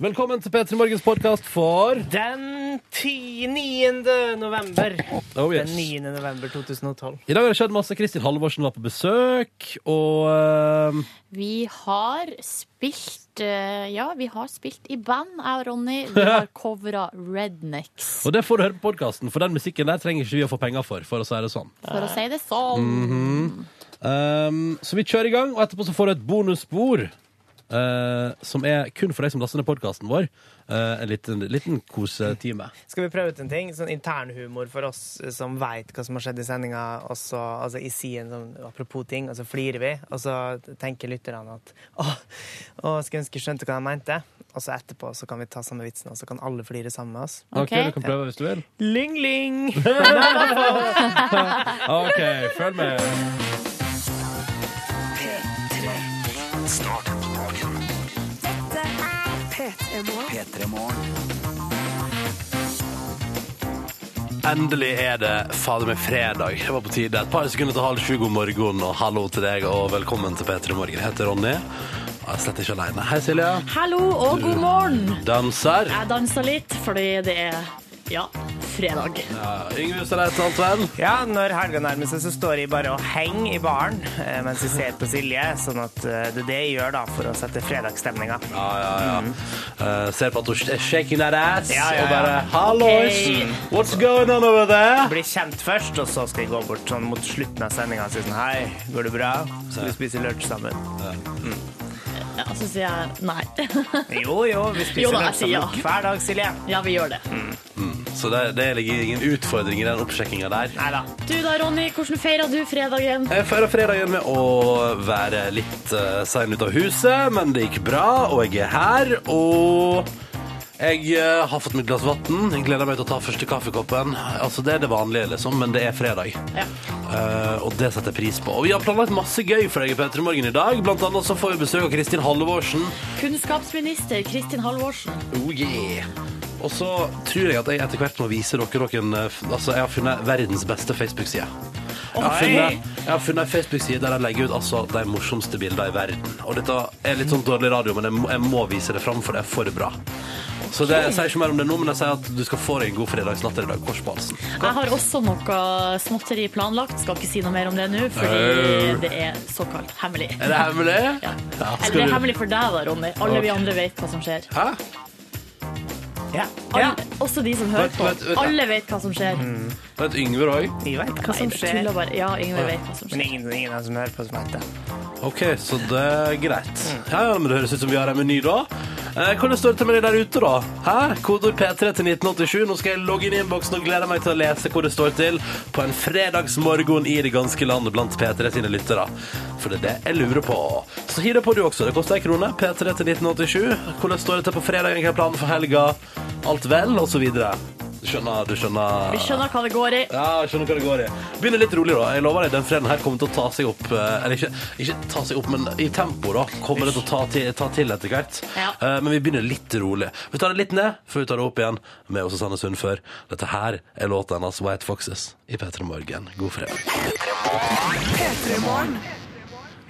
Velkommen til P3 Morgens podkast for Den 10. 9. november. Oh, yes. Den 9. november 2012. I dag har det skjedd masse. Kristin Halvorsen var på besøk, og eh, Vi har spilt eh, Ja, vi har spilt i band, jeg og Ronny. Vi har covra Rednecks, Og det får du høre på podkasten, for den musikken der trenger ikke vi å få penger for, for å si det sånn. for å si det Mm. sånn. Um, så vi kjører i gang, og etterpå så får du et bonusspor. eh, som er kun for deg som laster ned podkasten vår. Eh, en liten, liten kosetime. Skal vi prøve ut en ting? Sånn internhumor for oss som veit hva som har skjedd i sendinga. og så- Altså, jeg sier en sånn apropos ting, og så flirer vi. Og så tenker lytterne at å, å skulle ønske jeg skjønte hva de mente. Og så etterpå så kan vi ta samme vitsen, og så kan alle flire sammen med oss. Ok, Ok. Du kan prøve hvis du vil. Lyng, lyng! OK, følg med. Endelig er det fader meg fredag. Det var på tide. Et par sekunder til halv sju. God morgen og hallo til deg, og velkommen til P3 Morgen. Jeg heter Ronny. Og jeg er slett ikke aleine. Hei, Silje. Hallo og god morgen. Danser. Jeg dansa litt fordi det er ja, fredag. Ja, Yngve Ustadreit, alt vel? Ja, når helga nærmer seg, så står jeg bare og henger i baren eh, mens jeg ser på Silje. Sånn at eh, det er det jeg gjør da, for å sette fredagsstemninga. Ja, ja, ja. Eh, ser på at hun er shaking that ass Ja, ja, ja. og bare Hallois! Ok. What's going on over there? Bli kjent først, og så skal jeg gå bort sånn mot slutten av sendinga og si sånn Hei, går det bra? Skal vi spise lunsj sammen? Ja, så sier jeg nei. Jo, jo, vi spiser Jo da, jeg lunsj sammen sier ja. hver dag, Silje. Ja, vi gjør det. Så det, det ligger ingen utfordring i den oppsjekkinga der. Eh, Nei da. Du da, Ronny, hvordan feira du fredagen? Jeg feirer fredagen med å være litt uh, sein ut av huset, men det gikk bra, og jeg er her, og jeg eh, har fått mitt glass vann. Jeg gleder meg til å ta første kaffekoppen. Altså, det er det vanlige, liksom, men det er fredag. Ja. Eh, og det setter jeg pris på. Og vi har planlagt masse gøy for deg i P3 Morgen i dag. Blant annet så får vi besøk av Kristin Halvorsen. Kunnskapsminister Kristin Halvorsen. Oh yeah! Og så tror jeg at jeg etter hvert må vise dere noen eh, f- Altså, jeg har funnet verdens beste Facebook-side. Jeg har Oi! funnet, jeg har funnet en Facebook-side der jeg legger ut altså, de morsomste bildene i verden. Og dette er litt sånn dårlig radio, men jeg må, jeg må vise det fram, for det er for bra. Så det, jeg sier ikke mer om det nå, men jeg sier at du skal få deg en god fredagsnatt i dag. Kors på halsen. Jeg har også noe småtteri planlagt. Skal ikke si noe mer om det nå, fordi Au. det er såkalt hemmelig. Er det hemmelig? Ja. skal Eller det du- er hemmelig for deg, da, Ronny. Alle Ok. vi andre vet hva som skjer. Hæ? Ja. ja. Alle, også de som hører Vent, på. vent, vent, ja. Mm. Alle vet hva som skjer. Vet Yngve òg? Jeg veit hva Nei, som det skjer. tuller bare. Ja, Yngve vet hva som Men skjer. ingen, ingen av dem som hører på, som vet det. OK, så det er greit. Ja, ja, men Det høres ut som vi har en meny da. Eh, hvordan står det til med deg der ute, da? Hæ? Kodord P3 til 1987. Nå skal jeg logge inn i innboksen og gleder meg til å lese hvor det står til på en fredagsmorgen i det ganske land blant P3 sine lyttere. For det er det jeg lurer på. Så hiv det på du også. Det koster ei krone. P3 til 1987. Hvordan står det til på fredagen? Hva er planen for helga? Alt vel? Og så videre. Du skjønner, du skjønner. Vi skjønner hva det går i. Ja, jeg skjønner hva det går i. Begynner litt rolig, da. Jeg lover deg, den freden her kommer til å ta seg opp. eh, Eller ikke, ikke ta seg opp, men i tempo, da. Kommer det til å ta til, ta til etter hvert. Ja. Eh, Men vi begynner litt rolig. Vi tar det litt ned, før vi tar det opp igjen med oss Susanne Sundfør. Dette her er låta hennes White Foxes i P3 Morgen. God fredag.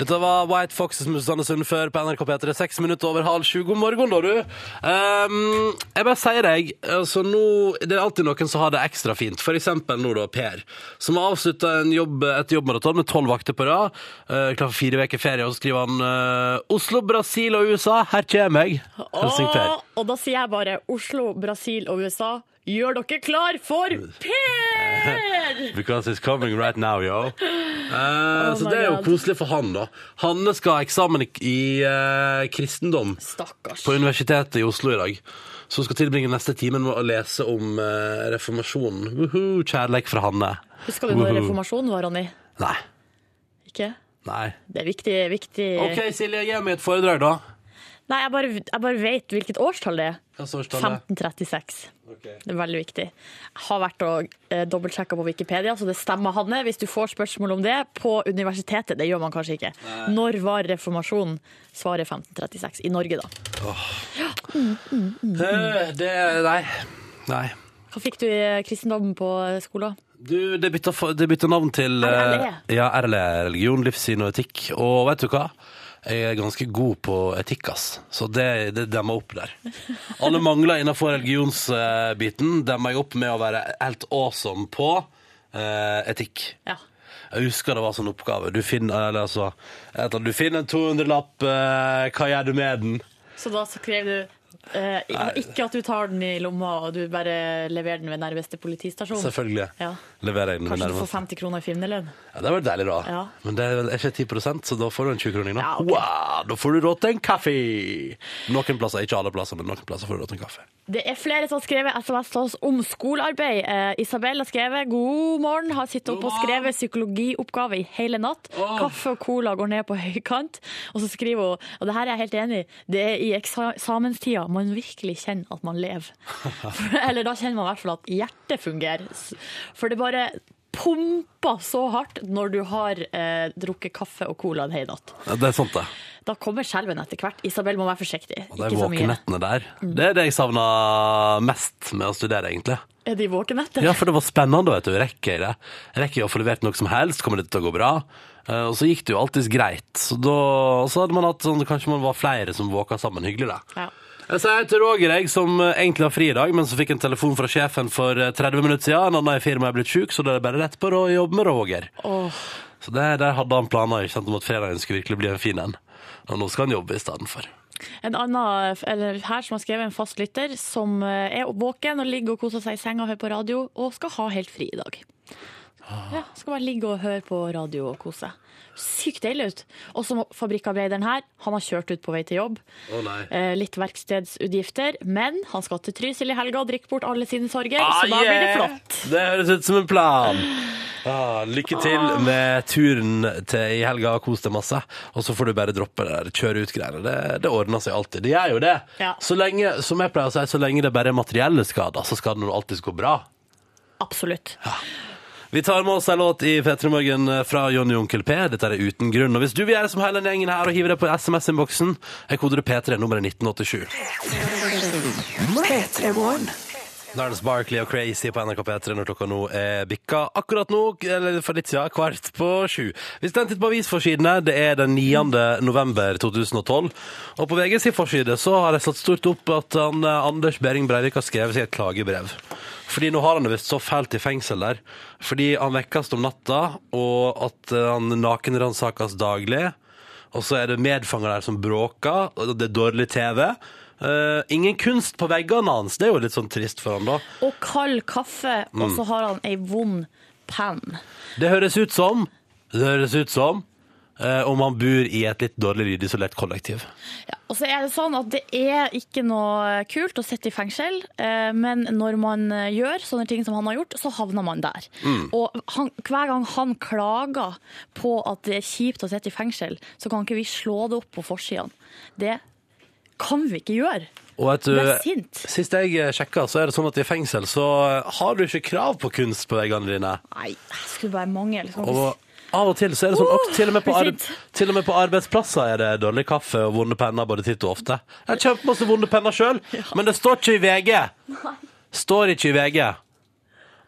Dette var White Foxes med Susanne Sundfør på NRK P3. Seks minutter over halv sju. God morgen, da, du. Ehm, jeg bare sier deg, altså nå Det er alltid noen som har det ekstra fint. For eksempel nå, da, Per. Som har avslutta en jobb, et jobbmaraton med tolv vakter på rad. eh, klar for fire uker ferie, og så skriver han eh, Oslo, Brasil og USA. Her kommer jeg. Hilsing Per. Åh, og da sier jeg bare Oslo, Brasil og USA. Gjør dere klar for Per! Because it's coming right now, yo. Eh, så my det er jo God. koselig for han, da. Hanne skal ha eksamen i, i eh, kristendom. Stakkars. på Universitetet i Oslo i dag. Så hun skal tilbringe neste timen med å lese om eh, reformasjonen. Woohoo, kjærleik fra Hanne. Husker du når Woohoo. reformasjonen var, Ronny? Nei. Ikke? Nei. Det er viktig, viktig. OK, Silje, gi meg et foredrag, da. Nei, jeg bare, jeg bare vet hvilket årstall det er. Hva står stallet? 1536. Ok. Det er veldig viktig. Jeg har vært og eh, dobbeltsjekka på Wikipedia, så det stemmer, Hanne. Hvis du får spørsmål om det på universitetet, det gjør man kanskje ikke. Når var reformasjonen? Svaret er 1536. I Norge, da. Eh, Det Nei. Nei. Hva fikk du i eh, kristendommen på skolen? Du, det E. bytter, for- det bytter navn til eh, RLE. Ja, RLE. Religion, livssyn og etikk. Og vet du hva? Jeg er ganske god på etikk, ass. Så det, det demmer opp der. Alle mangler innenfor religionsbiten eh, demmer jeg opp med å være helt awesome på eh, etikk. Ja. Jeg husker det var sånn oppgave. Du finner, eller, altså, et eller annet, du finner en 200-lapp, eh, hva gjør du med den? Så da skrev du eh, ikke at du tar den i lomma, og du bare leverer den ved nærmeste politistasjon. Selvfølgelig Ja. leverer jeg den. Kanskje du får nærmest. 50 kroner i finnerlønn. Ja, det var deilig, da. Ja. Men det er vel ikke 10 så da får du en 20-kroning. Da. Ja, ok. wow, da får du råd til en kaffe! Noen plasser, ikke alle plasser, men noen plasser får du råd til en kaffe. Det er flere som har skrevet SMS til oss om skolearbeid. Eh, Isabel har skrevet 'God morgen', har sittet oppe og skrevet psykologioppgave i hele natt. Kaffe og cola går ned på høykant. Og så skriver hun, og det her er jeg helt enig i, det er i eksa- eksamenstida man virkelig kjenner at man lever. For- Eller da kjenner man i hvert fall at hjertet fungerer. S- For det bare pumper så hardt når du har eh, drukket kaffe og cola en hel natt. Ja, det er sant, det. Da kommer skjelven etter hvert. Isabel må være forsiktig. Og de Ikke så mye. Mm. våkenettene der. Det er det jeg savna mest med å studere, egentlig. Er de våkne etter? Ja, for det var spennende, vet du. Rekker jeg det? Rekker jeg å få levert noe som helst? Kommer det til å gå bra? Eh, Og så gikk det jo alltid greit. Så da og så hadde man hatt sånn Kanskje man var flere som våka sammen. Hyggelig, det. Ja. Jeg sier til Roger, jeg, som egentlig har fri i dag, men som fikk en telefon fra sjefen for 30 minutter siden. En annen i firmaet er blitt syk, så det er bare rett på å jobbe med Roger. Åh. Så det, der hadde han planer ikke sant, om at fredagen skulle virkelig bli en fin en. Og nå skal han jobbe istedenfor. En annen eller her som har skrevet en fast lytter, som eh, er våken og ligger og koser seg i senga og hører på radio, og skal ha helt fri i dag. Ja, skal bare ligge og høre på radio og kose. Sykt deilig ut. Og som fabrikkarbeideren her, han har kjørt ut på vei til jobb. Å nei. Eh, litt verkstedsutgifter, men han skal til Trysil i helga og drikke bort alle sine sorger, Ah, så da blir det yeah! flott. Det høres ut som en plan. Ah, lykke til med turen til i helga. Kos deg masse. Og så får du bare droppe det der kjøre ut-greiene. Det, det ordner seg alltid. Det gjør jo det. Ja. Så lenge, som jeg pleier å si, så lenge det bare er materielle skader, så skal det nå alltid gå bra. Absolutt. Vi tar med oss en låt i P3 Morgen fra Jonny og Onkel P. Dette er Uten grunn. Og hvis du vil gjøre som hele den gjengen her og hive det på SMS-innboksen, er kodet P3 nummeret 1987. Darnes Barkley og Crazy på NRK P3 når klokka nå er bikka. Akkurat nå, eller for litt siden, kvart på sju. Hvis den titter på avisforsidene, det er den 9. november 2012. Og på VG sin forside så har jeg satt stort opp at han, eh, Anders Behring Breivik har skrevet seg et klagebrev. Fordi nå har han det visst så fælt i fengsel der. Fordi han vekkes om natta, og at eh, han nakenransakes daglig. Og så er det medfanger der som bråker, og det er dårlig TV. Eh, ingen kunst på veggene hans, det er jo litt sånn trist for han da. Og kald kaffe, og så har han ei vond penn. Det høres ut som, det høres ut som, eh, om han bor i et litt dårlig lydisolert kollektiv. Og så er det sånn at det er ikke noe kult å sitte i fengsel, eh, men når man eh, gjør sånne ting som han har gjort, så havner man der. Mm. Og han, hver gang han klager på at det er kjipt å sitte i fengsel, så kan ikke vi slå det opp på forsidene. Det kan vi ikke gjøre. Og vet du, Ble sint. sist jeg sjekket, så er det sånn at i fengsel så eh, har du ikke krav på kunst på veggene dine. Nei, det skulle bare mangle. Liksom. Og av og til så er det sånn, Uh, til, og med på blir arbe- sint. til og med på arbeidsplasser er det dårlig kaffe og vonde penner både titt og ofte. Jeg har kjempemasse vonde penner sjøl, men det står ikke i VG. Står ikke i VG.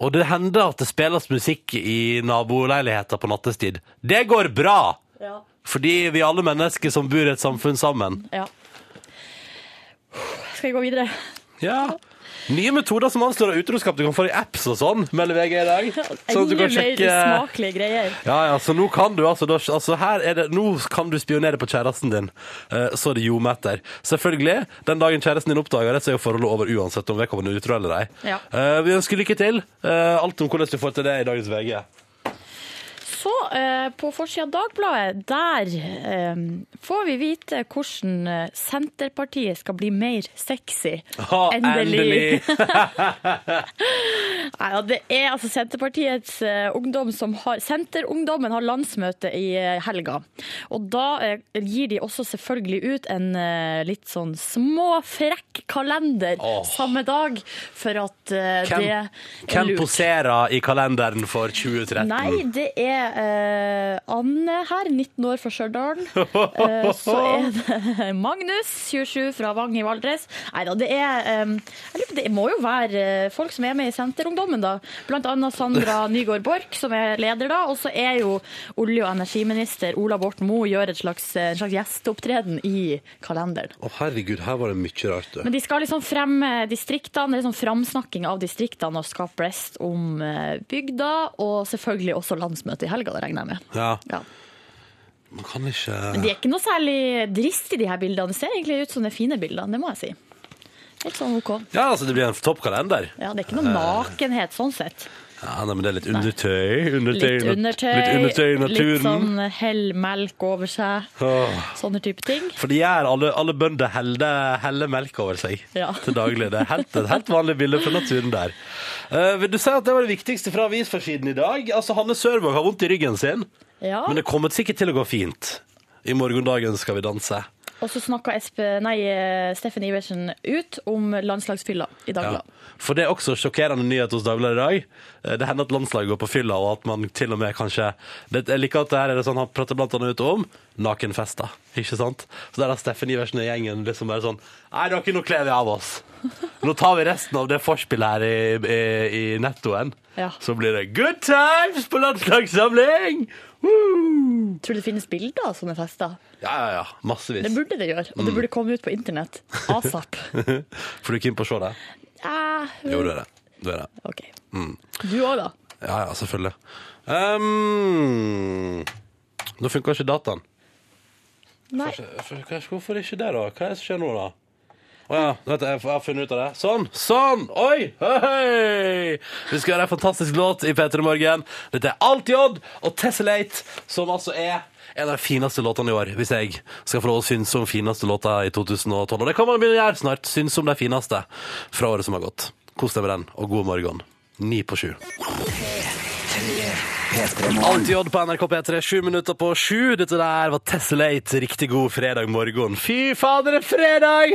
Og det hender at det spilles musikk i naboleiligheter på nattestid. Det går bra! Ja. Fordi vi er alle mennesker som bor i et samfunn sammen. ja. Skal vi gå videre? Ja. Nye metoder som anslår utroskap. Du kan få det i apps og sånn, melder VG i dag. Sånn at du Enda kan mer sjekke usmakelige greier. Ja, ja, så nå kan du altså, da, altså her er det, Nå kan du spionere på kjæresten din, eh, så det ljomer etter. Selvfølgelig. Den dagen kjæresten din oppdager det, så er jo forholdet over uansett om vedkommende er utro eller ei. Ja. Eh, vi ønsker lykke til. Eh, alt om hvordan du får til det i dagens VG. Så eh, på forsida av Dagbladet, der eh, får vi vite hvordan eh, Senterpartiet skal bli mer sexy. Ha, Nei, ja, det er altså Senterpartiets eh, ungdom som har Senterungdommen har landsmøte i eh, helga. Og da eh, gir de også selvfølgelig ut en eh, litt sånn småfrekk kalender Åh. samme dag, for at eh, Hvem- det er Hvem lurt. poserer i kalenderen for Mm. 2013? Nei, det er eh, Anne her, 19 år fra Stjørdal. Eh, så er det Magnus, 27, fra Vang i Valdres. Nei da, det er eh, Jeg lurer på, det må jo være eh, folk som er med i ungdommen, da. Blant annet Sandra Nygaard Borch, som er leder, da. Og så er jo olje- og energiminister Ola Borten Moe gjør et slags, eh, en slags gjesteopptreden i kalenderen. Å, herregud, her var det mye rart, du. Men de skal liksom fremme distriktene, det er sånn framsnakking av distriktene og skape blest om eh, bygda, og selvfølgelig også landsmøtet i helga, det regner jeg med. Ja, Ja. man kan ikke Men de er ikke noe særlig drist i de her bildene. Det ser egentlig ut som det er fine bilder, det må jeg si. Helt sånn OK. Ja, altså, det blir en toppkalender. Ja, det er ikke Eh. noe nakenhet sånn sett. Ja, nei, men det er litt undertøy. undertøy Litt nat- undertøy, Litt undertøy i naturen. litt sånn hell melk over seg, Åh. sånne type ting. For de gjør alle, alle bønder heller helle melk over seg Ja. til daglig. Det er helt, et helt vanlig bilde fra naturen der. Eh, vil du si at det var det viktigste fra avisforsiden i dag? Altså, Hanne Sørvåg har vondt i ryggen sin, Ja, men det kommer sikkert til å gå fint. I morgendagen skal vi danse. og så snakka Espe, nei, eh, Steffen Iversen ut om landslagsfylla i Ja. Dagbladet. For det er også sjokkerende nyhet hos Dagbladet i dag. Eh, Det hender at landslaget går på fylla, og at man til og med kanskje det, Jeg liker at det her er det sånn han prater blant annet ut om nakenfester, ikke sant? Så der har Steffen Iversen og gjengen liksom bare sånn Nei, dere, nå kler vi av oss. Nå tar vi resten av det forspillet her i, i, i nettoen. Ja. Så blir det good times på landslagssamling! Woo! Tror du det finnes bilder av sånne fester? Ja, ja, ja. Massevis. Det burde det gjøre, og det burde komme ut på internett. ASAP. For du er keen på å se det? Eh, Jo, du er det. Du er det. OK. Du òg, da. Ja, ja, selvfølgelig. Ehm, nå funka ikke dataen. Nei. For- hva- Hvorfor ikke det, da? Hva er det som skjer nå, da? Å ja, vent, jeg jeg har funnet ut av det. Sånn! Sånn! Oi! Hei! hei! Vi skal høre en fantastisk låt i P3 Morgen. Dette er Alt i Odd og Tessellate, som altså er en av de fineste låtene i år, hvis jeg skal få lov å synes om fineste låta i 2012. Og det kan man begynne å gjøre snart. Synes om de fineste fra året som har gått. Kos deg med den, og god morgen. Ni på sju. Alltid Odd på NRK P3, sju minutter på sju. Dette der var Tessellate. Riktig god fredag morgen. Fy fader, det er fredag!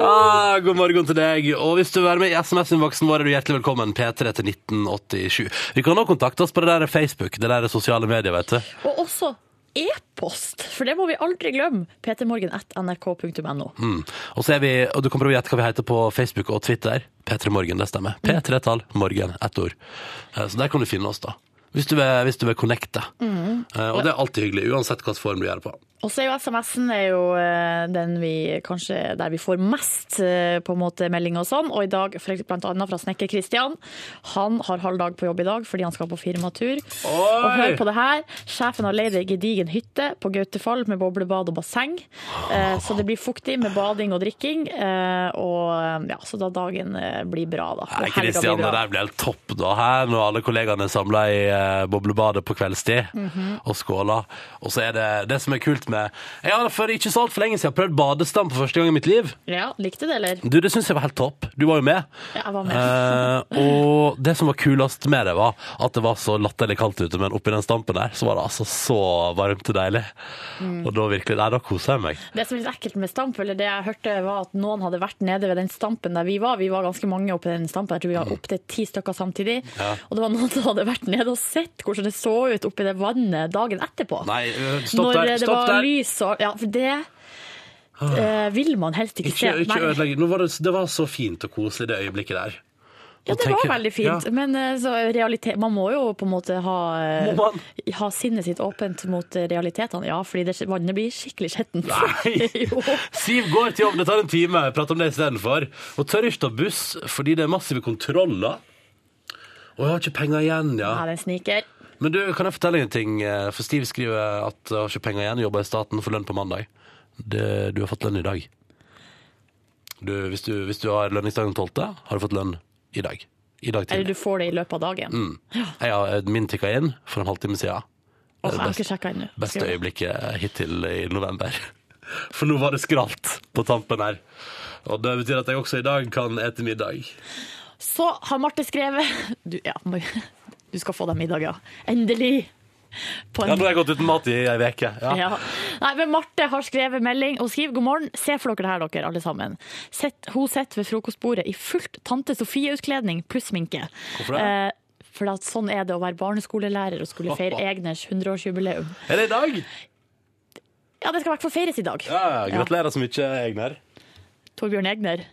ah, god morgen til deg. Og hvis du vil være med i SMS-innboksen vår, er du hjertelig velkommen. P3 til 1987. Vi kan også kontakte oss på det der Facebook, det der sosiale medier, vet du. Og også e-post, for det må vi aldri glemme. ptmorgen.nrk.no. Mm. Og så er vi, og du kan prøve å gjette hva vi heter på Facebook og Twitter. P3 Morgen, det stemmer. P3-tall, morgen, ett ord. Eh, Så der kan du finne oss, da. Hvis du vil, hvis du vil connecte. Eh, Og det er alltid hyggelig, uansett hvilken form du gjør det på. Og så er jo SMS-en er jo eh, den vi kanskje der vi får mest eh, på en måte meldinger og sånn. Og i dag for eksempel, blant annet fra snekker Kristian. Han har halv dag på jobb i dag fordi han skal på firmatur. Og hør på det her. Sjefen har leid ei gedigen hytte på Gautefall med boblebad og basseng. Eh, Så det blir fuktig med bading og drikking. eh, Og eh, ja, så da dagen eh, blir bra, da. Nei, Og helga blir Kristian, det bra. der blir helt topp da her, når alle kollegaene er samla i eh, boblebadet på kveldstid Mhm. og skåla. Og så er det det som er kult med Jeg har for ikke så altfor lenge siden prøvd badestam for første gang i mitt liv. Ja, likte du det, eller? Du, Det syns jeg var helt topp. Du var jo med. Ja, jeg var med. Eh, og det som var kulest med det, var at det var så latterlig kaldt ute, men oppi den stampen der så var det altså så varmt og deilig. Mm. Og da virkelig Nei, da koser jeg meg. Det som er litt ekkelt med stamp, eller det jeg hørte var at noen hadde vært nede ved den stampen der vi var. Vi var ganske mange oppe i den stampen, jeg tror vi Mm. var opptil ti stykker samtidig. Og det var noen som hadde vært nede og sett hvordan det så ut oppi det vannet dagen etterpå. Nei, eh, stopp Når der. det Stopp var der. Ah. lys og Ja, for det eh, vil man helst ikke, Ikke, se. ikke Nei. ødelegg. Nå var det, det var så fint og koselig, det øyeblikket der. Ja, det var veldig fint, men eh, så realitet, man må jo på en måte ha, eh, Må man? ha sinnet sitt åpent mot eh, realitetene. Ja, fordi det, vannet blir skikkelig skjettent. Nei. jo. Siv går til jobb, det tar en time. Jeg prater om det istedenfor. Og tør ikke ta buss fordi det er massive kontroller. Og jeg har ikke penger igjen, ja. Nei, den sniker. Men du, kan jeg fortelle deg en ting? Eh, For Stiv skriver at jeg har ikke penger igjen, jobber i staten, får lønn på mandag. Det, du har fått lønn i dag. Du, hvis, du, hvis du har lønningsdagen 12., har du fått lønn i dag. I dag Eller tidlig. du får det i løpet av dagen. Mm. Jeg har min tikka inn for en halvtime siden. Altså, jeg har Best- ikke sjekket ennå. Beste Skal jeg- øyeblikket hittil i november. For nå var det skralt på tampen her. Og det betyr at jeg også i dag kan ete middag. Så har Marte skrevet du, ja, må- du skal få deg middag, ja. Endelig! På en, Ja, nå har jeg gått uten mat i ei uke. Ja. Ja. Nei, men Marte har skrevet melding og skriver god morgen. Se for dere det her, dere alle sammen. Sett, hun sitter ved frokostbordet i fullt Tante Sofie-utkledning pluss sminke. Hvorfor det? Eh, for at sånn er det å være barneskolelærer og skulle feire Egners 100-årsjubileum. Er det i dag? Ja, det skal i hvert fall feires i dag. Ja, gratulerer så mye, Egner. Torbjørn Egner.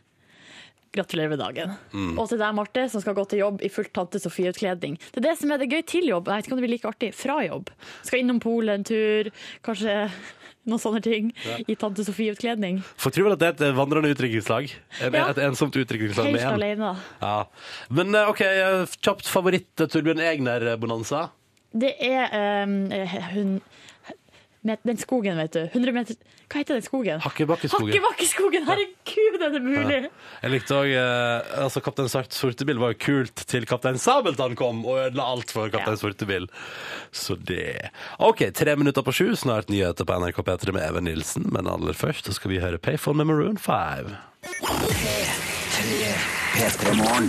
Gratulerer med dagen. Og til deg, Marte, som skal gå til jobb i fullt Tante Sofie-utkledning. Det er det som er det gøy til jobb. Jeg vet ikke om det blir like artig fra jobb. Skal innom Polet en tur, kanskje noen sånne ting. I Tante Sofie-utkledning. Folk tror vel at det er et vandrende utdrikningslag. En, Ja. Et ensomt utdrikningslag Helt med én. alene. Ja. Men eh, OK, eh, kjapt favoritt eh, Torbjørn Egner-bonanza. Det er eh, hun med den skogen, vet du. 100 meter Hva heter den skogen? Hakkebakkeskogen. Hakkebakkeskogen! Herregud, er det mulig? Jeg likte òg eh, altså Kaptein Sart Sortebil var jo kult til Kaptein Sabeltann kom og ødela alt for Kaptein Ja. Sortebil. Så det OK, tre minutter på sju, snart nyheter på NRK P3 med Even Nilsen. Men aller først så skal vi høre Payphone med Maroon 5.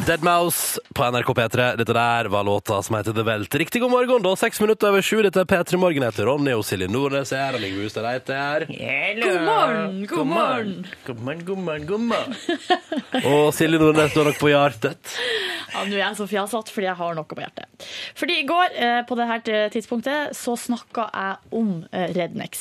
Deadmau5 på NRK P3. Dette der var låta som heter The Welt. Riktig god morgen, da. Seks minutter over sju. Dette er P3 Morgen. Jeg heter Ronny og Silje Nordnes er her. Og Ligve Hustad Reite er her. God morgen, Eh, god morgen! God morgen, god morgen, god morgen. Og Silje Nordnes står nok på hjertet. Ja, Nå er jeg så fjasete fordi jeg har noe på hjertet. Fordi i går eh, på det her t- tidspunktet så snakka jeg om eh, Rednex.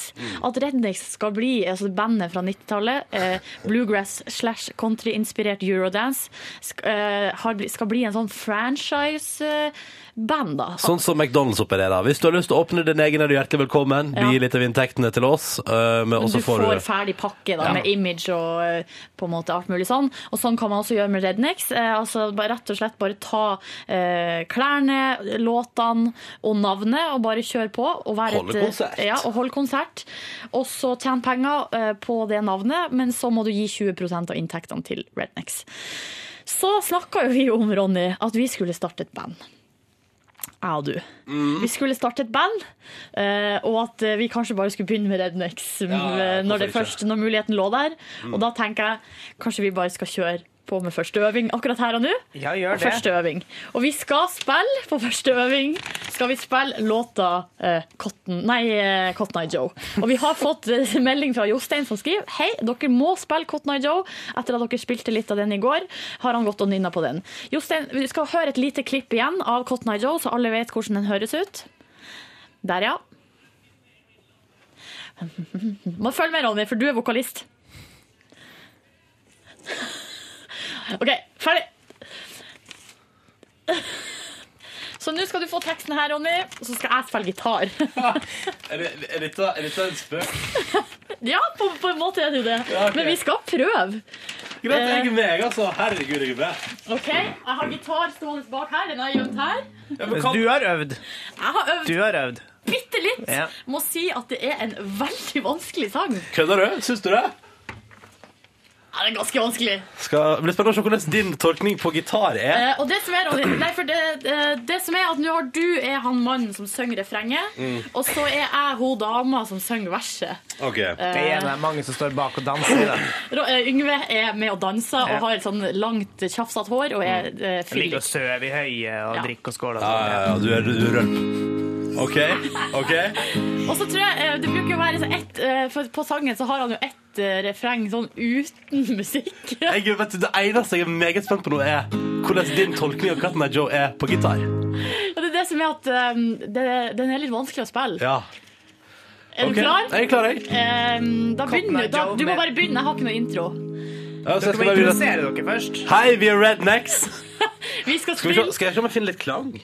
At Rednex skal bli altså bandet fra 90-tallet, eh, bluegrass slash country-inspirert eurodance, sk eh, har bli- skal bli en sånn franchise-band, da. Sånn som McDonald's opererer. Hvis du har lyst til å åpne din egen, er du hjertelig velkommen. Bli Ja. litt av inntektene til oss. øh, men- og så du får, får du ferdig pakke da, Ja. med image og eh, på en måte alt mulig sånn. Og sånn kan man også gjøre med Rednex. Eh, altså bare- Rett og slett bare ta eh, klærne, låtene og navnet og bare kjøre på. Og være Holde et, eh, konsert. Ja, og holde konsert. Og så tjene penger eh, på det navnet, men så må du gi 20 av inntektene til Rednex. Så snakka jo vi om, Ronny, at vi skulle starte et band. Jeg og du. Vi skulle starte et band, eh, og at eh, vi kanskje bare skulle begynne med Rednex ja, eh, hvorfor når, det ikke? Mm. først, når muligheten lå der. Og da tenker jeg kanskje vi bare skal kjøre på med første øving akkurat her og nå. Ja, gjør det. Første øving. Og vi skal spille på første øving Skal vi spille låta eh, Cotton, nei, eh, Cotton Eye Joe. Og vi har fått eh, melding fra Jostein som skriver Hei, dere må spille Cotton Eye Joe. Etter at dere spilte litt av den i går, har han gått og nynna på den. Jostein, vi skal høre et lite klipp igjen av Cotton Eye Joe, så alle vet hvordan den høres ut. Der, ja. Må følge med, Ronny, for du er vokalist. OK, ferdig. Så nå skal du få teksten her, Ronny, og så skal jeg spille gitar. Er dette en spøk? ja, på, på en måte er det jo det. Ja, ok. Men vi skal prøve. Eh. Greit, jeg er meg, altså. Herregud, jeg er med. Ok, Jeg har gitar stående bak her. Den har jeg gjemt her. Ja, men Mens kan- Altså, Du har øvd. Jeg har øvd Du har øvd. bitte litt. Ja. Må si at det er en veldig vanskelig sang. Kødder du? Syns du det? Ja, det er ganske vanskelig. Skal det blir spennende å se hvordan din tolkning på gitar er. Eh, og det som er, Ronny, nei, for det, eh, det som er at nå har du er han mannen som synger refrenget, Mm. og så er jeg hun dama som synger verset. Ok. Eh. Det er en av mange som står bak og danser. Da. Ro- eh, Yngve er med og danser og Ja. har et sånn langt, tjafsete hår og er eh, Ligger fyllik. og søver i høyet og Ja. drikker og skåler. og Ja, sånn, ja, ja, du er du er rølp. OK. ok Og så tror jeg eh, det bruker å være så ett eh, For på sangen så har han jo ett eh, refreng sånn uten musikk. jeg, er- vet du, Det eneste jeg er meget spent på nå, er hvordan din tolkning av Katten er Joe er på gitar. Og det er det som er at eh, det, den er litt vanskelig å spille. Ja, Er ok. du klar? Jeg er klar, jeg. Eh, da begynner du. Da, du må med- bare begynne. Jeg har ikke noe intro. Ja, så jeg Dere skal må bare begynne. introdusere dere først. Hei, vi er Rednecks. Vi skal Skal, vi spille se- skal jeg se om jeg finner litt klang?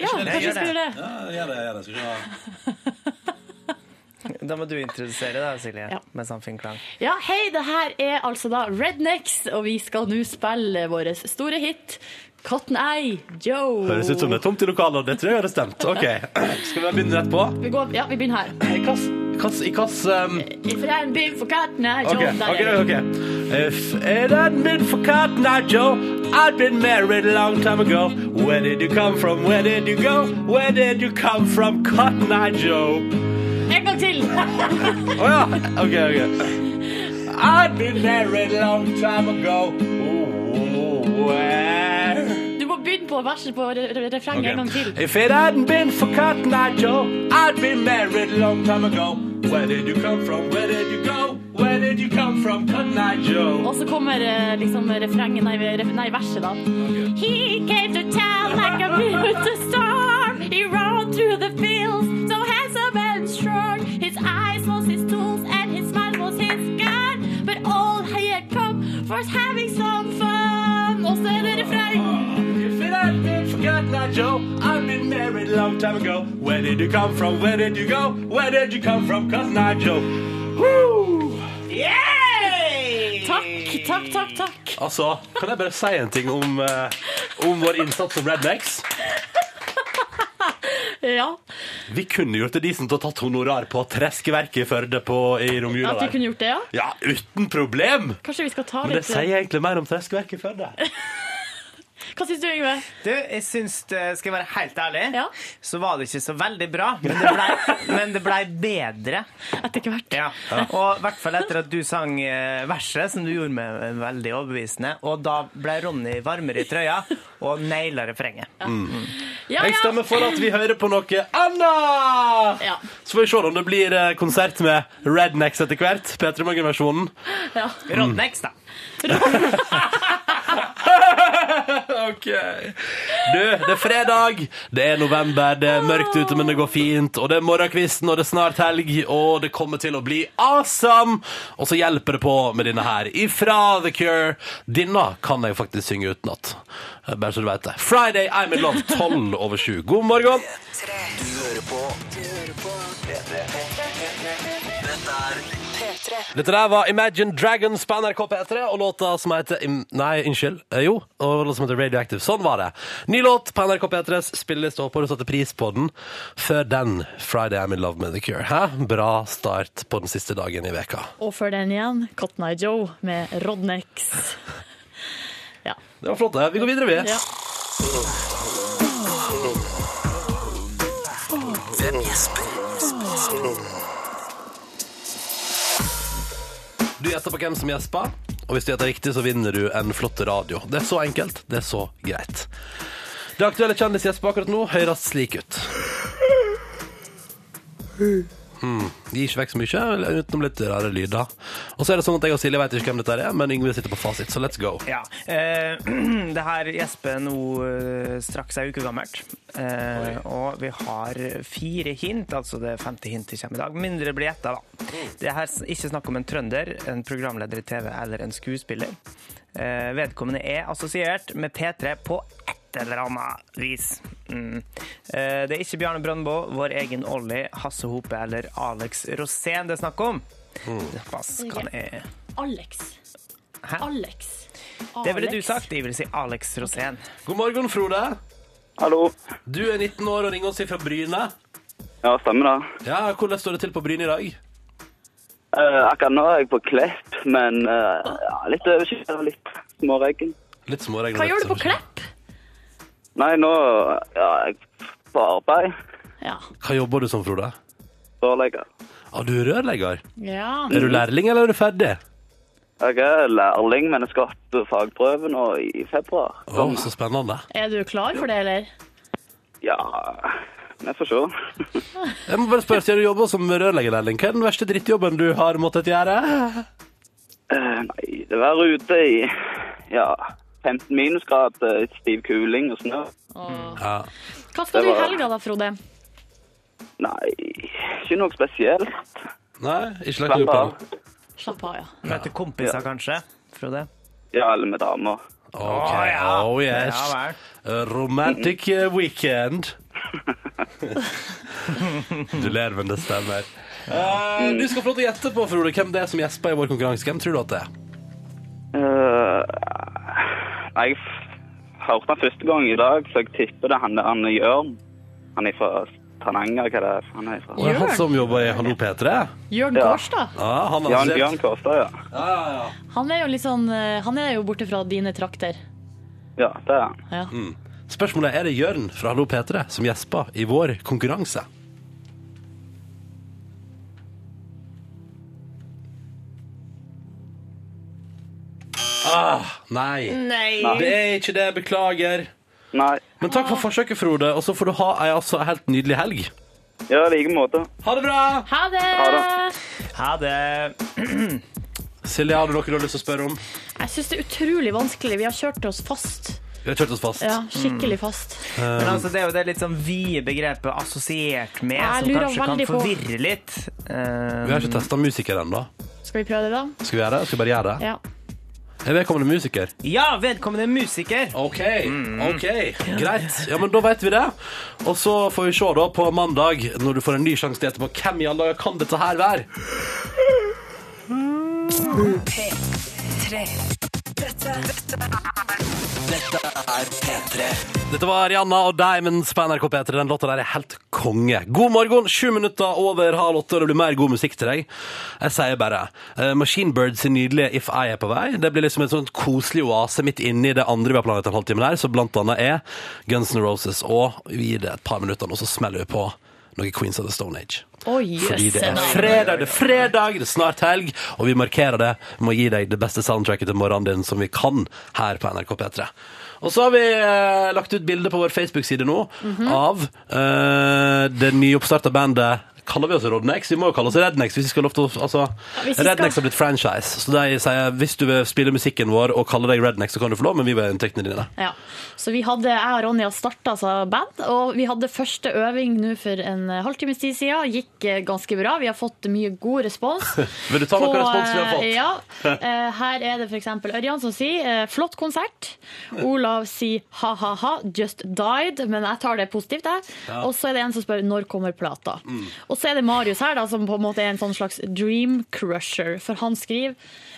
Ja, kanskje vi gjør det. skal gjøre det. gjør det, gjør det. Skal vi se. Da må du introdusere, da, Silje. Ja. Mens han finner klang. Ja, hei, det her er altså da Rednecks, og vi skal nå spille vår store hit Cotton Eye Joe. Høres ut som det er tomt i lokalet, og det tror jeg hadde stemt. Ok, Skal vi bare begynne rett på? Vi går, ja, vi begynner her. I kass, kass, i kass um, If it hadn't been for Cotton Eye Joe OK. Eh, Der ok, er det. ok If it hadn't been for Cotton Eye Joe, I'd been married a long time ago. Where did you come from? Where did you go? Where did you come from, Cotton Eye Joe? En gang til. Å ja. OK, OK. I'd been married a long time ago. Ooh, where? Du må begynne på verset på re- re- refrenget en gang til. If it hadn't been for Cotton Eye Joe, I'd be married a long time ago. Where did you come from? Where did you go? Where did you come from, Cotton Eye Joe? Og så kommer eh, liksom refrenget, nei, ref- nei verset, da. He came to town like a beautiful storm. He rode through the fields, so handsome and strong. His eyes was his tools, and his smile was his gun. But all he had come was having some fun. Og så er det refreng. If it had been for Cotton Eye Joe, I'd been married a long time ago. Where did you come from? Where did you go? Where did you come from, Cotton Eye Joe? Woo! Takk, takk, takk. takk. Altså, kan jeg bare si en ting om, eh, om vår innsats som rednecks? Ja, Vi kunne gjort det decent og tatt honorar på Treskeverket i Førde på, i romjula At vi kunne gjort det, ja. Ja, uten problem! Kanskje vi skal ta Men det litt sier egentlig mer om Treskeverket i Førde. eh, Hva syns du, Yngve? Du, jeg syns det, Skal jeg være helt ærlig, Ja. så var det ikke så veldig bra. Men det blei men det ble bedre. Etter hvert. Ja. Og i hvert fall etter at du sang eh, verset, som du gjorde med eh, veldig overbevisende. Og da ble Ronny varmere i trøya og naila refrenget. Ja, Jeg ja. stemmer for at vi hører på noe annet! Ja. Så får vi se om det blir eh, konsert med Rednecks etter hvert. P3 Morgen-versjonen. ja. Rodnex, da. Ok. Du, det er fredag, det er november, det er mørkt ute, men det går fint. Og det er morgenkvisten, og det er snart helg, og det kommer til å bli awesome! Og så hjelper det på med denne her. Ifra The Cure. Denne kan jeg faktisk synge utenat. Bare så du vet det. Friday I'm in love, 12 over 7. God morgen! Du hører på Du hører på P3 Dette er P3 Dette der var Imagine Dragons på NRK P3 og låta som heter Im- Nei, unnskyld. Eh, Jo, og låta som heter Radioactive. Sånn var det. Ny låt på NRK P3s spilleliste. Håper du satte pris på den. Før den, Friday I'm in love with the cure. Hæ? Bra start på den siste dagen i veka. Og før den igjen, Cotton Eye Joe med Rodnex. Ja. Det var flott, det. Vi går videre, vi. ja. Hvem gjesper? Du gjetter på hvem som gjesper, og hvis du gjetter riktig, så vinner du en flott radio. Det er så enkelt, det er så greit. Det aktuelle kjendisgjespet akkurat nå høres slik ut. Hmm. Gir ikke vekk så mye, utenom litt rare lyder. Og så er det sånn at jeg og Silje vet ikke hvem dette er, men Yngve sitter på fasit, så let's go. Ja. Eh, det her gjesper nå eh, straks ei uke gammelt. Eh, og vi har fire hint, altså det femte hintet kommer i dag. Mindre blir gjetta, da. Det er her s- ikke snakk om en trønder, en programleder i TV eller en skuespiller. Eh, vedkommende er assosiert med P3 på et eller annet vis. Mm. Eh, det er ikke Bjarne Brøndbo, vår egen Olli, Hasse Hope eller Alex Rosén det er snakk om. Pass kan jeg Alex. Hæ? Alex. Det ville du Alex. sagt. Jeg vil si Alex Rosén. God morgen, Frode. Hallo. Du er 19 år og ringer oss fra Bryne. Ja, stemmer det. Ja, Hvordan står det til på Bryne i dag? Eh, akkurat nå er jeg på Klepp, men eh, ja, litt overskyet og litt småregn. Litt småregn. Hva gjør du på Klepp? Nei, nå ja, jeg er på arbeid. Ja. Hva jobber du som, Frode? Rørlegger. Ah, du er rørlegger. ja. Er du lærling, eller er du ferdig? Jeg er lærling, men jeg skal opp fagprøven nå i februar. Å, så spennende. Er du klar for det, eller? Ja, vi får se. Jeg må bare spørre, siden du jobber som rørleggerlærling, hva er den verste drittjobben du har måttet gjøre? Eh, nei, det var ute i ja, 15 minusgrader, stiv kuling og snø. Ja. Hva skal Det du i var- helga da, Frode? Nei, ikke noe spesielt. Nei, ikke lagt Slapp opp av. den. Slapp av, ja. Møte kompiser, kanskje. Frode? Ja, eller med damer. Ok, Å, ja. oh yes. Ja vel. A romantic eh, weekend. Du ler, men det stemmer. Eh, du skal få lov til å gjette på, Frode, hvem det er som gjesper i vår konkurranse. Hvem tror du at det er? Eh, Nei, jeg f- hørte han første gang i dag, så jeg tipper det er han der han er Jørn. Han er fra Tananger, hva det er han er fra? Og det er han Jørn. som jobber i Hallo P3? Jørn Ja. Kårstad. Ja, han er Jørn, assosiert. Jørn Kårstad, ja. Ja, ja, ja. Han er jo litt sånn eh, Han er jo borte fra dine trakter. Ja, det er han. Ja. Spørsmålet er er det Jørn fra Hallo P3 som gjesper i vår konkurranse. Ah, nei. Nei. Det er ikke det. Beklager. Nei, Men takk for forsøket, Frode. Og så får du ha ei altså, helt nydelig helg. ja, i like måte. Ha det bra! Ha det! Ha Ha det. Silje, har du noe du har lyst til å spørre om? Jeg syns det er utrolig vanskelig. Vi har kjørt oss fast. Vi har kjørt oss fast. Ja, Skikkelig fast. Men altså, det er jo det litt sånn vide begrepet 'assosiert med', Jeg som lurer kanskje kan veldig på- forvirre litt. Um, Vi har ikke testa musiker ennå. Skal vi prøve det, da? Skal vi gjøre det? Skal vi bare gjøre det? Ja. Er vedkommende musiker? Ja, vedkommende er musiker. OK. ok, Greit. Mm. Ja, men Da vet vi det. Og så får vi se da på mandag, når du får en ny sjanse til etterpå, hvem i alle dager kan dette her være? P3. Dette, dette Dette var Rihanna og Diamonds på NRK P3. Den låta der er helt konge. God morgen, sju minutter over halv åtte, og det blir mer god musikk til deg. Jeg sier bare eh, Machine Birds sin nydelige If I Er På Vei. Det blir liksom en sånn koselig oase midt inni det andre vi har planlagt en halvtime der, som blant annet er Guns N' Roses. Og vi gir det et par minutter, og så smeller vi på noe Queens of the Stone Age. Oi, Fordi det jøsse er navn. fredag, det er fredag, det er snart helg, og vi markerer det med å gi deg det beste soundtracket til morgenen din som vi kan her på NRK P3. Og så har vi eh, lagt ut bilde på vår Facebook-side nå Mhm. av eh, det nyoppstarta bandet Kaller vi oss Rodnex? Vi må jo kalle oss Rednex hvis vi skal lov til å altså, hvis vi skal- Rednex har blitt franchise, så de sier hvis du vil spille musikken vår og kalle deg Rednex, så kan du få lov, men vi vil ha inntektene dine. Ja. Så vi hadde, jeg og Ronja starta altså band, og vi hadde første øving nå for en eh, halvtimes tid siden. Gikk eh, ganske bra. Vi har fått mye god respons. Vil du ta noe På, respons vi har fått? eh, Ja. Eh, Her er det f.eks. Ørjan som sier eh, 'flott konsert'. Olav sier 'ha-ha-ha, just died', men jeg tar det positivt, jeg. Og så er det en som spør 'når kommer plata'? Mm. Og så er det Marius her, da, som på en måte er en sånn slags dream crusher, for han skriver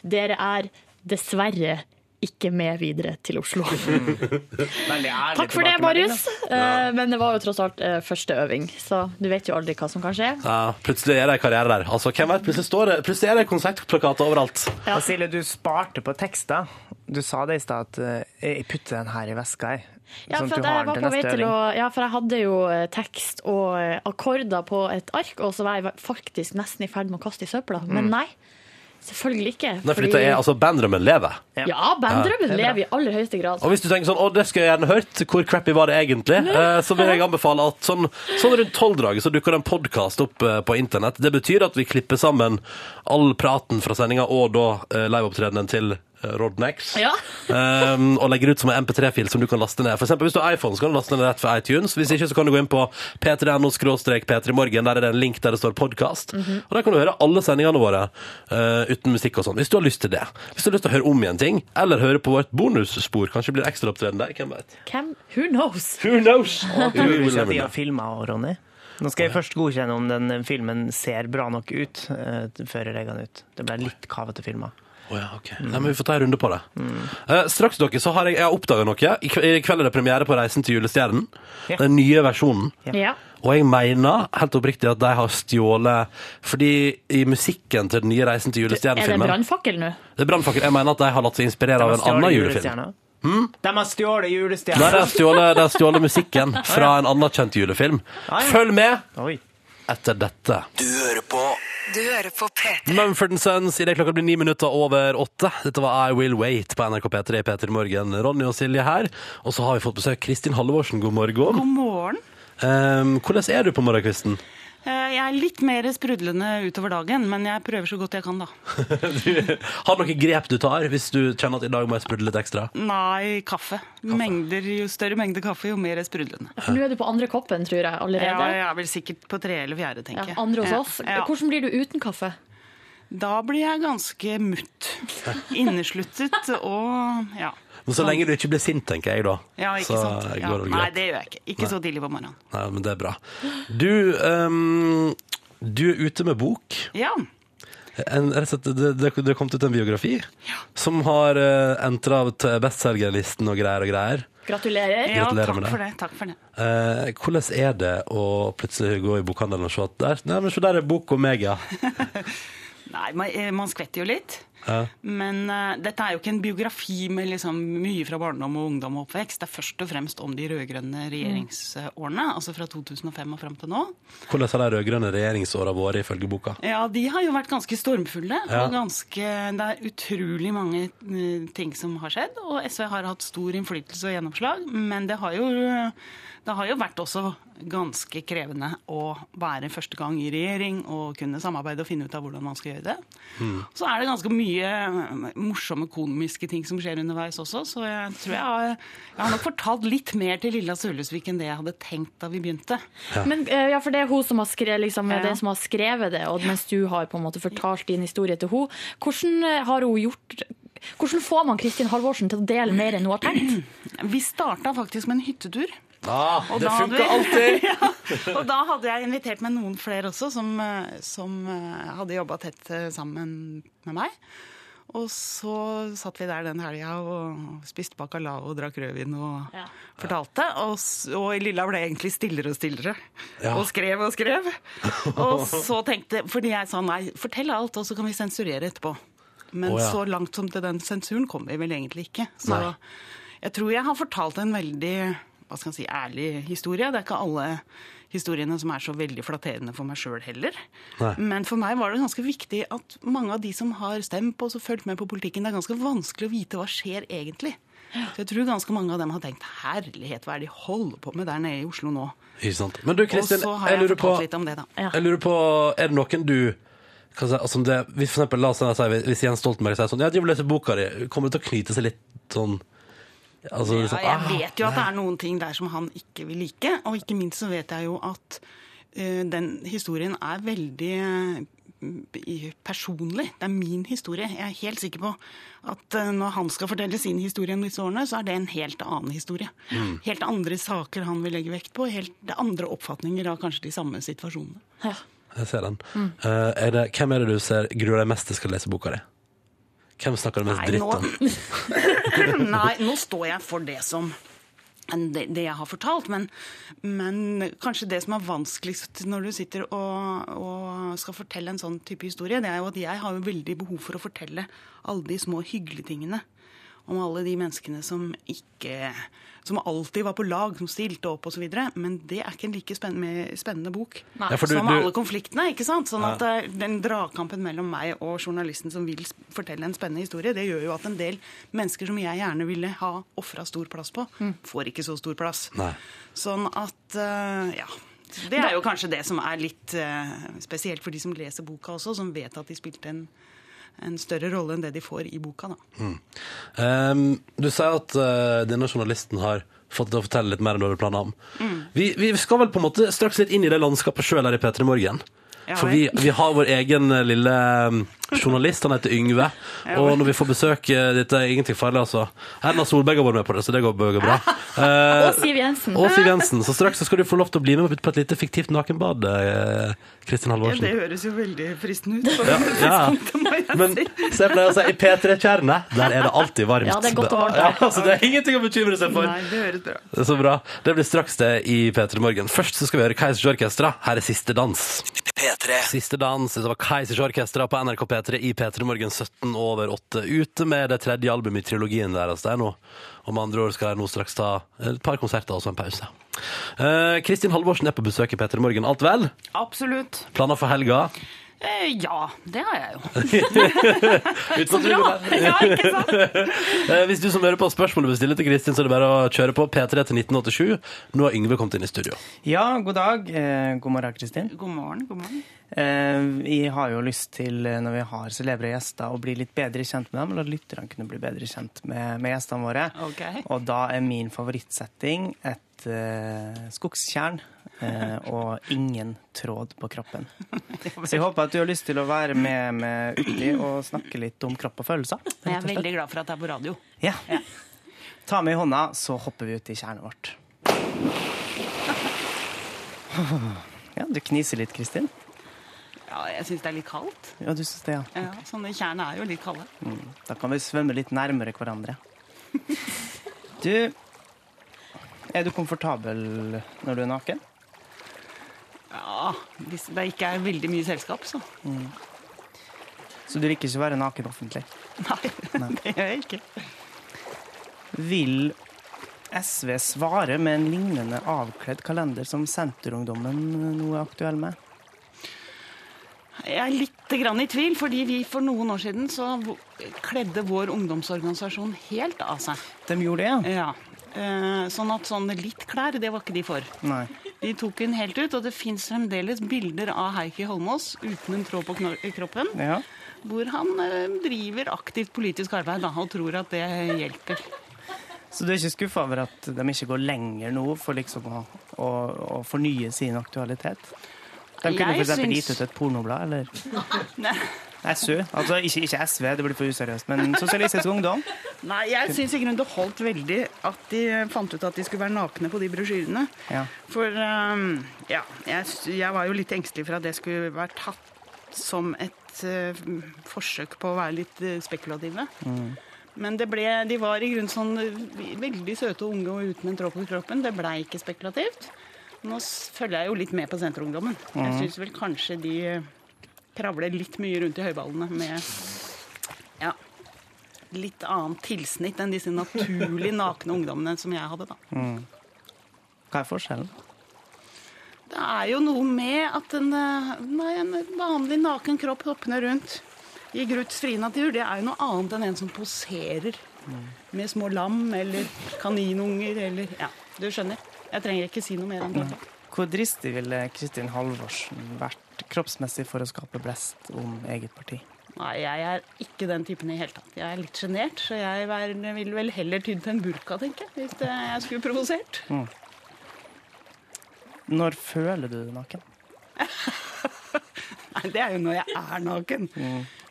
'dere er dessverre ikke med videre til Oslo'. Veldig ærlig Takk for det, tilbakemelding, Marius. Eh, Men det var jo tross alt eh, første øving, så du vet jo aldri hva som kan skje. Ja, plutselig er det en karriere der. Altså, hvem vet, plutselig, står det, plutselig er det konsertplakater overalt. da. Og Silje, du sparte på tekster. Du sa det i stad at eh, jeg putter den her i veska. jeg. Ja, Sånn at du for, at jeg har var den til på vei neste til å, øving. ja, for jeg hadde jo eh, tekst og eh, akkorder på et ark, og så var jeg faktisk nesten i ferd med å kaste i søpla. Mm. Men nei, selvfølgelig ikke. Nei, for dette er altså Bandrømmen lever. Ja, banddrømmen Ja, det er bra. lever i aller høyeste grad. Og hvis du tenker sånn, å, det skulle jeg gjerne hørt, hvor crappy var det egentlig, eh, så vil jeg anbefale at sånn, sånn rundt tolvdraget så dukker det en podkast opp eh, på internett. Det betyr at vi klipper sammen all praten fra sendinga og da eh, liveopptredenen til eh, Rodnex. Ja. Ehm, og legger ut som en MP3-fil som du kan laste ned. For eksempel hvis du har iPhone, så kan du laste ned rett fra iTunes. Hvis ikke, så kan du gå inn på p3.no p3morgen. Der er det en link der det står podkast. Og der kan du høre alle sendingene våre eh, uten musikk og sånn. Hvis du har lyst til det. Hvis du har lyst til å høre om igjen ting, eller høre på vårt bonusspor. Kanskje blir det ekstraopptreden der, hvem vet. Hvem? Who knows? Who knows? Tror du ikke at de har filma Ronny? Nå skal jeg først godkjenne om den filmen ser bra nok ut eh, før jeg legger den ut. Det ble litt kavete filmer. Å ja, ok. Nei, men vi får ta en runde på det. Eh, straks dere, så har jeg, jeg har oppdaga noe. I kve- I kveld er det premiere på Reisen til julestjernen. Ja. Den nye versjonen. Ja. Og jeg mener helt oppriktig at de har stjålet Fordi i musikken til den nye Reisen til Er det en julestjernefilmen brannfakkel nå? Det er brannfakkel. Jeg mener at de har latt seg inspirere av en annen julefilm. Hmm? De har stjålet Nei, de julestjerna! har stjålet, de har stjålet musikken fra en annen kjent julefilm. Ah, ja. Følg med Oi. etter dette. Du hører på Du hører på P3. Mumford Sons idet klokka blir ni minutter over åtte. Dette var I Will Wait på NRK P3 Peter Morgen. Ronny og Silje her. Og så har vi fått besøk Kristin Halvorsen. God morgen. God morgen. Ehm, hvordan er du på morgenkvisten? Eh, Jeg er litt mer sprudlende utover dagen, men jeg prøver så godt jeg kan, da. Har du noen grep du tar hvis du kjenner at i dag må jeg sprudle litt ekstra? Nei, kaffe. Mengder, jo større mengde kaffe, jo mer sprudlende. For nå er du på andre koppen, tror jeg, Ja, allerede. jeg er vel sikkert på tre eller fjerde, Ja, tenker jeg. andre hos Ja, oss. ja. Hvordan blir du uten kaffe? Da blir jeg ganske mutt. Innesluttet og ja. Men så lenge du ikke blir sint, tenker jeg da. Ja, ikke så sant. Ja. går det vel Nei, greit. det gjør jeg ikke. Ikke så tidlig på morgenen. Nei, men det er bra. Du, ehm, du er ute med bok. Ja. En, rett og slett, det, det, det har kommet ut en biografi som har uh, entra til bestselgerlisten og greier og greier. Gratulerer. ja Gratulerer takk med det. for det. Takk for det. Eh, hvordan er det å plutselig gå i bokhandelen og se at der, nei, men se der er bok om meg, ja. Nei, man, eh, man skvetter jo litt. Ja. Men eh, dette er jo ikke en biografi med liksom mye fra barndom og ungdom og oppvekst. Det er først og fremst om de rød-grønne regjeringsårene, altså fra 2005 og fram til nå. Hvordan har de rød-grønne regjeringsåra vært ifølge boka? Ja, de har jo vært ganske stormfulle. Ja. Og ganske, det er utrolig mange eh, ting som har skjedd. Og SV har hatt stor innflytelse og gjennomslag. Men det har jo, det har jo vært også ganske krevende å være første gang i regjering og kunne samarbeide og finne ut av hvordan man skal gjøre det. Så er det ganske mye eh, morsomme komiske ting som skjer underveis også. Så jeg tror jeg har, jeg har nok fortalt litt mer til Lilla Sølesvik enn det jeg hadde tenkt da vi begynte. Men, eh, ja, for det er hun som har skrevet, liksom, Ja. den som har skrevet det, og mens du har på en måte fortalt din historie til hun. Hvordan eh, har hun gjort Hvordan får man Kristin Halvorsen til å dele mer enn hun har tenkt? Vi starta faktisk med en hyttetur. Ah, Og det da hadde funker alltid! vi- ja, og da hadde jeg invitert med noen flere også, som, eh, som eh, hadde jobba tett eh, sammen med meg. Og så satt vi der den helga og spiste bacalao og drakk rødvin og Ja. fortalte. Og, s- og Lilla ble egentlig stillere og stillere. Ja. Og skrev og skrev. Og så tenkte Fordi jeg sa nei, fortell alt, og så kan vi sensurere etterpå. Men Å, ja. så langt som til den sensuren kom vi vel egentlig ikke. Så Nei. jeg tror jeg har fortalt en veldig hva skal jeg si, ærlig historie. Det er ikke alle historiene som er så veldig flatterende for meg sjøl heller. Nei. Men for meg var det ganske viktig at mange av de som har stemt på og så fulgt med på politikken, det er ganske vanskelig å vite hva skjer egentlig. Så jeg tror ganske mange av dem har tenkt herlighet, hva er det de holder på med der nede i Oslo nå? Ikke sant. Men du, Og så Kristin, har jeg jeg lurer på fortalt litt om det, da. Ja. Jeg lurer på, er det noen du hva skal jeg si, altså om det, hvis, for eksempel, la oss si, hvis- hvis Jens Stoltenberg sier sånn Ja, de vil lese boka di. Kommer det til å knyte seg litt sånn altså, Ja, liksom, jeg ah, vet jo at det er noen ting der som han ikke vil like, og ikke minst så vet jeg jo at eh, den historien er veldig eh, i- personlig. Det er min historie. Jeg er helt sikker på at eh, når han skal fortelle sin historie om disse årene, så er det en helt annen historie. Helt andre saker han vil legge vekt på, helt det er andre oppfatninger av kanskje de samme situasjonene. Ja. Jeg ser den. Mm. Eh, er det, hvem er det du ser gruer deg mest til skal lese boka di? Hvem snakker du mest Nei, dritt om? nå, nei, nå står jeg for det som det, det jeg har fortalt, men, men kanskje det som er vanskeligst når du sitter og, og skal fortelle en sånn type historie, det er jo at jeg har jo veldig behov for å fortelle alle de små hyggelige tingene. Om alle de menneskene som ikke Som alltid var på lag, som stilte opp osv. Men det er ikke en like spennende, spennende bok Ja, for du- som du- alle konfliktene. ikke sant? Sånn at eh, Den dragkampen mellom meg og journalisten som vil s- fortelle en spennende historie, det gjør jo at en del mennesker som jeg gjerne ville ha ofra stor plass på, får ikke så stor plass. Nei. Sånn at eh, Ja. Det er jo kanskje det som er litt eh, spesielt for de som leser boka også, som vet at de spilte en, en større rolle enn det de får i boka. da. Um, du sier at eh, denne journalisten har fått deg til å fortelle litt mer enn du hadde planer om. Mm. Vi, vi skal vel på en måte straks litt inn i det landskapet sjøl her i P3 Morgen. Ja, For vi, vel. vi har vår egen eh, lille um, journalist, han heter Yngve. Og når vi får besøk eh, Dette er ingenting farlig, altså. Erna Solberg har vært med på det, så det går, går bra. Eh, Og Siv Jensen. og Siv Jensen. Så straks så skal du få lov til å bli med på et lite fiktivt nakenbad, eh, Kristin Ja, det Halvorsen. høres jo veldig fristende ut. Ja, ja. sånn, Men så jeg pleier å si i P3-kjernet, der er det alltid varmt. Ja, det er godt og varmt. Ja, altså, det er ingenting å bekymre seg for. Nei, det høres bra Det er Så bra. Det blir straks det i P3 Morgen. Først så skal vi høre Kaizers Orkestra. Her er Siste dans. P3. Siste dans det var Kaizers Orkestra på NRK P3 i P3 Morgen 17 over 8. Ute med det tredje albumet i trilogien deres der nå. Om andre år skal de nå straks ta et par konserter og så en pause. Eh, Kristin Halvorsen er på besøk i P3 Morgen. Alt vel? Absolutt. Planer for helga? Eh, ja, det har jeg jo. Så Ja, ikke sant? Eh, Hvis du som hører på har spørsmål du vil stille til Kristin, så er det bare å kjøre på P3 til 1987. Nå har Yngve kommet inn i studio. Ja, god dag. Eh, God morgen, Kristin. God morgen, god morgen. Eh, Vi har jo lyst til, eh, når vi har celebre gjester, å bli litt bedre kjent med dem. La lytterne kunne bli bedre kjent med, med gjestene våre. Ok. Og da er min favorittsetting et eh, skogstjern eh, og ingen tråd på kroppen. Så jeg håper at du har lyst til å være med med uti og snakke litt om kropp og følelser. Jeg er veldig glad for at jeg er på radio. Ja. Ta med i hånda, så hopper vi ut i kjernet vårt. Ja, du kniser litt, Kristin. Ja, jeg syns det er litt kaldt. Ja, du synes det, ja. Ja, sånne kjern er jo litt kalde. Da kan vi svømme litt nærmere hverandre. Du Er du komfortabel når du er naken? Ja, Hvis det ikke er veldig mye selskap, så. Så du liker ikke å være naken offentlig? Nei, det gjør jeg ikke. Vil SV svare med en lignende avkledd kalender som Senterungdommen nå er aktuell med? Jeg er litt grann i tvil, fordi vi for noen år siden så v- kledde vår ungdomsorganisasjon helt av seg. De gjorde det, ja? Ja. Eh, Sånn at sånne litt klær, det var ikke de for. Nei. De tok hun helt ut, og det fins fremdeles bilder av Heikki Holmås uten en tråd på knor- kroppen. Ja. Hvor han eh, driver aktivt politisk arbeid da, og tror at det hjelper. Så du er ikke skuffa over at de ikke går lenger nå for liksom å, å, å fornye sin aktualitet? De kunne Jeg f.eks. syns- gitt ut et pornoblad, eller? Nei. SU. Altså ikke, ikke SV, det blir for useriøst, men Sosialistisk Ungdom. Nei, jeg syns i grunnen det holdt veldig at de fant ut at de skulle være nakne på de brosjyrene. Ja. For ehm, ja, jeg, s- jeg var jo litt engstelig for at det skulle være tatt som et eh, forsøk på å være litt eh, spekulative. Men det ble, de var i grunnen sånn eh, veldig søte og unge og uten en tråd på kroppen. Det blei ikke spekulativt. Nå s- følger jeg jo litt med på Senterungdommen. Jeg syns vel kanskje de kravler litt mye rundt i høyballene med ja, litt annet tilsnitt enn disse naturlig nakne ungdommene som jeg hadde. da. Hva er forskjellen? Det er jo noe med at en, eh, nei, en vanlig naken kropp hoppende rundt i Gruths frie natur, det er jo noe annet enn en som poserer med små lam eller kaninunger eller Ja, du skjønner. Jeg trenger ikke si noe mer om det. Hvor dristig ville Kristin Halvorsen vært kroppsmessig for å skape blest om eget parti? Nei, jeg er ikke den typen i hele tatt. Jeg er litt sjenert, så jeg vær- vil vel heller ty til en burka, tenker jeg, hvis det- jeg skulle provosert. Når føler du deg naken? Nei, det er jo når jeg er naken.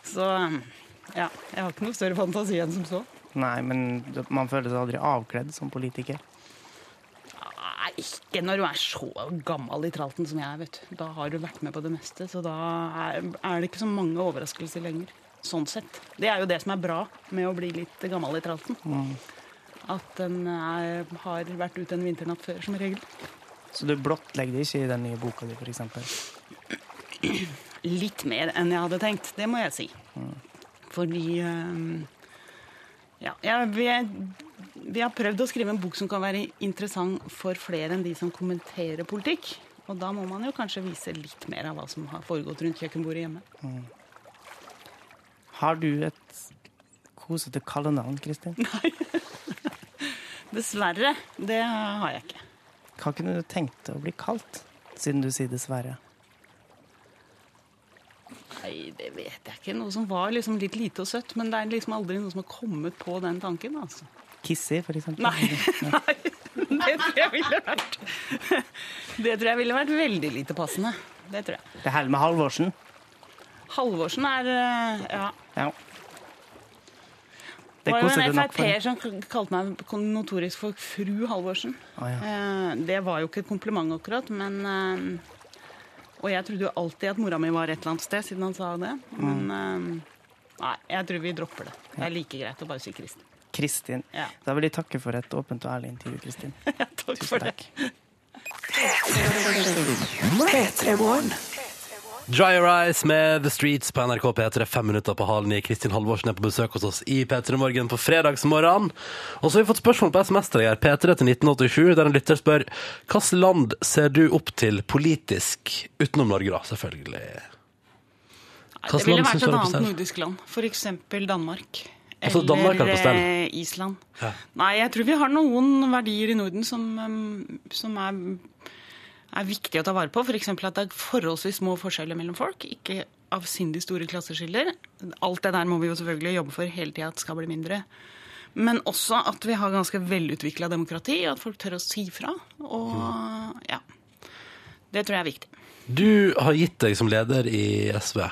Så ja, jeg har ikke noe større fantasi enn som så. Nei, men man føler seg aldri avkledd som politiker. Nei, ikke når du er så gammel i tralten som jeg er, vet du. Da har du vært med på det meste, så da er, er det ikke så mange overraskelser lenger. Sånn sett. Det er jo det som er bra med å bli litt gammel i tralten. At en er, har vært ute en vinternatt før, som regel. Så du blottlegger det ikke i den nye boka di, f.eks. Litt mer enn jeg hadde tenkt, det må jeg si. Fordi eh, ja, jeg, vi, vi har prøvd å skrive en bok som kan være interessant for flere enn de som kommenterer politikk. Og da må man jo kanskje vise litt mer av hva som har foregått rundt kjøkkenbordet hjemme. Har du et kosete kallenavn, Kristin? Dessverre, det har jeg ikke. Hva kunne du tenkt deg å bli kalt, siden du sier dessverre? Nei, det vet jeg ikke. Noe som var liksom litt lite og søtt, men det er liksom aldri noen som har kommet på den tanken, altså. Kissy, for eksempel? Nei. Nei. Det tror jeg ville vært Det tror jeg ville vært veldig lite passende. Det tror jeg. Det her med Halvorsen? Halvorsen er eh, ja. Ja. Det Det var jo koser en du nok for. Frp-er som k- kalte meg kon- notorisk for fru Halvorsen. Å, ja. Eh, Det var jo ikke et kompliment akkurat, men eh, Og jeg trodde jo alltid at mora mi var et eller annet sted, siden han sa det. Men eh, nei, jeg tror vi dropper det. Det er like greit å bare si Kristin. Kristin. Ja. Da vil jeg takke for et åpent og ærlig intervju, Kristin. Takk for det. Dry Your Eyes med The Streets på NRK P3, fem minutter på halen i. Kristin Halvorsen er på besøk hos oss i P3 Morgen på fredagsmorgen. Og så har vi fått spørsmål på SMS til deg her, P3 til 1987, der en lytter spør hvilket land ser du opp til politisk utenom Norge, da, selvfølgelig. Nei, Hvilket Det ville land vært synes du et er på annet stell? nordisk land. F.eks. Danmark. Altså, Danmark er på stell? eh, Island. Ja. Nei, jeg tror vi har noen verdier i Norden som, um, som er, er viktig å ta vare på. F.eks. at det er forholdsvis små forskjeller mellom folk. Ikke avsindig store klasseskiller. Alt det der må vi jo selvfølgelig jobbe for hele tida at skal bli mindre. Men også at vi har ganske velutvikla demokrati, og at folk tør å si fra. Mm. Og ja. Det tror jeg er viktig. Du har gitt deg som leder i SV.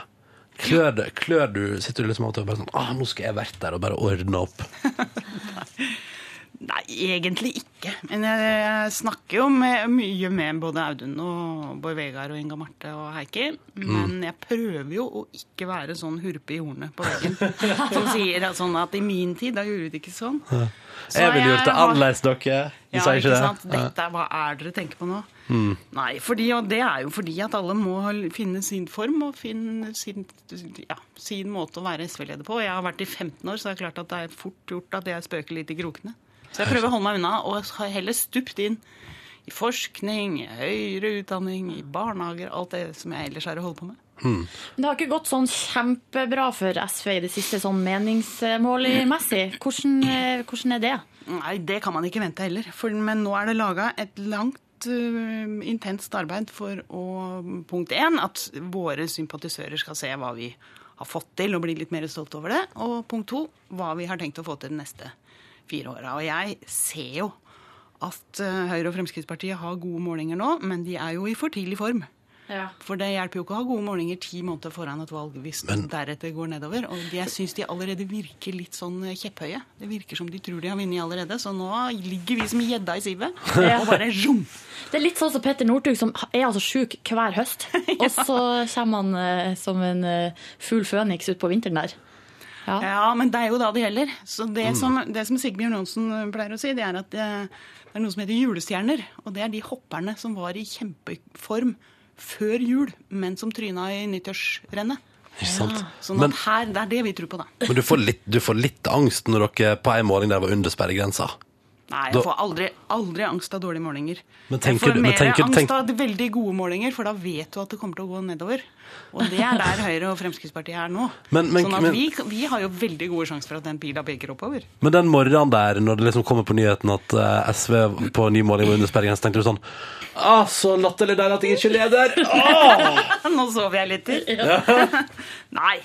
Klør, det- klør du Sitter du liksom av og til og bare sånn ah, 'Nå skal jeg vært der og bare ordne opp'. Nei, egentlig ikke. Men jeg, jeg snakker jo med, mye med både Audun og Bård Vegar og Inga Marte og Heikki. Mm. Men jeg prøver jo å ikke være sånn hurpe i hornet på veggen. som sier at sånn at i min tid, da gjorde vi det ikke sånn. Så Jeg ville gjort det har- annerledes, dere. Du ja, sa ikke ikke det? sant? Dette er hva er dere tenker på nå? Nei, fordi, og det er jo fordi at alle må finne sin form og finne sin, ja, sin måte å være SV-leder på. Og Jeg har vært i 15 år, så det er klart at det er fort gjort at jeg spøker litt i krokene. Så jeg prøver å holde meg unna, og har heller stupt inn i forskning, i høyere utdanning, i barnehager, alt det som jeg ellers er å holde på med. Men Det har ikke gått sånn kjempebra for SV i det siste, sånn meningsmålmessig. Hvordan, eh, hvordan er det? Nei, det kan man ikke vente heller. For, men nå er det laga et langt, øh, intenst arbeid for å Punkt én, at våre sympatisører skal se hva vi har fått til, og bli litt mer stolt over det. Og punkt to, hva vi har tenkt å få til de neste fire åra. Og jeg ser jo eh, at øh, Høyre og Fremskrittspartiet har gode målinger nå, men de er jo i for tidlig form. Ja. For det hjelper jo ikke å ha gode målinger ti måneder foran et valg hvis det deretter går nedover. Og de- jeg syns de allerede virker litt sånn eh, kjepphøye. Det virker som de tror de har vunnet allerede, så nå ligger vi som gjedda i sivet og bare rom. Det er litt sånn som Petter Northug, som er altså sjuk hver høst. Og så kommer han eh, som en eh, fugl føniks utpå vinteren der. Ja. Ja, men det er jo da det gjelder. Så det, som, det som Sigbjørn Johnsen eh, pleier å si, det er at det, det er noe som heter julestjerner. Og det er de hopperne som var i kjempeform før jul, men som tryna i nyttårsrennet. Ikke sant? Sånn Men, at her, det er det vi tror på, da. men du, får litt, du får litt angst når dere på en måling der var under sperregrensa. Nei, Da- jeg får aldri, aldri angst av dårlige målinger. Men Jeg tenker får du- men mer tenker- angst tenk- av de veldig gode målinger, for da vet du at det kommer til å gå nedover. Og det er der Høyre og Fremskrittspartiet er nå. Men- men- sånn at men- vi, vi har jo veldig gode sjanser for at den pila peker oppover. Men den morgenen der, når det liksom kommer på nyheten at eh, SV på ny måling var under sperregrensa, tenkte du sånn Ah, så latterlig deilig at jeg ikke leder! Ah! Nå sover jeg litt til. Nei,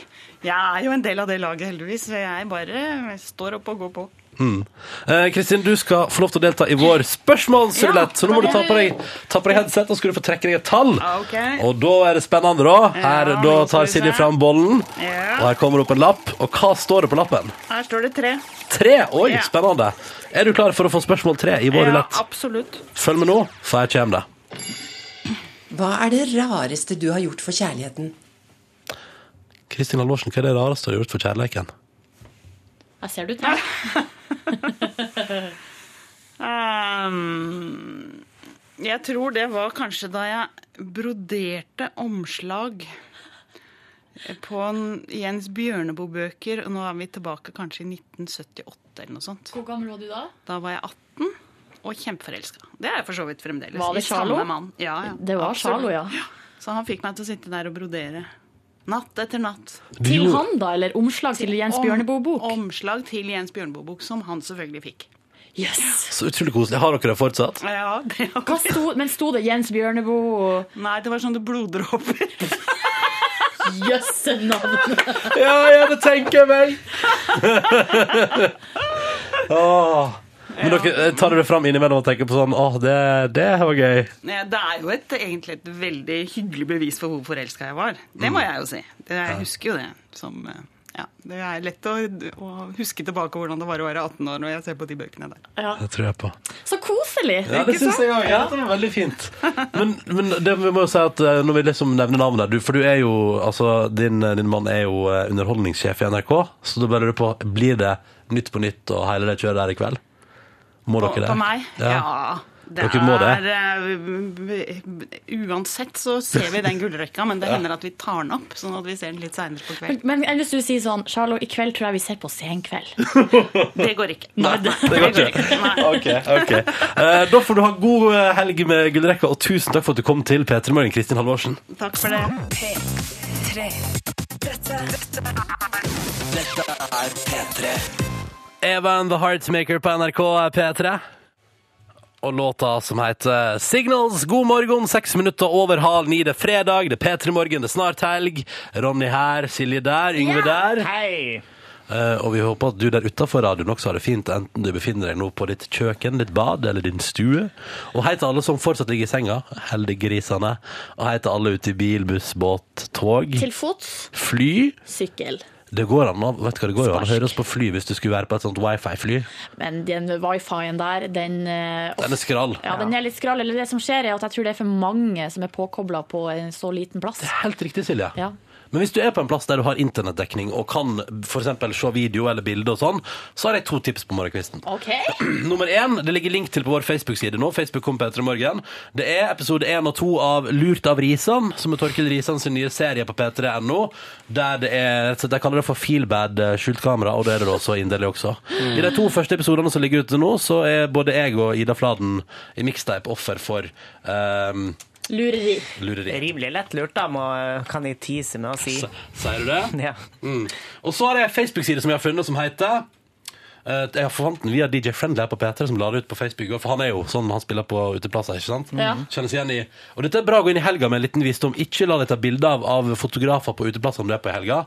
jeg er jo en del av det laget, heldigvis. Så jeg bare står opp og går på. Eh, Kristin, du skal få lov til å delta i vår spørsmålsrulett, Ja, så nå må du ta på deg, ta på deg headset, og så skal du få trekke deg et tall. Ah, ok. Og da er det spennende, da. Her, Ja, da nå skal tar vi se. Silje fram bollen, Ja. og her kommer det opp en lapp. Og hva står det på lappen? Her står det tre. Tre! Oi, Ja. spennende. Er du klar for å få spørsmål tre i vår rulett? absolutt. Følg med nå, for her kommer det. Hva er det rareste du har gjort for kjærligheten? Kristin Halvorsen, hva er det rareste du har gjort for kjærleiken? Jeg ser det ut her. Ehm, jeg tror det var kanskje da jeg broderte omslag på en Jens Bjørneboe-bøker, og nå er vi tilbake kanskje i 1978 eller noe sånt. Hvor gammel var du da? Da var jeg 18 og kjempeforelska. Det er jeg for så vidt fremdeles. Var det I samme Charlo? mann. Ja, ja. Det var Absolutt. Charlo, ja. Så han fikk meg til å sitte der og brodere. Natt etter natt. Du Til gjorde- han, da? Eller omslag til Jens Om- Bjørneboe-bok? Omslag til Jens Bjørneboe-bok, som han selvfølgelig fikk. Yes. Så utrolig koselig. Har dere det fortsatt? Ja, det Hva sto, men sto det Jens Bjørneboe og Nei, det var sånne bloddråper. Jøsse navn! Ja, ja, det tenker jeg meg! Åh. Men dere eh, tar dere fram innimellom og tenker på sånn Åh, det, det var gøy. Nei, Eh, Det er jo et, egentlig et veldig hyggelig bevis for hvor forelska jeg var. Det Mm. må jeg jo si. Det, jeg husker jo det. Som, eh, ja, det er lett å, å huske tilbake hvordan det var å være 18 år når jeg ser på de bøkene der. Det tror jeg på. Så koselig! Ja, det syns jeg òg. Ja, det var veldig fint. Men, men det, vi må jo si at eh, når vi liksom nevner navnet du, For du er jo Altså, din, eh, din mann er jo eh, underholdningssjef i NRK, så da bare lurer jeg på Blir det Nytt på nytt og hele det kjøret der i kveld? Må På, dere det? på meg? Ja. Det Dere må det. er eh, Uansett så ser vi den gullrekka, men det hender at vi tar den opp, sånn at vi ser den litt seinere på kvelden. Men enn hvis du sier sånn Charlo, i kveld tror jeg vi ser på Senkveld. Det går ikke. Nei, det går ikke. Nei. Ok, ok. Eh, da får du ha god eh, helg med gullrekka, og tusen takk for at du kom til P3 Morgen, Kristin Halvorsen. Takk for det. P3. Dette, dette Eva and the Heartmaker på NRK P3. Og låta som heter Signals. God morgen, seks minutter over halv ni. Det er fredag, det er P3 Morgen, det er snart helg. Ronny her, Silje der, Yngve der. Hei! Eh, og vi håper at du der utafor radioen også har det fint, enten du befinner deg nå på ditt kjøkken, ditt bad eller din stue. Og hei til alle som fortsatt ligger i senga, heldiggrisene. Og hei til alle ute i bil, buss, båt, tog, Til fots, fly. sykkel. Det går an å vet du hva det går an å Spark. høre oss på fly hvis du skulle være på et sånt wifi-fly. Men den wifi-en der, den eh, Den er skral. Ja, den er litt skral. Eller det som skjer, er at jeg tror det er for mange som er påkobla på en så liten plass. Helt riktig, Silje. Ja. Men hvis du er på en plass der du har internettdekning og kan f.eks. se video eller bilde og sånn, så har jeg to tips på morgenkvisten. OK. Nummer én, det ligger link til på vår Facebook-side nå. Facebook kom på etter i morgen. Det er episode én og to av Lurt av Risan, som er Torkild Risan sin nye serie på p3.no. Der det er så De kaller det for Feelbad eh, skjult kamera, og det er det da også inderlig også. I de to første episodene som ligger ute nå, så er både jeg og Ida Fladen i mixtape offer for ehm, Lureri. lureri. Rimelig lettlurt, da, må, kan jeg tease med å si. S- Sier du det? Ja. Mm. Og så har jeg en Facebook-side som jeg har funnet, som heter eh, jeg fant den via DJ Friendly her på P3, som la det ut på Facebook. i går, For han er jo sånn han spiller på uteplasser. ikke sant? Ja. Kjennes igjen i. Og dette er bra å gå inn i helga med en liten visdom. Ikke la deg ta bilde av, av fotografer på uteplasser om du er på i helga.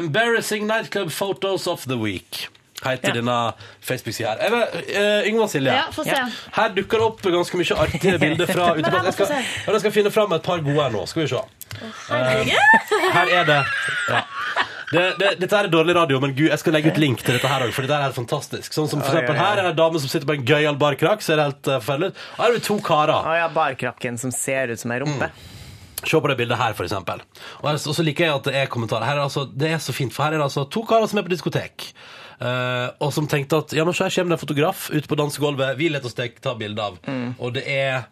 Embarrassing nightclub photos of the week. heter Ja. denne Facebook-sida her. Jeg vet, eh, Yngvar Silje, Ja, få se. her dukker det opp ganske mye artige bilder fra Men her uteplass. må Jeg, skal- få se. ja, jeg skal finne fram et par gode her nå. Skal vi se. Her er det. Ja. Det, det, dette her er dårlig radio, men gud, jeg skal legge ut link til dette her også, for dette her er helt fantastisk. Sånn som for Oi, oi, eksempel oi. her er det en dame som sitter på en gøyal barkrakk, så er det helt eh, forferdelig. ut. Her er det to karer. Å ja, barkrakken som ser ut som ei rumpe. Se på det bildet her, for eksempel. Og her- og så liker jeg at det er kommentarer. Her er altså, det er så fint, for her er det altså to karer som er på diskotek. eh, og som tenkte at ja, men så her kommer det en fotograf ut på dansegulvet, vi lar oss tek- ta bilde av. Mm. Og det er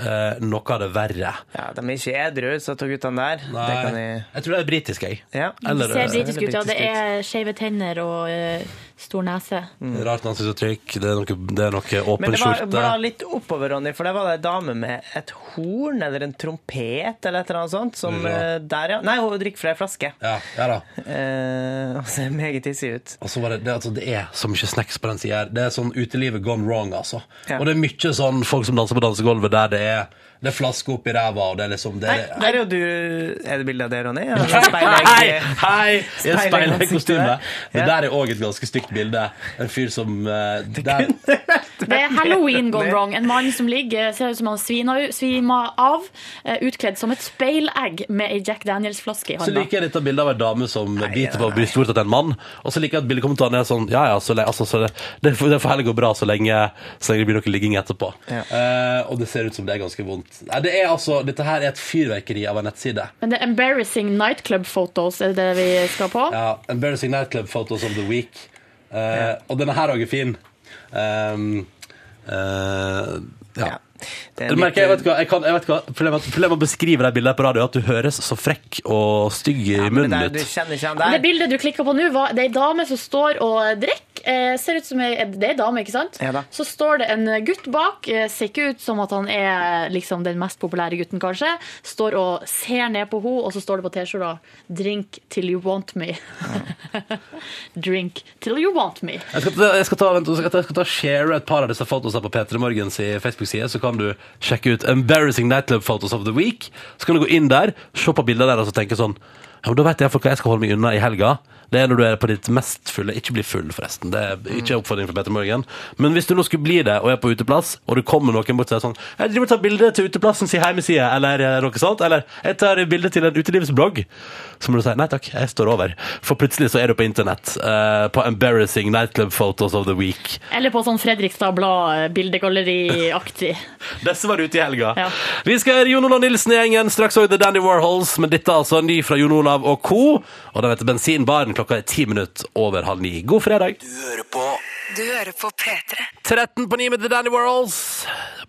eh, noe av det verre. Ja, De er ikke edru, så tok guttene der. Nei, Det kan jeg... jeg... tror det er britisk, jeg. Ja. Eller Ser eh, britisk ut, ja. Det er skeive tenner og eh, stor nese. Mm. rart ansiktsuttrykk, det er noe, det er noe Men åpen det var, skjorte. bla litt oppover, Ronny, for der var det ei dame med et horn eller en trompet eller et eller annet sånt. Som, Ja. eh, der, ja. Nei, hun drikker fra ei flaske. Ja, ja da. Eh, og ser meget hissig ut. Og så var det, det, altså, det er så mye snacks på den sida her. Det er sånn utelivet gone wrong, altså. Ja. Og det er mye sånn folk som danser på dansegulvet der det er, det er flaske oppi ræva, og det er liksom det Nei, er- der er jo du Er det bilde av det, Ronny? Ja, det er speilegg. Hei! Hei! I et Speilegg speilegkostyme. Det ansiktet der. Ja. der er òg et ganske stygt bilde. En fyr som eh, der, Det er halloween gone Nei. wrong. En mann som ligger, ser ut som han svina, svima av, eh, utkledd som et speilegg med ei Jack Daniels-flaske i Så hånda. liker jeg dette bildet av en dame som biter på brystvorta til en mann. Og så liker jeg at bildekommentaren er sånn Ja ja, så lenge, altså, så det, det får det får heller gå bra så lenge, så lenge det blir noe ligging etterpå. Eh, og det ser ut som det er ganske vondt. Nei, det er altså, Dette her er et fyrverkeri av en nettside. Men det er embarrassing nightclub photos er det vi skal på. Ja, Embarrassing Nightclub Photos of the Week. Eh, Og denne her òg er fin. Um, eh, ja. Ja. Det er Du litt- merker, jeg vet hva, jeg kan, jeg vet hva Problemet problemet med å beskrive de bildene på radio er at du høres så frekk og stygg i Men munnen der, du ut. kjenner ikke han Det der? bildet du klikka på nå, var- det er ei dame som står og drikker. Eh, ser ut som ei, Det er ei dame, ikke sant? Ja da. Så står det en gutt bak. Eh, ser ikke ut som at han er liksom, den mest populære gutten, kanskje. Står og ser ned på henne, og så står det på T-skjorta 'Drink till you want me'. Drink till you want me. Jeg skal, ta- jeg skal ta, vent, jeg skal ta, jeg skal ta share et par av disse fotosene på P3 Morgens i Facebook-side, så kan du sjekke ut Embarrassing Nightclub Photos of the Week. Så kan du gå inn der, se på bildene der og så tenke sånn ja, men Da vet jeg for hva jeg skal holde meg unna i helga. Det er når du er på ditt mest fulle. Ikke bli full, forresten. Det er ikke en oppfordring fra P3 Morgen. Men hvis du nå skulle bli det og er på uteplass, og det kommer noen bort og sier sånn 'Jeg driver og tar bilde til uteplassen sin hjemmeside', eller eh, noe sånt, eller 'Jeg tar bilde til en utelivsblogg', så må du si 'Nei takk, jeg står over'. For plutselig så er du på internett. eh, på 'Embarrassing Nightclub Photos of the Week'. Eller på sånn Fredrikstad Blad-bildegalleriaktig. Disse var ute i helga. Ja. Vi skal høre Jon Olav Nilsen-gjengen, straks òg The Dandy Warhols, men dette er altså ny fra Jon Olav og co. Og den heter Bensinbaren. Klokka er ti minutter over halv ni. God fredag. Du hører på Du hører på P3. 13 på 9 med The Dandy Warhols.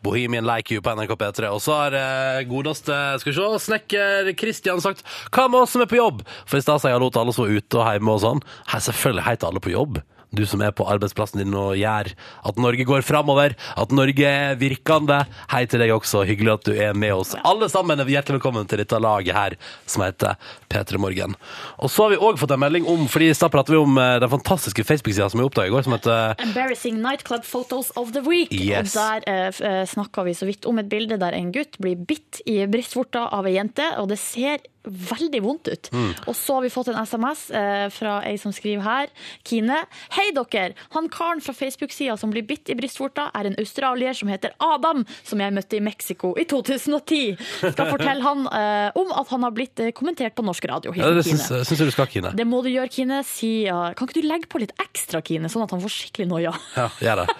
Bohemian Like You på NRK P3. Og så har eh, godeste skal vi se, snekker Kristian sagt Hva med oss som er på jobb? For i stad sa jeg hallo til alle som var ute og hjemme og sånn. Hei, selvfølgelig heter alle på jobb. Du som er på arbeidsplassen din og gjør at Norge går framover, at Norge er virkende. Hei til deg også, hyggelig at du er med oss. Alle sammen er hjertelig velkommen til dette laget her som heter P3 Morgen. Og så har vi òg fått en melding om, fordi i stad pratet vi om eh, den fantastiske Facebook-sida som vi oppdaga i går, som heter Embarrassing nightclub photos of the week. Yes. Og der eh, f- eh, snakka vi så vidt om et bilde der en gutt blir bitt i brystvorta av ei jente, og det ser veldig vondt ut. Mm. Og så har vi fått en SMS eh, fra ei som skriver her, Kine. Hei dere! Han karen fra Facebook-sida som blir bitt i brystvorta, er en australier som heter Adam, som jeg møtte i Mexico i 2010. Skal fortelle han eh, om at han har blitt eh, kommentert på norsk radio. Ja, Hilsen det Kine. syns, syns jeg du skal, Kine. Det må du gjøre, Kine. Si, ja. Kan ikke du legge på litt ekstra, Kine, sånn at han får skikkelig noia? Ja, gjør det.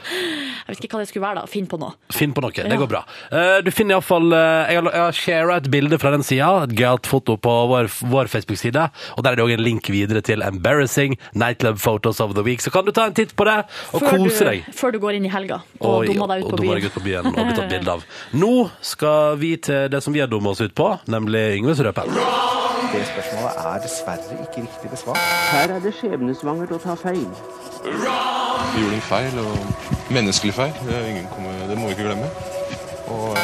Jeg vet ikke hva det skulle være, da. Finn på noe. Finn på noe. Det Ja. går bra. Eh, Du finner iallfall Jeg har, jeg har shara et bilde fra den sida, et gøyalt foto på vår, vår Facebook-side. Og der er det òg en link videre til Embarrassing Nightclub Photos of the Week. Så kan du ta en titt på det og kose deg. Du, før du går inn i helga og Oi, dummer deg ut og på dummer byen. deg ut på byen og bli tatt bilde av. Nå skal vi til det som vi har dumma oss ut på, nemlig Yngves rødpenn. Det spørsmålet er dessverre ikke riktig besvart. Her er det skjebnesvangert å ta feil. Vi gjorde en feil, og menneskelig feil. Det, er ingen kommer, det må vi ikke glemme. Og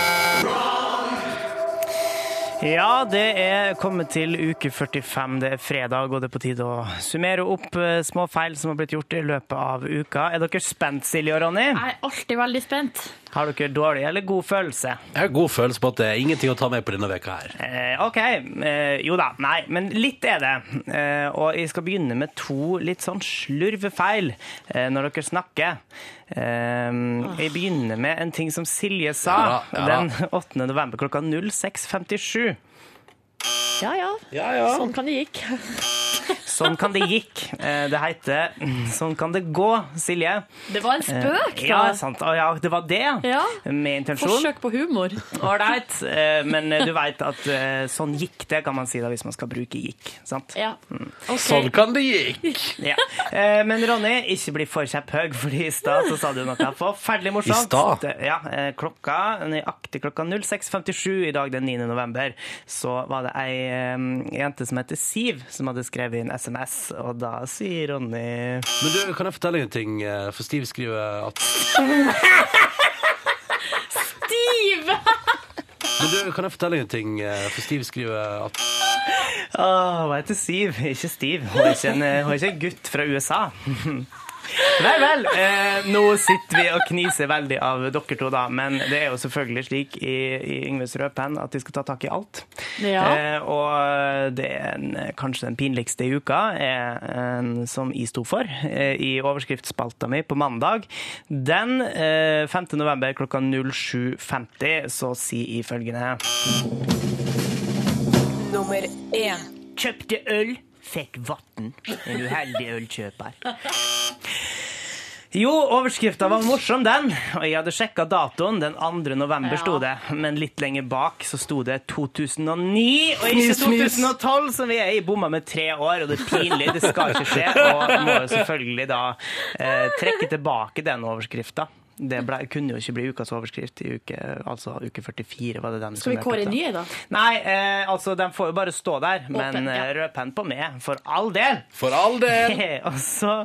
Ja, det er kommet til uke 45. Det er fredag, og det er på tide å summere opp eh, små feil som har blitt gjort i løpet av uka. Er dere spent, Silje og Ronny? Jeg er alltid veldig spent. Har dere dårlig eller god følelse? Jeg har god følelse på at det er ingenting å ta med på denne veka her. Eh, OK. Eh, jo da. Nei, men litt er det. Eh, og jeg skal begynne med to litt sånn slurvefeil eh, når dere snakker. Eh, jeg begynner med en ting som Silje sa Ja da, ja da. den 8. november klokka 06.57. Ja, ja. ja. Sånn kan det gikk. Sånn kan det gikk. Eh, Det heter mm, Sånn kan det gå, Silje. Det var en spøk, Eh, da. Ja, sant. Å, ja, det var det. Ja. Med intensjon. Forsøk på humor. Ålreit. Eh, Men eh, du veit at eh, sånn gikk det, kan man si da, hvis man skal bruke gikk. sant? Ja. Ok. Sånn kan det gikk. Ja. Eh, Men Ronny, ikke bli for kjepphøg, fordi i stad så sa du noe forferdelig morsomt. I stad? Det- Ja, eh, klokka, nøyaktig klokka 06.57 i dag den 9. november, så var det ei eh, jente som heter Siv, som hadde skrevet inn SMS, og da sier Ronny Men du, kan jeg fortelle deg en ting? Eh, For Steve skriver at Stiv! Men du, kan jeg fortelle deg en ting? Eh, For Steve skriver at Åh, hun heter Siv, ikke Stiv. Hun er ikke en, eh, hun er ikke en gutt fra USA. Vel, vel. Eh, nå sitter vi og kniser veldig av dere to, da. Men det er jo selvfølgelig slik i, i Yngves røde penn at de skal ta tak i alt. Ja. Eh, og det er en, kanskje den pinligste i uka, er en som jeg sto for eh, i overskriftsspalta mi på mandag. Den eh, 5. november klokka 07.50 så sier jeg følgende Nummer én. Kjøpte øl, fikk vann. En uheldig ølkjøper. Jo, overskrifta var morsom, den. Og jeg hadde sjekka datoen. Den 2. november Ja. sto det. Men litt lenger bak så sto det 2009, og ikke Fnis, fnis. 2012, som vi er i. Bomma med tre år, og det er pinlig. Det skal ikke skje. Og må jo selvfølgelig da eh, trekke tilbake den overskrifta. Det ble, kunne jo ikke bli ukas overskrift i uke, altså uke 44. var det den Skal vi som kåre jeg en ny, da? Nei, eh, altså, den får jo bare stå der, men Åpen, ja. eh, rød penn på meg, for all del. For all del. og så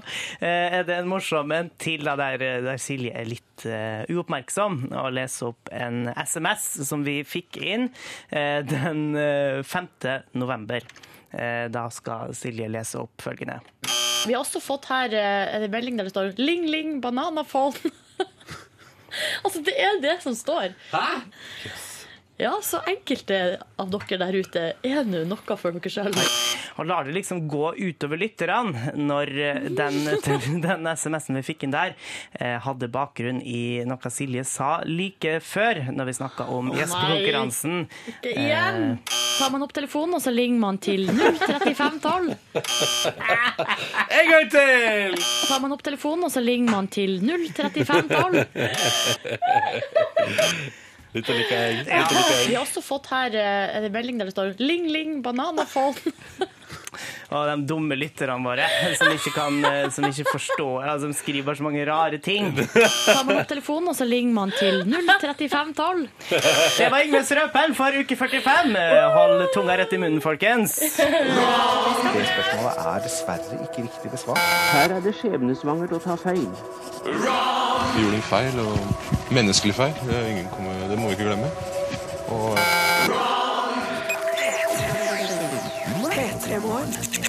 eh, er det en morsom en til, da, der, eh, der Silje er litt eh, uoppmerksom, og leser opp en SMS som vi fikk inn eh, den eh, 5. november. Eh, da skal Silje lese opp følgende. Vi har også fått her eh, en melding der det står 'Ling Ling Bananaphone'. altså, det er det som står. Hæ? Ja, så enkelte av dere der ute er nå noe for dere sjøl. Og lar det liksom gå utover lytterne når eh, den, den SMS-en vi fikk inn der, eh, hadde bakgrunn i noe Silje sa like før, når vi snakka om Å, nei. gjestekonkurransen. Ikke igjen! Tar man opp telefonen, og så ringer man til 03512. En gang til! Tar man opp telefonen, og så ringer man til 03512. Dette liker jeg. Ja. Dette liker Vi jeg. har også fått her eh, en melding der det står 'Ling Ling Bananaphone'. Og de dumme lytterne våre som ikke, kan, eh, som ikke forstår altså, De skriver bare så mange rare ting. Tar man opp telefonen, og så ringer man til 03512. Det var Ingvild Strøpen for uke 45. Eh, Hold tunga rett i munnen, folkens. Det spørsmålet er dessverre ikke riktig besvart. Her er det skjebnesvangert å ta feil. Vi gjorde en eh, feil, og menneskelig feil. Det, er ingen kommer, det må vi ikke glemme. Og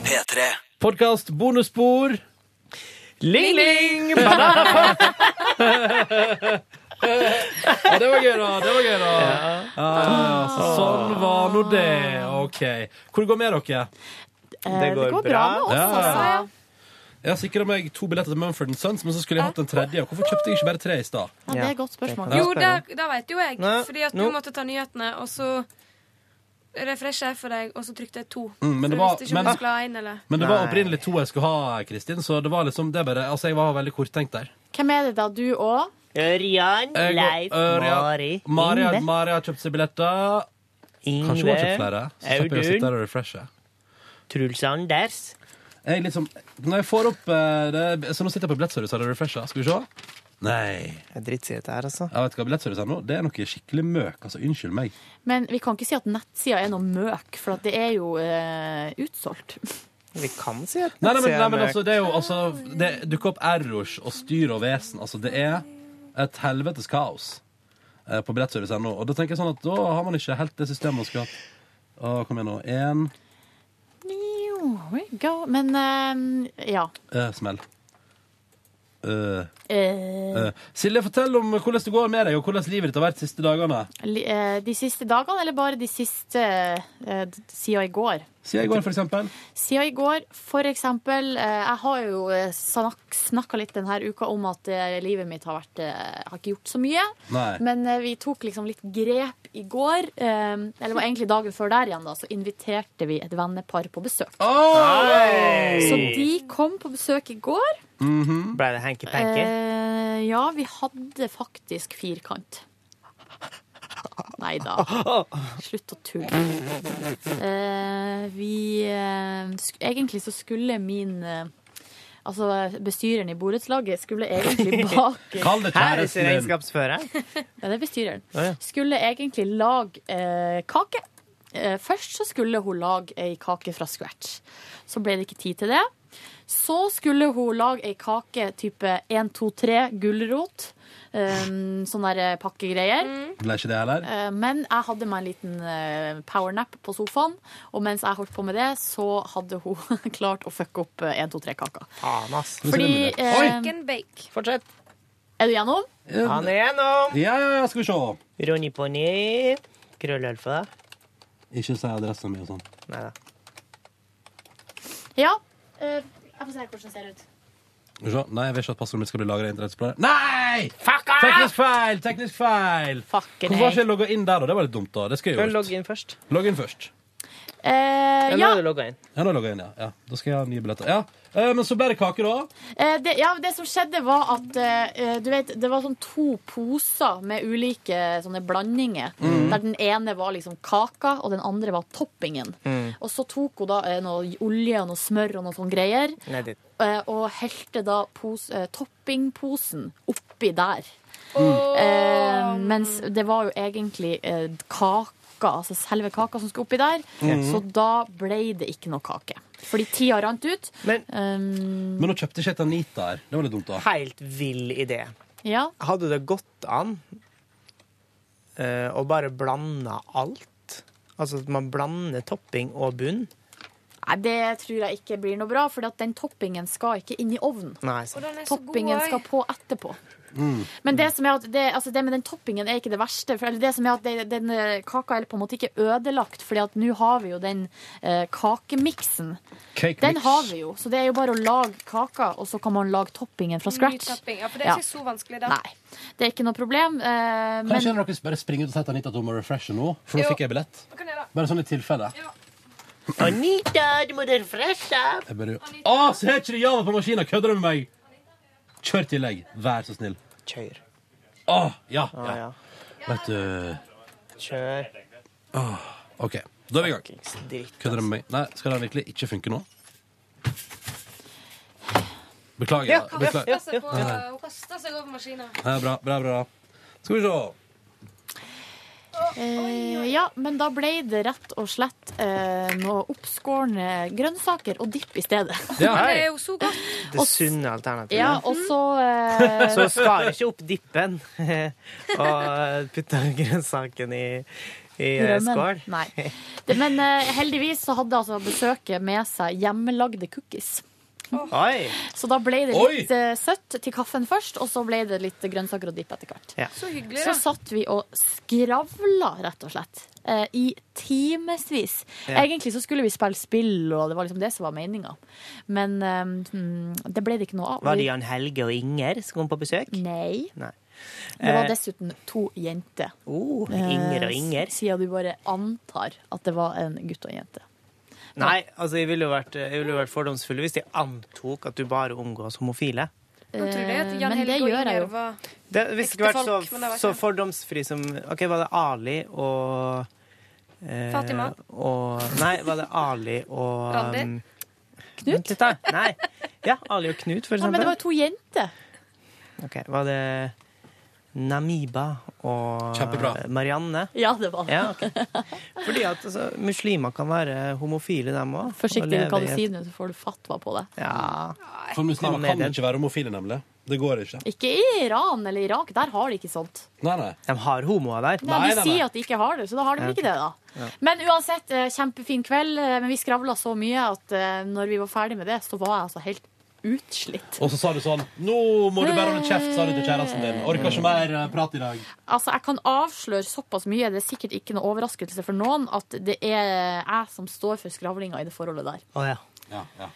P3. Podkast bonusspor. Ling-ling! Ja, det var gøy, da. Det var gøy, da. Ja, så sånn var nå det. OK. Hvor går det med dere? Eh, det går bra med oss, altså. Ja. Jeg har sikra meg to billetter til Mumford Sons, men så skulle jeg hatt en tredje. Hvorfor kjøpte jeg ikke bare tre i stad? Ja, det er et godt spørsmål. Jo, det, det vet jo jeg. Nei, fordi at du nå- måtte ta nyhetene, og så Eh, refresha jeg for deg, og så trykte jeg to. Mm, men det for var- jeg visste ikke men- om du skulle ha en, eller Men det var Nei. opprinnelig to jeg skulle ha, Kristin, så det var liksom det er bare Altså, jeg var veldig korttenkt der. Hvem er det da? Du og Ørjan, Jeg og Ørjan- Mari, Mari har kjøpt seg billetter. Kanskje Mm, hun har kjøpt flere? Så slipper jeg å sitte her og refreshe. Truls Anders. Jeg liksom, når jeg får opp eh, det, Så nå sitter jeg på billettservice og refresher. Skal vi se? Nei. Jeg drittsier dette her, altså. Jeg vet ikke hva billettservice er nå. Det er noe skikkelig møk. Altså, unnskyld meg. Men vi kan ikke si at nettsida er noe møk, for at det er jo eh, utsolgt. Vi kan si at Nei, nei, men, nei, men altså, det er jo altså Det dukker opp errors og styr og vesen. Altså, det er et helvetes kaos eh, på billettservice.no. Og da tenker jeg sånn at da har man ikke helt det systemet man skulle hatt. Å, kom igjen nå. Én Jo, we go. Men eh, ja. eh, smell. Eh, Eh, eh. Silje, fortell om hvordan det går med deg, og hvordan livet ditt har vært de siste dagene. li- eh, de siste dagene, eller bare de siste eh, d- siden i går? Siden i går, for eksempel. Siden i går, for eksempel. eh, Jeg har jo snakka litt denne uka om at eh, livet mitt har vært eh, Har ikke gjort så mye. Nei. Men eh, vi tok liksom litt grep i går. eh, Eller det var egentlig dagen før der igjen, da. Så inviterte vi et vennepar på besøk. Oi! Så de kom på besøk i går. Ble det hanky-panky? Eh, ja, vi hadde faktisk firkant. Nei da. Slutt å tulle. Eh, vi eh, sk Egentlig så skulle min eh, Altså, bestyreren i borettslaget skulle egentlig bake Kall det Her er ikke kjæresten din. regnskapsfører. Ja, det er bestyreren. Å, ja. Skulle egentlig lage eh, kake. Eh, først så skulle hun lage ei kake fra scratch. Så ble det ikke tid til det. Så skulle hun lage ei kake type 1, 2, 3, gulrot. Um, sånne der pakkegreier. Ble ikke det heller? Eh, Men jeg hadde meg en liten eh, powernap på sofaen, og mens jeg holdt på med det, så hadde hun klart å fucke opp eh, 1, 2, 3-kaka. Faen, ass. Fordi eh, bake. Fortsett. Er du gjennom? Han er gjennom! Ja, ja, ja, skal vi se. Ronny Ponni. Krøllølfa. Ikke si adressen min og sånn. Neida. Ja. Eh, Jeg får se hvordan det ser ut. Skal vi se. Nei, jeg vil ikke at passordet mitt skal bli lagra i Internettspilleren. Nei! Teknisk feil! Teknisk feil! Fucker Hvorfor har ikke jeg logga inn der, da? Det var litt dumt, da. Det skal jeg Kan gjøre. logge inn først. Logg inn først. Eh, ja. logga inn. Ja, nå logger jeg inn, ja. ja. Da skal jeg ha nye billetter. Ja, Eh, Men så ble det kake, da. Eh, det, ja, det som skjedde var at eh, du vet, det var sånn to poser med ulike eh, sånne blandinger. Mhm. Der den ene var liksom kaka, og den andre var toppingen. Og så tok hun da eh, noe olje og noe smør og noe sånn greier, Nei, det- eh, og helte da pos, eh, toppingposen oppi der. Mm. Eh, mens det var jo egentlig eh, kaka, altså selve kaka som skulle oppi der. Mhm. Så da ble det ikke noe kake. Fordi tida rant ut. um, Men nå kjøpte ikke jeg et Anita her. Det var litt dumt, da. Helt vill idé. ja. Hadde det gått an eh, å bare blande alt? Altså at man blander topping og bunn? Nei, det tror jeg ikke blir noe bra, for den toppingen skal ikke inn i ovnen. Nei, sant. den er så Toppingen god, skal på etterpå. Mm. Men det som er at det, altså det med den toppingen er ikke det verste. For, eller det som er at det, den eh, kaka er på en måte ikke ødelagt, Fordi at nå har vi jo den eh, kakemiksen. Cake Den mix. har vi jo, så det er jo bare å lage kaka, og så kan man lage toppingen fra scratch. Nytapping. Ja, for det er ikke så vanskelig, da. Nei, det er ikke noe problem. eh, Kan ikke men en av dere bare springe ut og sette Anita at hun må refreshe nå? For nå Jo. fikk jeg billett. Bare sånn i tilfelle. Anita, du må refreshe! Jeg bare... Å, så har ikke det Java på maskinen! Kødder du med meg? Kjør tillegg. Vær så snill. Kjør. Å, ja. Ah, ja. ja. Vet du Kjør. Åh, OK, da er vi i gang. dritt, Kødder du med meg? Nei, skal den virkelig ikke funke nå? Beklager. Ja, da. hun Beklager. kaster seg på- Nei. hun kaster seg over maskina. Ja, bra, bra, bra. Skal vi se. Eh, ja, men da ble det rett og slett eh, noe oppskårne grønnsaker og dipp i stedet. Ja. Men det er jo så godt. Det sunne alternativet. Ja, og så eh, Så skar ikke opp dippen og putta grønnsaken i, i eh, Drømmen. skål. Nei. Det, men eh, heldigvis så hadde altså besøket med seg hjemmelagde cookies. Oi! Så da ble det litt eh, søtt til kaffen først, og så ble det litt grønnsaker og dipp etter hvert. Ja. Så hyggelig, Så da. satt vi og skravla, rett og slett, eh, i timevis. Ja. Egentlig så skulle vi spille spill, og det var liksom det som var meninga. Men eh, mm, det ble det ikke noe av. Var det Jan Helge og Inger som kom på besøk? Nei. Nei. Det var Eh, dessuten to jenter. Oh, Inger og Inger. Eh, Siden du bare antar at det var en gutt og en jente. Nei, altså jeg ville jo vært, jeg ville jo vært fordomsfull hvis jeg antok at du bare omgås homofile. Nå trodde jeg at Eh, Jan men Helge det og gjør jeg Inger jo. var Det, hvis jeg skulle vært Ektefolk, men det så, var så ikke. fordomsfri som OK, var det Ali og eh, Fatima? Og, nei, var det Ali og Randi? um, Knut? Litt, da. Nei. Ja, Ali og Knut, for Nei, eksempel. men det var jo to jenter. Ok, var det Namiba og Kjempebra. Marianne? Ja, det var det. Ja, ok. Fordi at altså, muslimer kan være homofile, dem òg. Forsiktig med hva du sier nå, så får du fatwa på det. Ja. For muslimer Kom med kan den. ikke være homofile, nemlig. Det går ikke. Ikke i Iran eller Irak, der har de ikke sånt. Nei, nei. De har homoer der. Nei, de sier at de ikke har det, så da har de vel ikke det, da. Ja. Men uansett, eh, kjempefin kveld. eh, Men vi skravla så mye at eh, når vi var ferdig med det, så var jeg altså helt utslitt. Og så sa du sånn Nå må du bare holde kjeft, sa du til kjæresten din. Orker ikke mer eh, prat i dag. Altså, Jeg kan avsløre såpass mye, det er sikkert ikke noe overraskelse for noen, at det er jeg som står for skravlinga i det forholdet der. Ja, ja.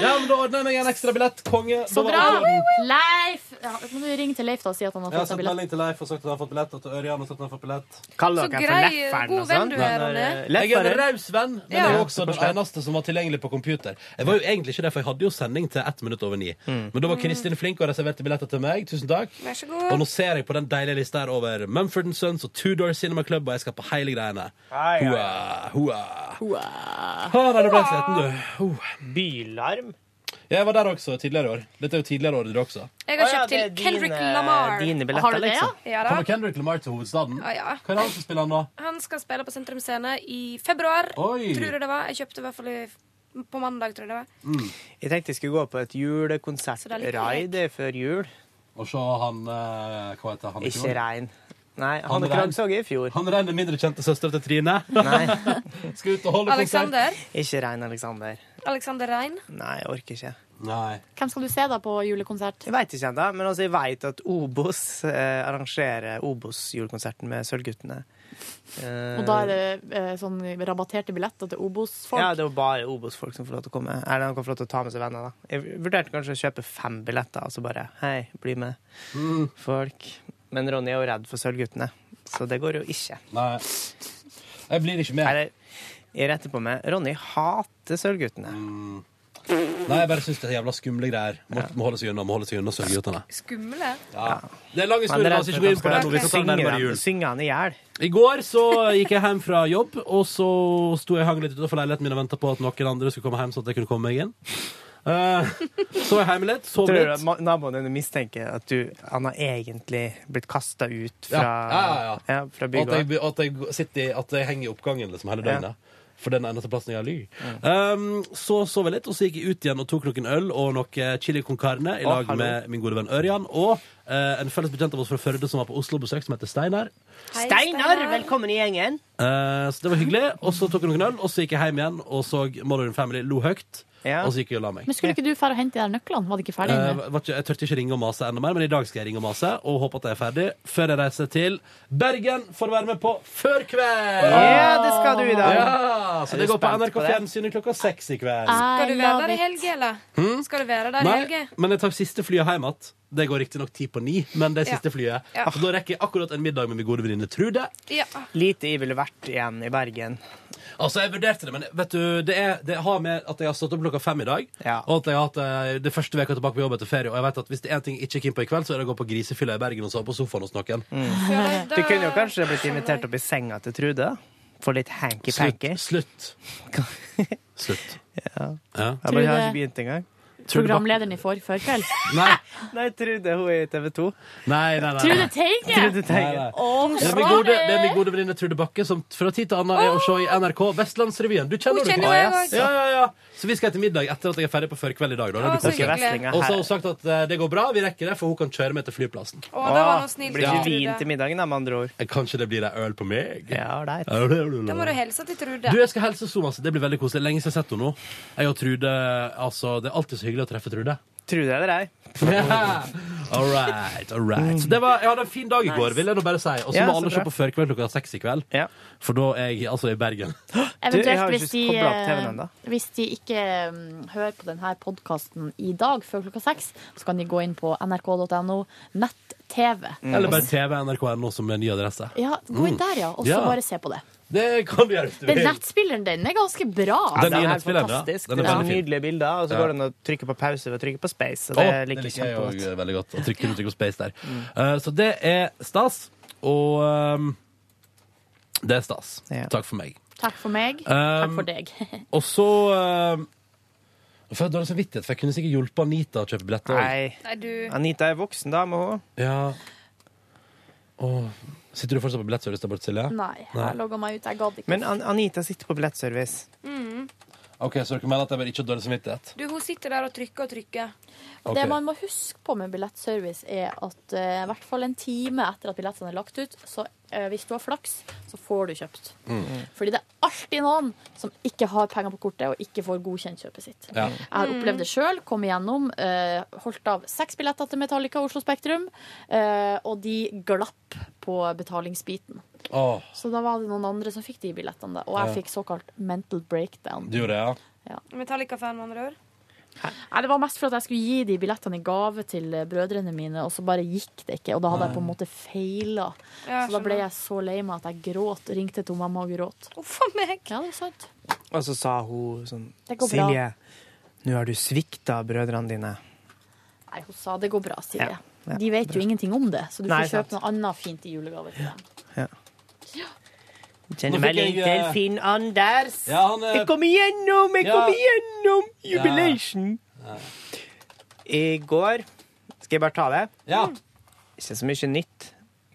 Ja, men da ordner jeg meg en ekstra billett. Konge. Da Så var bra! alt i orden. Leif! Ja, nå må du ringe til Leif da og si at han har Jeg har fått seg sendt billett. melding til Leif og sagt at han har fått billett. Og til Ørjan og sagt at han har fått billett. Kall dere for grei, lefferen god og venn sånn. du er, Ronny. Jeg er en Lefferen. raus venn, men Ja. jeg er også den eneste som var tilgjengelig på computer. Jeg var jo egentlig ikke det, for jeg hadde jo sending til ett minutt over ni. Men da var Kristin flink og reserverte billetter til meg. Tusen takk. Vær så Og nå god. ser jeg på den deilige lista her over Mumford Sons og Tudor Cinema Club, og jeg skal på hele greiene. Hei, hei. Hoa, hoa. Ah, nei, nå ble jeg sliten, du. Bylarm? Jeg var der også tidligere i år. Dette er jo tidligere år dere også. Jeg har Å ja, kjøpt til det er Kendrick dine- eh, Lamar. dine billetter, Har du det, ja? liksom? Ja Kommer da. Kendrick Lamar til hovedstaden? Ja, ja. Hva er det han som spiller nå? Han skal spille på Sentrum Scene i februar, Oi. tror jeg det var. Jeg kjøpte i hvert fall i, på mandag, tror jeg det var. Jeg tenkte jeg skulle gå på et Så det er litt julekonsertraid før jul. Og så han eh, Hva heter han? Ikke Rein. Nei, Han Hanne Rein. Krogh så jeg i fjor. Han regner mindre kjente søster til Trine. Skal ut og holde konsert. Alexander. Ikke Rein Alexander. Alexander Rein. Nei, jeg orker ikke. Nei. Hvem skal du se da på julekonsert? Jeg veit ikke ennå, men altså, jeg veit at Obos eh, arrangerer Obos-julekonserten med Sølvguttene. Eh, Og da er det eh, sånn rabatterte billetter til Obos-folk. Ja, det var bare Obos-folk som får lov til å komme. Eller han kan få lov til å ta med seg venner, da. Jeg vurderte kanskje å kjøpe fem billetter, og så bare hei, bli med, Mm. folk. Men Ronny er jo redd for Sølvguttene, så det går jo ikke. Nei. Jeg blir ikke med. Eller, jeg retter på meg. Ronny hater Sølvguttene. Mm. Nei, jeg bare syns det er jævla skumle greier. Må, må holde seg unna, må holde seg unna sølvguttene. Skumle. Ja. Det er lang Men historie, la oss ikke gå inn på det nå. Vi kan ta det Synge nærmere han- jul. Synge han i hjel. I går så gikk jeg hjem fra jobb, og så sto jeg og hang litt utenfor leiligheten min og venta på at noen andre skulle komme hjem, sånn at jeg kunne komme meg inn. Eh, så var jeg hjemme litt, sov Tror du litt. at ma- naboene dine mistenker at du, han har egentlig blitt kasta ut fra, ja, ja, ja. Ja, Og fra At bygården? jeg, at, jeg sitter, i- at jeg henger i oppgangen liksom, hele Ja. døgnet. For den eneste plassen jeg har ly. Um, så sov jeg litt, og så gikk jeg ut igjen og tok noen øl og noe chili con carne i Å, lag hallo. med min gode venn Ørjan og eh, en felles bekjent av oss fra Førde som var på Oslo-besøk, som heter Steinar. Steinar, velkommen i gjengen. Eh, så det var hyggelig. Og så tok jeg noen øl, og så gikk jeg hjem igjen og så Modern Family lo høyt. Og så gikk jeg og la meg. Men skulle ikke du fære og hente de der nøklene? Var det ikke ferdig? Eh, med? var ikke, jeg tørte ikke ringe og mase enda mer, men i dag skal jeg ringe og mase og håpe at jeg er ferdig før jeg reiser til Bergen for å være med på Før kveld! Ja, det skal du i dag. Ja, så Er det du går på spent NRK på det? Ah, Fjernsynet klokka seks i kveld. Skal du være der i helge, eller? Hmm? Skal du være der i Nei, helge? men jeg tar siste flyet hjem igjen. Det går riktignok ti på ni, men det er siste Ja. flyet. Ja. For da rekker jeg akkurat en middag med min gode venninne Trude. Ja. Lite jeg ville vært igjen i Bergen. Altså, jeg vurderte det, men vet du, det, er, det har med at jeg har stått opp klokka fem i dag, og at jeg har hatt eh, det første veka tilbake på jobb etter ferie, og jeg vet at hvis det er en ting jeg ikke er keen på i kveld, så er det å gå på grisefylla i Bergen og sove på sofaen hos noen. Du kunne jo kanskje blitt invitert opp i senga til Trude. Få litt hanky-panky. Slutt. Slutt. ja. Ja. Jeg bare har Trude- ikke begynt engang. Programlederen i for, førkveld. Nei. Nei, Trude, hun er i TV 2. Nei, nei, nei. Trude Teige! Trude Teige. Nei, nei. Å, Det er min gode, det er min gode venninne Trude Bakke, som fra tid til annen er å se i NRK Vestlandsrevyen. Du kjenner Hun henne, kjenner Trude. jeg også. Ja, ja, ja. Så vi skal til middag etter at jeg er ferdig på førkveld i dag. Da. Det Å, så blir koselig. hyggelig. Og så har hun sagt at eh, det går bra, vi rekker det, for hun kan kjøre meg til flyplassen. Å, det var noe snilt. Blir Ja. ikke vin til middagen, da, med andre ord. Kanskje det blir ei øl på meg? Ja, ålreit. Da må du hilse til Trude. Du, jeg skal helse så masse. Det blir veldig koselig. Lenge siden jeg har sett henne nå. Jeg og Trude, altså, Det er alltid så hyggelig å treffe Trude. Trude eller ei. Yeah. All right, all right. Så det var, jeg hadde en fin dag i går, vil jeg nå bare si. Og så Ja, må så alle bra. se på Førkveld klokka seks i kveld. For da er jeg altså i Bergen. jeg har Eventuelt ikke hvis de, koblet opp TV-en ennå. eh, hvis de ikke mm, hører på denne podkasten i dag før klokka seks, så kan de gå inn på nrk.no nett-TV. Eller bare TV NRK.no som er ny adresse. Ja, gå inn Mm. der, ja, og så Ja. bare se på det. Det kan du gjøre hvis du Den vil. nettspilleren, den er ganske bra. Den nye er helt nettspilleren, ja. fantastisk. Den er Det er veldig fin. nydelige bilder, og så Ja. går det an å trykke på pause ved å trykke på space. Og Å, det det liker jeg liker jeg kjempegodt. jo veldig godt. Å trykke, trykke på space der. Eh, så det er stas. Og ehm, det er stas. Takk for meg. Takk for meg. Takk Um, for deg. Og så ehm, Nå får jeg dårlig samvittighet, for jeg kunne sikkert hjulpet Anita å kjøpe billetter. Nei. Nei, du Anita er voksen dame, hun. Ja. Åh. Sitter du fortsatt på billettservice der borte, Silje? Nei, jeg logga meg ut. Jeg gadd ikke. Men An Anita sitter på billettservice. Mm. Ok, Så dere mener at jeg bare ikke har dårlig samvittighet? Du, hun sitter der og trykker og trykker. Ok. Det man må huske på med billettservice, er at eh, i hvert fall en time etter at billettene er lagt ut, så eh, hvis du har flaks, så får du kjøpt. Mm. Fordi det er alltid noen som ikke har penger på kortet og ikke får godkjent kjøpet sitt. Ja. Jeg har opplevd det sjøl, kom igjennom, eh, holdt av seks billetter til Metallica Oslo Spektrum, eh, og de glapp på betalingsbiten. Åh, Så da var det noen andre som fikk de billettene, da, og jeg Ja. fikk såkalt mental breakdown. du gjorde det, ja? Metallica-fan, med andre ord. Nei, det var mest for at jeg skulle gi de billettene i gave til eh, brødrene mine, og så bare gikk det ikke. Og da hadde jeg på en måte feila. Ja, så da ble skjønner. jeg så lei meg at jeg gråt. Ringte til mamma og gråt. Uff a meg! Ja, det er sant. Og så sa hun sånn Det går bra. Silje, nå har du svikta brødrene dine. Nei, hun sa det går bra, Silje. Ja, ja, de vet jo ingenting om det, så du Nei, får sant. kjøpe noe annet fint i julegave til dem. Send Nå fikk melding jeg, til eh, Finn Anders. Ja, han eh, er- Jeg kom igjennom! Jeg kom Ja. igjennom! Ja. Jubilation. I går Skal jeg bare ta det? Ja. Ikke så mye nytt.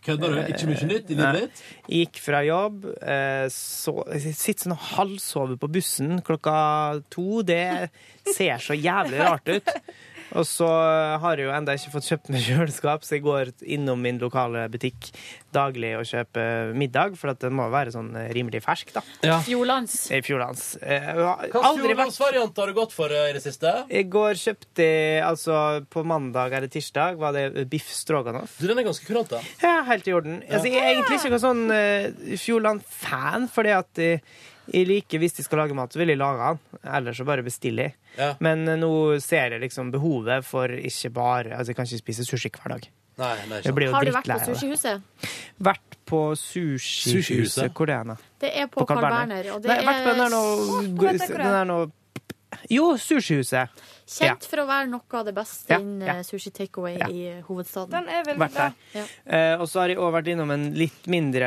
Kødder du? Ikke mye nytt i livet Nei. ditt? Gikk fra jobb. eh, Så, jeg sitter sånn og halvsover på bussen klokka to. Det ser så jævlig rart ut. Og så har jeg jo enda ikke fått kjøpt meg kjøleskap, så jeg går innom min lokale butikk daglig og kjøper middag, for at den må være sånn rimelig fersk, da. Fjordlands. I Fjordlands. Eh, jeg har Hvilken Aldri vært fjordlandsvariant har du gått for eh, i det siste? i går kjøpte jeg, altså på mandag eller tirsdag, var det biff stroganoff. Du, Den er ganske kurant, da. Ja, helt i orden. Altså, jeg er egentlig ikke noen sånn eh, Fjordland-fan, fordi at eh, jeg liker hvis de skal lage mat, så vil jeg lage den. Ellers så bare bestiller jeg. Ja. Men eh, nå ser jeg liksom behovet for ikke bare Altså, jeg kan ikke spise sushi hver dag. Nei, nei, Jeg blir jo Har du vært drittlei på av det. sushihuset? Vært på sushihuset? Sushihuset? Hvor det er det? Det er på Carl Berner. Og det Nei, vært på den der nå- er den der nå Jo, sushihuset. Ja. kjent for å være noe av det beste Ja, innen ja. eh, sushi takeaway Ja. i eh, hovedstaden. Den er Vært der. Ja. Eh, og så har jeg òg vært innom en litt mindre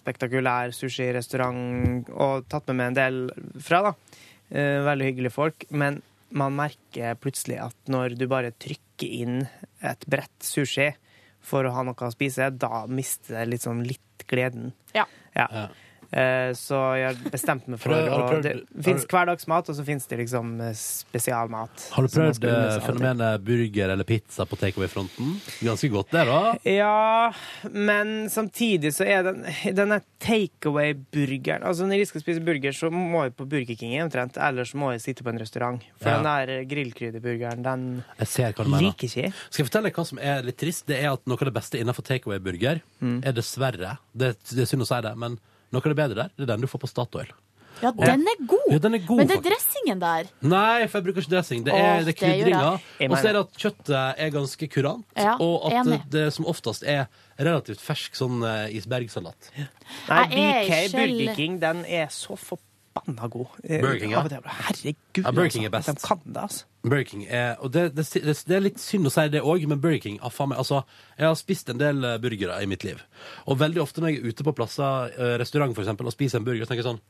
spektakulær sushirestaurant og tatt med meg en del fra, da. Eh, veldig hyggelige folk. Men man merker plutselig at når du bare trykker inn et brett sushi for å ha noe å spise, da mister det litt sånn litt gleden. Ja. Eh, Så jeg har bestemt meg for Har du- har du å prøvd- Det har fins du- hverdagsmat, og så fins det liksom eh, spesialmat. Har du som man prøvd skal unne eh, seg alltid. fenomenet burger eller pizza på takeaway-fronten? Ganske godt, det, da. Ja, men samtidig så er den denne takeaway-burgeren Altså Når jeg skal spise burger, så må jeg på Burger King omtrent. Ellers må jeg sitte på en restaurant. For Ja. den der grillkrydderburgeren, den Jeg ser hva du mener. Liker ikke. Skal jeg fortelle deg hva som er litt trist? Det er at noe av det beste innenfor takeaway-burger er dessverre Det, det er synd å si det, men noe av det bedre der, det er den du får på Statoil. Ja, den er god! Ja, den er god, Men det er faktisk. dressingen der. Nei, for jeg bruker ikke dressing. Det Åh, er, det er det gjør jeg. krydringa. Jeg Og så er mener. det at kjøttet er ganske kurant. Ja, og at det, enig. det som oftest er relativt fersk sånn eh, isbergsalat. Nei, BK Jeg er ikke- Burger King, den er så forbanna god. Eh, Burger King, ja. av og til, Herregud, Ja, Burger King er altså. best. De kan det, altså. Burger King er eh, Og det, det, det, det er litt synd å si det òg, men Burger King ah, faen meg, altså, Jeg har spist en del eh, burgere i mitt liv. Og veldig ofte når jeg er ute på plasser, eh, restaurant for eksempel, og spiser en burger, så tenker jeg sånn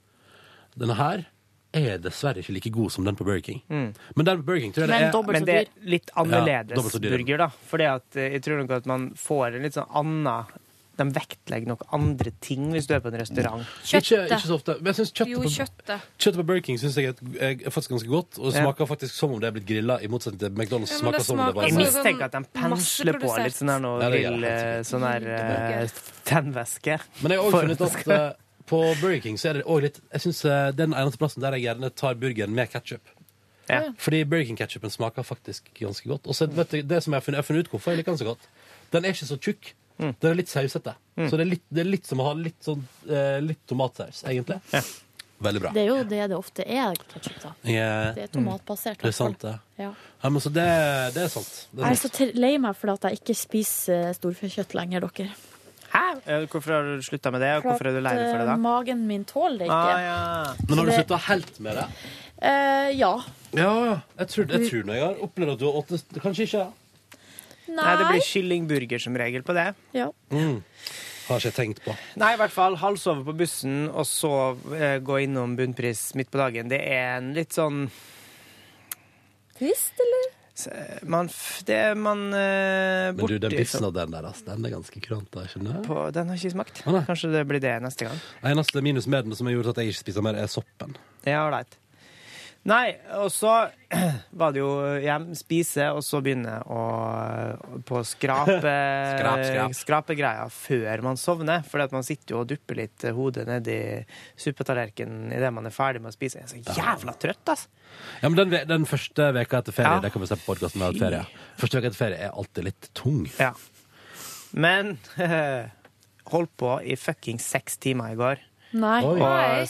Denne her er dessverre ikke like god som den på Burger King. Mm. Men den på Burger King tror jeg det er Men det er litt Ja, dobbelt annerledes så dyr. burger, da. Fordi at eh, jeg tror nok at man får en litt sånn anna De vektlegger nok andre ting hvis du er på en restaurant. Ikke, ikke så ofte. Men jeg synes kjøttet Jo, på, kjøttet. Kjøttet på Burger King synes jeg er, et- er faktisk ganske godt, og det Ja. smaker faktisk som om det er blitt grilla, i motsetning til McDonald's. Ja, men smaker det som om det smaker var Jeg Altså, mistenker at de sånn pensler på masseprodusert. litt sånn her noe Ja, det gjør grill, det eh, sånn her eh, tennvæske. Men jeg har også For- funnet at eh, på Burger King så er det også litt Jeg synes eh, det er den eneste plassen der jeg gjerne tar burgeren med ketchup. Ja. Fordi Burger King-ketchupen smaker faktisk ganske godt. Og så vet du, det som jeg har funnet, jeg har funnet ut hvorfor jeg liker den så godt. Den er ikke så tjukk. Mm. Den er litt sausete. Så det er litt, det er litt som å ha litt, sånn, eh, litt tomatsaus, egentlig. Veldig bra. Det er jo det det ofte er ketchup, da. Jeg- Det er tomatbasert. Det er sant, det. Ja. Ja, men så det, det er sant. Det Jeg er er så sant. til- lei meg for at jeg ikke spiser eh, storfekjøtt lenger, dere. Eh, Hvorfor har du slutta med det, og hvorfor er du lei deg for det, eh, da? Magen min tåler det ikke. Ah, ja. Men har du Så det- slutta helt med det? Eh, ja. Ja, jeg tror, jeg tror nå jeg har opplevd at du har åtte Kanskje ikke. Nei. Nei, det blir kyllingburger som regel på det. Ja. Mm. Har ikke jeg tenkt på. Nei, i hvert fall halvsove på bussen, og så eh, gå innom Bunnpris midt på dagen. Det er en litt sånn Trist, eller? eh, Man f... Det er man eh, Men du, den borti biffen av den der, ass, den er ganske kurant. da, skjønner du? på Den har ikke smakt. Kanskje det blir det neste gang. Eneste minus med den som har gjort at jeg ikke spiser mer, er soppen. Ja, ålreit. Nei, og så var det jo hjem, spise, og så begynne å, på skrape, Skrap, skrap. skrapegreia før man sovner. For man sitter jo og dupper litt hodet nedi suppetallerkenen idet man er ferdig med å spise. Jeg er så jævla trøtt, altså! Ja, men den, ve- den første veka etter ferie, Ja. det kan vi se på podkasten vi har hatt ferie. Første veka etter ferie er alltid litt tung. Ja. Men holdt på i fucking seks timer i går. Nei. Og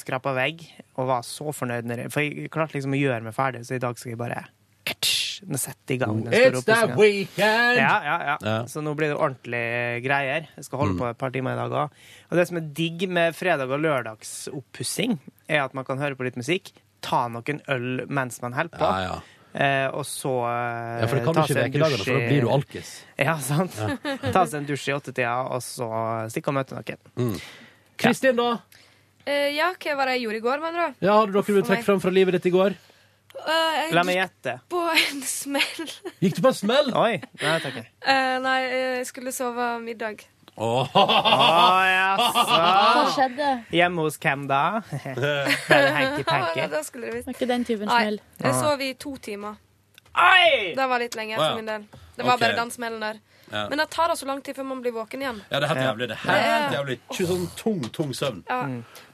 skrapa vegg, og var så fornøyd. Når jeg, for jeg klarte liksom å gjøre meg ferdig, så i dag skal jeg bare Ketsj! Nå setter jeg i gang. den store It's that oppussingen. weekend! Ja, ja, ja, Ja. Mm. Så nå blir det ordentlige greier. Jeg skal holde på et par timer i dag òg. Og det som er digg med fredag- og lørdagsoppussing, er at man kan høre på litt musikk, ta noen øl mens man holder på, Eh, og så eh, Ja, for det kan du ta ikke seg en vekedagene, dusj for da i- blir du alkis. Ja, sant. Ja. ta seg en dusj i åttetida, og så stikke og møte noen. Kristin, da? Eh, ja, hva var det jeg gjorde i går, mener du? Ja, hadde dere noe For trekk meg. fram fra livet ditt i går? Eh, jeg La meg gikk gjette. På en smell. Gikk du på en smell? Oi. Nei, takk. Eh, nei, eh, jeg skulle sove middag. Ah. Hva skjedde? Hjemme hos hvem da? Bare hanky-panky. Det skulle det visst. Var ikke den typen Nei, smell? Jeg sov i to timer. Det var litt lenge Å, ja. for min del. Det var Ok. bare den smellen der. Ja. Men det tar da så lang tid før man blir våken igjen. Ja, det er helt jævlig. Det er helt jævlig. Tju- Sånn tung, tung søvn. Ja.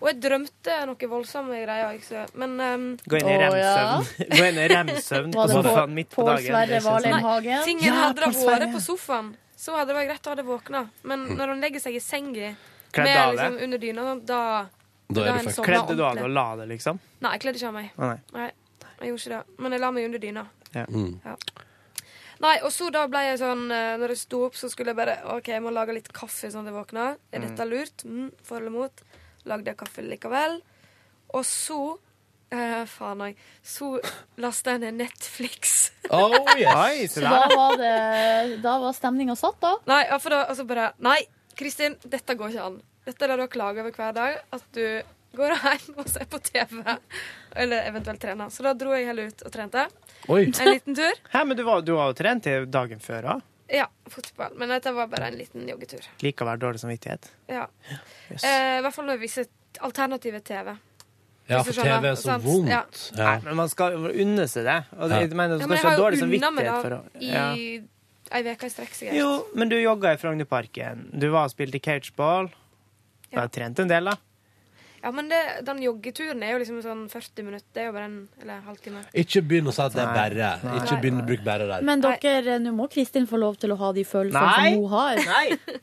Og jeg drømte noe voldsomme greier. Ikke? så- Men ehm, Gå inn i remsøvn. Gå inn i remsøvn på Var Altså, det sofaen midt på Pål dagen. Det er ikke sånn- Nei, Tingen Ja, hadde det Pål Sverre. vært på sofaen, så hadde det vært greit å ha det våkna. Men når han legger seg i senga Kledd med av liksom det? under dyna, da er en sovna Kledde du av ordentlig. deg og la det, liksom? Nei, jeg kledde ikke av meg. Å, nei. Nei, jeg gjorde ikke det. Men jeg la meg under dyna. Ja. Ja. Nei, og så da ble jeg sånn eh, Når jeg sto opp, så skulle jeg bare OK, jeg må lage litt kaffe sånn at jeg våkna. Er Mm. dette lurt? Mm, for eller mot? Lagde jeg kaffe likevel. Og så eh, Faen òg. Så lasta jeg ned Netflix. Oh, Oi, så da var, det- da var stemninga satt, da. Nei, ja, for da altså bare Nei, Kristin, dette går ikke an. Dette er det du har klaga over hver dag. At du går hjem og ser på TV. Eller eventuelt trener. Så da dro jeg heller ut og trente. En liten tur. Hæ, men du var, du var jo trent i dagen før òg. Ja, fotball. Men dette var bare en liten joggetur. Likevel dårlig samvittighet. Ja. Yes. Eh, I hvert fall når vi viser alternative TV. Ja, Hvis du for skjønner, TV er så Sånn- sant? vondt. Ja. Nei, men man skal jo unne seg det. Og det, Ja. jeg mener, du Ja, skal men jeg ikke har ha jo dårlig unna meg samvittighet for da å i ja. ei uke i strekk, sikkert. Jo, men du jogga i Frognerparken. Du var og spilte cageball. Du har trent en del, da. Ja, men det, den joggeturen er jo liksom sånn 40 minutter. Det er jo bare en eller en halvtime. Ikke begynn å si at det er bare. Nei. Ikke begynn å bruke bare der. Men dere, eh, nå må Kristin få lov til å ha de følelsene Nei. som hun har.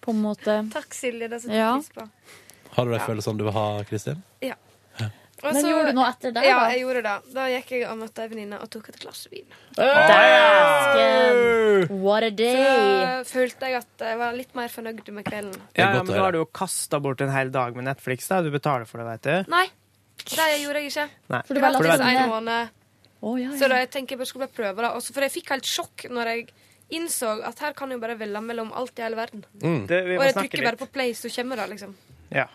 På en måte. Takk, Silje. Det setter jeg Ja. pris på. Har du de følelsene du vil ha, Kristin? Ja. Men gjorde du noe etter det, Ja, da? jeg gjorde det. Da gikk jeg og møtte ei venninne og tok et glass vin. Dæsken! What a day! Så følte jeg at jeg var litt mer fornøyd med kvelden. Ja, ja, men da har du jo kasta bort en hel dag med Netflix. da. Du betaler for det, vet du. Nei, det gjorde jeg ikke. Nei. For det For var sånn, det var gratis det. en måned. ja. Så da jeg tenker jeg bare skulle bare prøve det. Også, for jeg fikk helt sjokk når jeg innså at her kan jeg jo bare velge mellom alt i hele verden. Mm. Det- vi må og jeg snakke trykker litt. bare på play, så kommer det, liksom. Ja.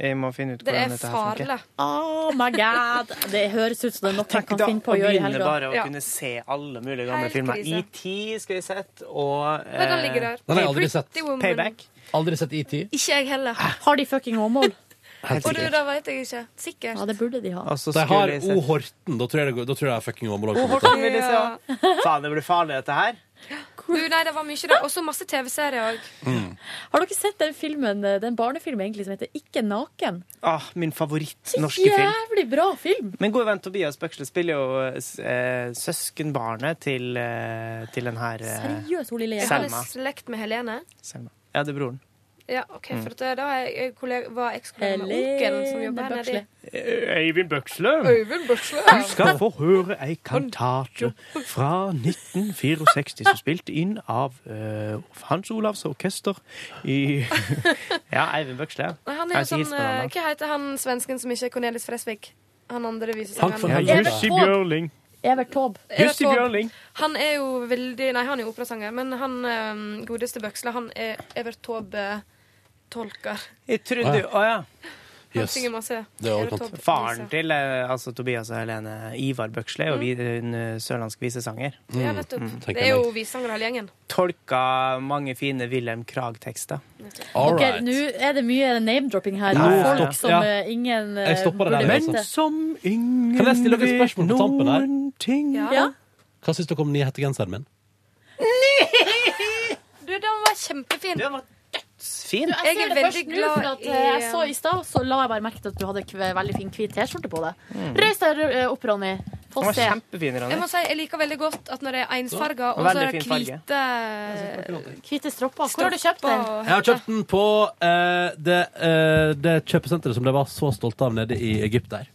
Jeg må finne ut Det hvordan er dette her funker. farlig. Oh my god! Det høres ut som det er noe man kan finne på å gjøre i begynne helga. bare å kunne se alle mulige gamle Helt filmer. krise. E.T. skal vi sett, og eh, Men den ligger der. Den har jeg aldri sett. Pretty Woman. Payback. Aldri sett E ET. Ikke jeg heller. Ah, Har de fucking Åmål? Helt Og du, sikkert. da vet jeg ikke. Sikkert. Ja, det burde de ha. De har skulle jeg O. Horten. Da tror jeg det, går- da tror jeg det er fucking område. O. Horten vil jeg se også. Faen, det blir farlig, dette her. Du, nei, det var mye, det. Også masse TV-serier òg. Har dere sett den filmen, den barnefilmen egentlig som heter Ikke naken? Ah, min favoritt norske film. Jævlig bra film! Men god venn Tobias Bøksle spiller jo eh, søskenbarnet til, eh, til den her eh, Seriøst, hun Jeg har Selma. litt slekt med Helene. Selma. Ja, det er broren. Ja, ok, Mm. for at, eh, Da er jeg kollega, var ekskollega med onkelen som jobber her nede. Eh, Eivind Bøksle. Øyvind Bøsle. Du skal få høre ei kantate fra 1964 som spilte inn av eh, Hans Olavs orkester i Ja, Eivind Bøksle. Nei, han er Jeg jo sånn, hilser på eh, han da. Hva heter han svensken som ikke er Cornelis Fresvik? Han andre Takk for visesangeren. helvete. Jussi Bjørling. Evert Taube. Evert Jussi Taube. Bjørling. Han er jo veldig Nei, han er jo operasanger, men han eh, godeste Bøksle, han er Evert Taube-tolker. Jeg trodde Å ja. Han Yes. synger masse. Fjelltopp- Faren til eh, altså, Tobias og Helene, Ivar Mm. Bøksle, er jo vi- en eh, sørlandsk visesanger. Ja, nettopp. mm, Det er jo vissanger hele gjengen. Tolka mange fine Wilhelm Krag-tekster. Dere, Nå er det mye name-dropping her. Nei, ja, ja. Folk som Ja. eh, ingen eh, Jeg stopper det der, burde altså. liksom. vite. Som ingen Kan jeg stille dere et spørsmål på tampen der? Ja. Hva syns dere om den nye hettegenseren min? Du, den var kjempefin. Den var dødsfin. Du, jeg Jeg ser er det først veldig nå, for glad at i, eh, jeg eh, så i stad, så la jeg bare merke til at du hadde kve- veldig fin hvit T-skjorte på deg. Mm. Røys deg eh, opp, Ronny. Få Den var se. kjempefin, Ronny. Jeg må si, jeg liker veldig godt at når det er ensfarga, Ja, og så veldig er det fin farge. hvite Hvite stropper. Hvor har du kjøpt den? Jeg har kjøpt den på eh, det, eh, det kjøpesenteret som de var så stolte av nede i Egypt der.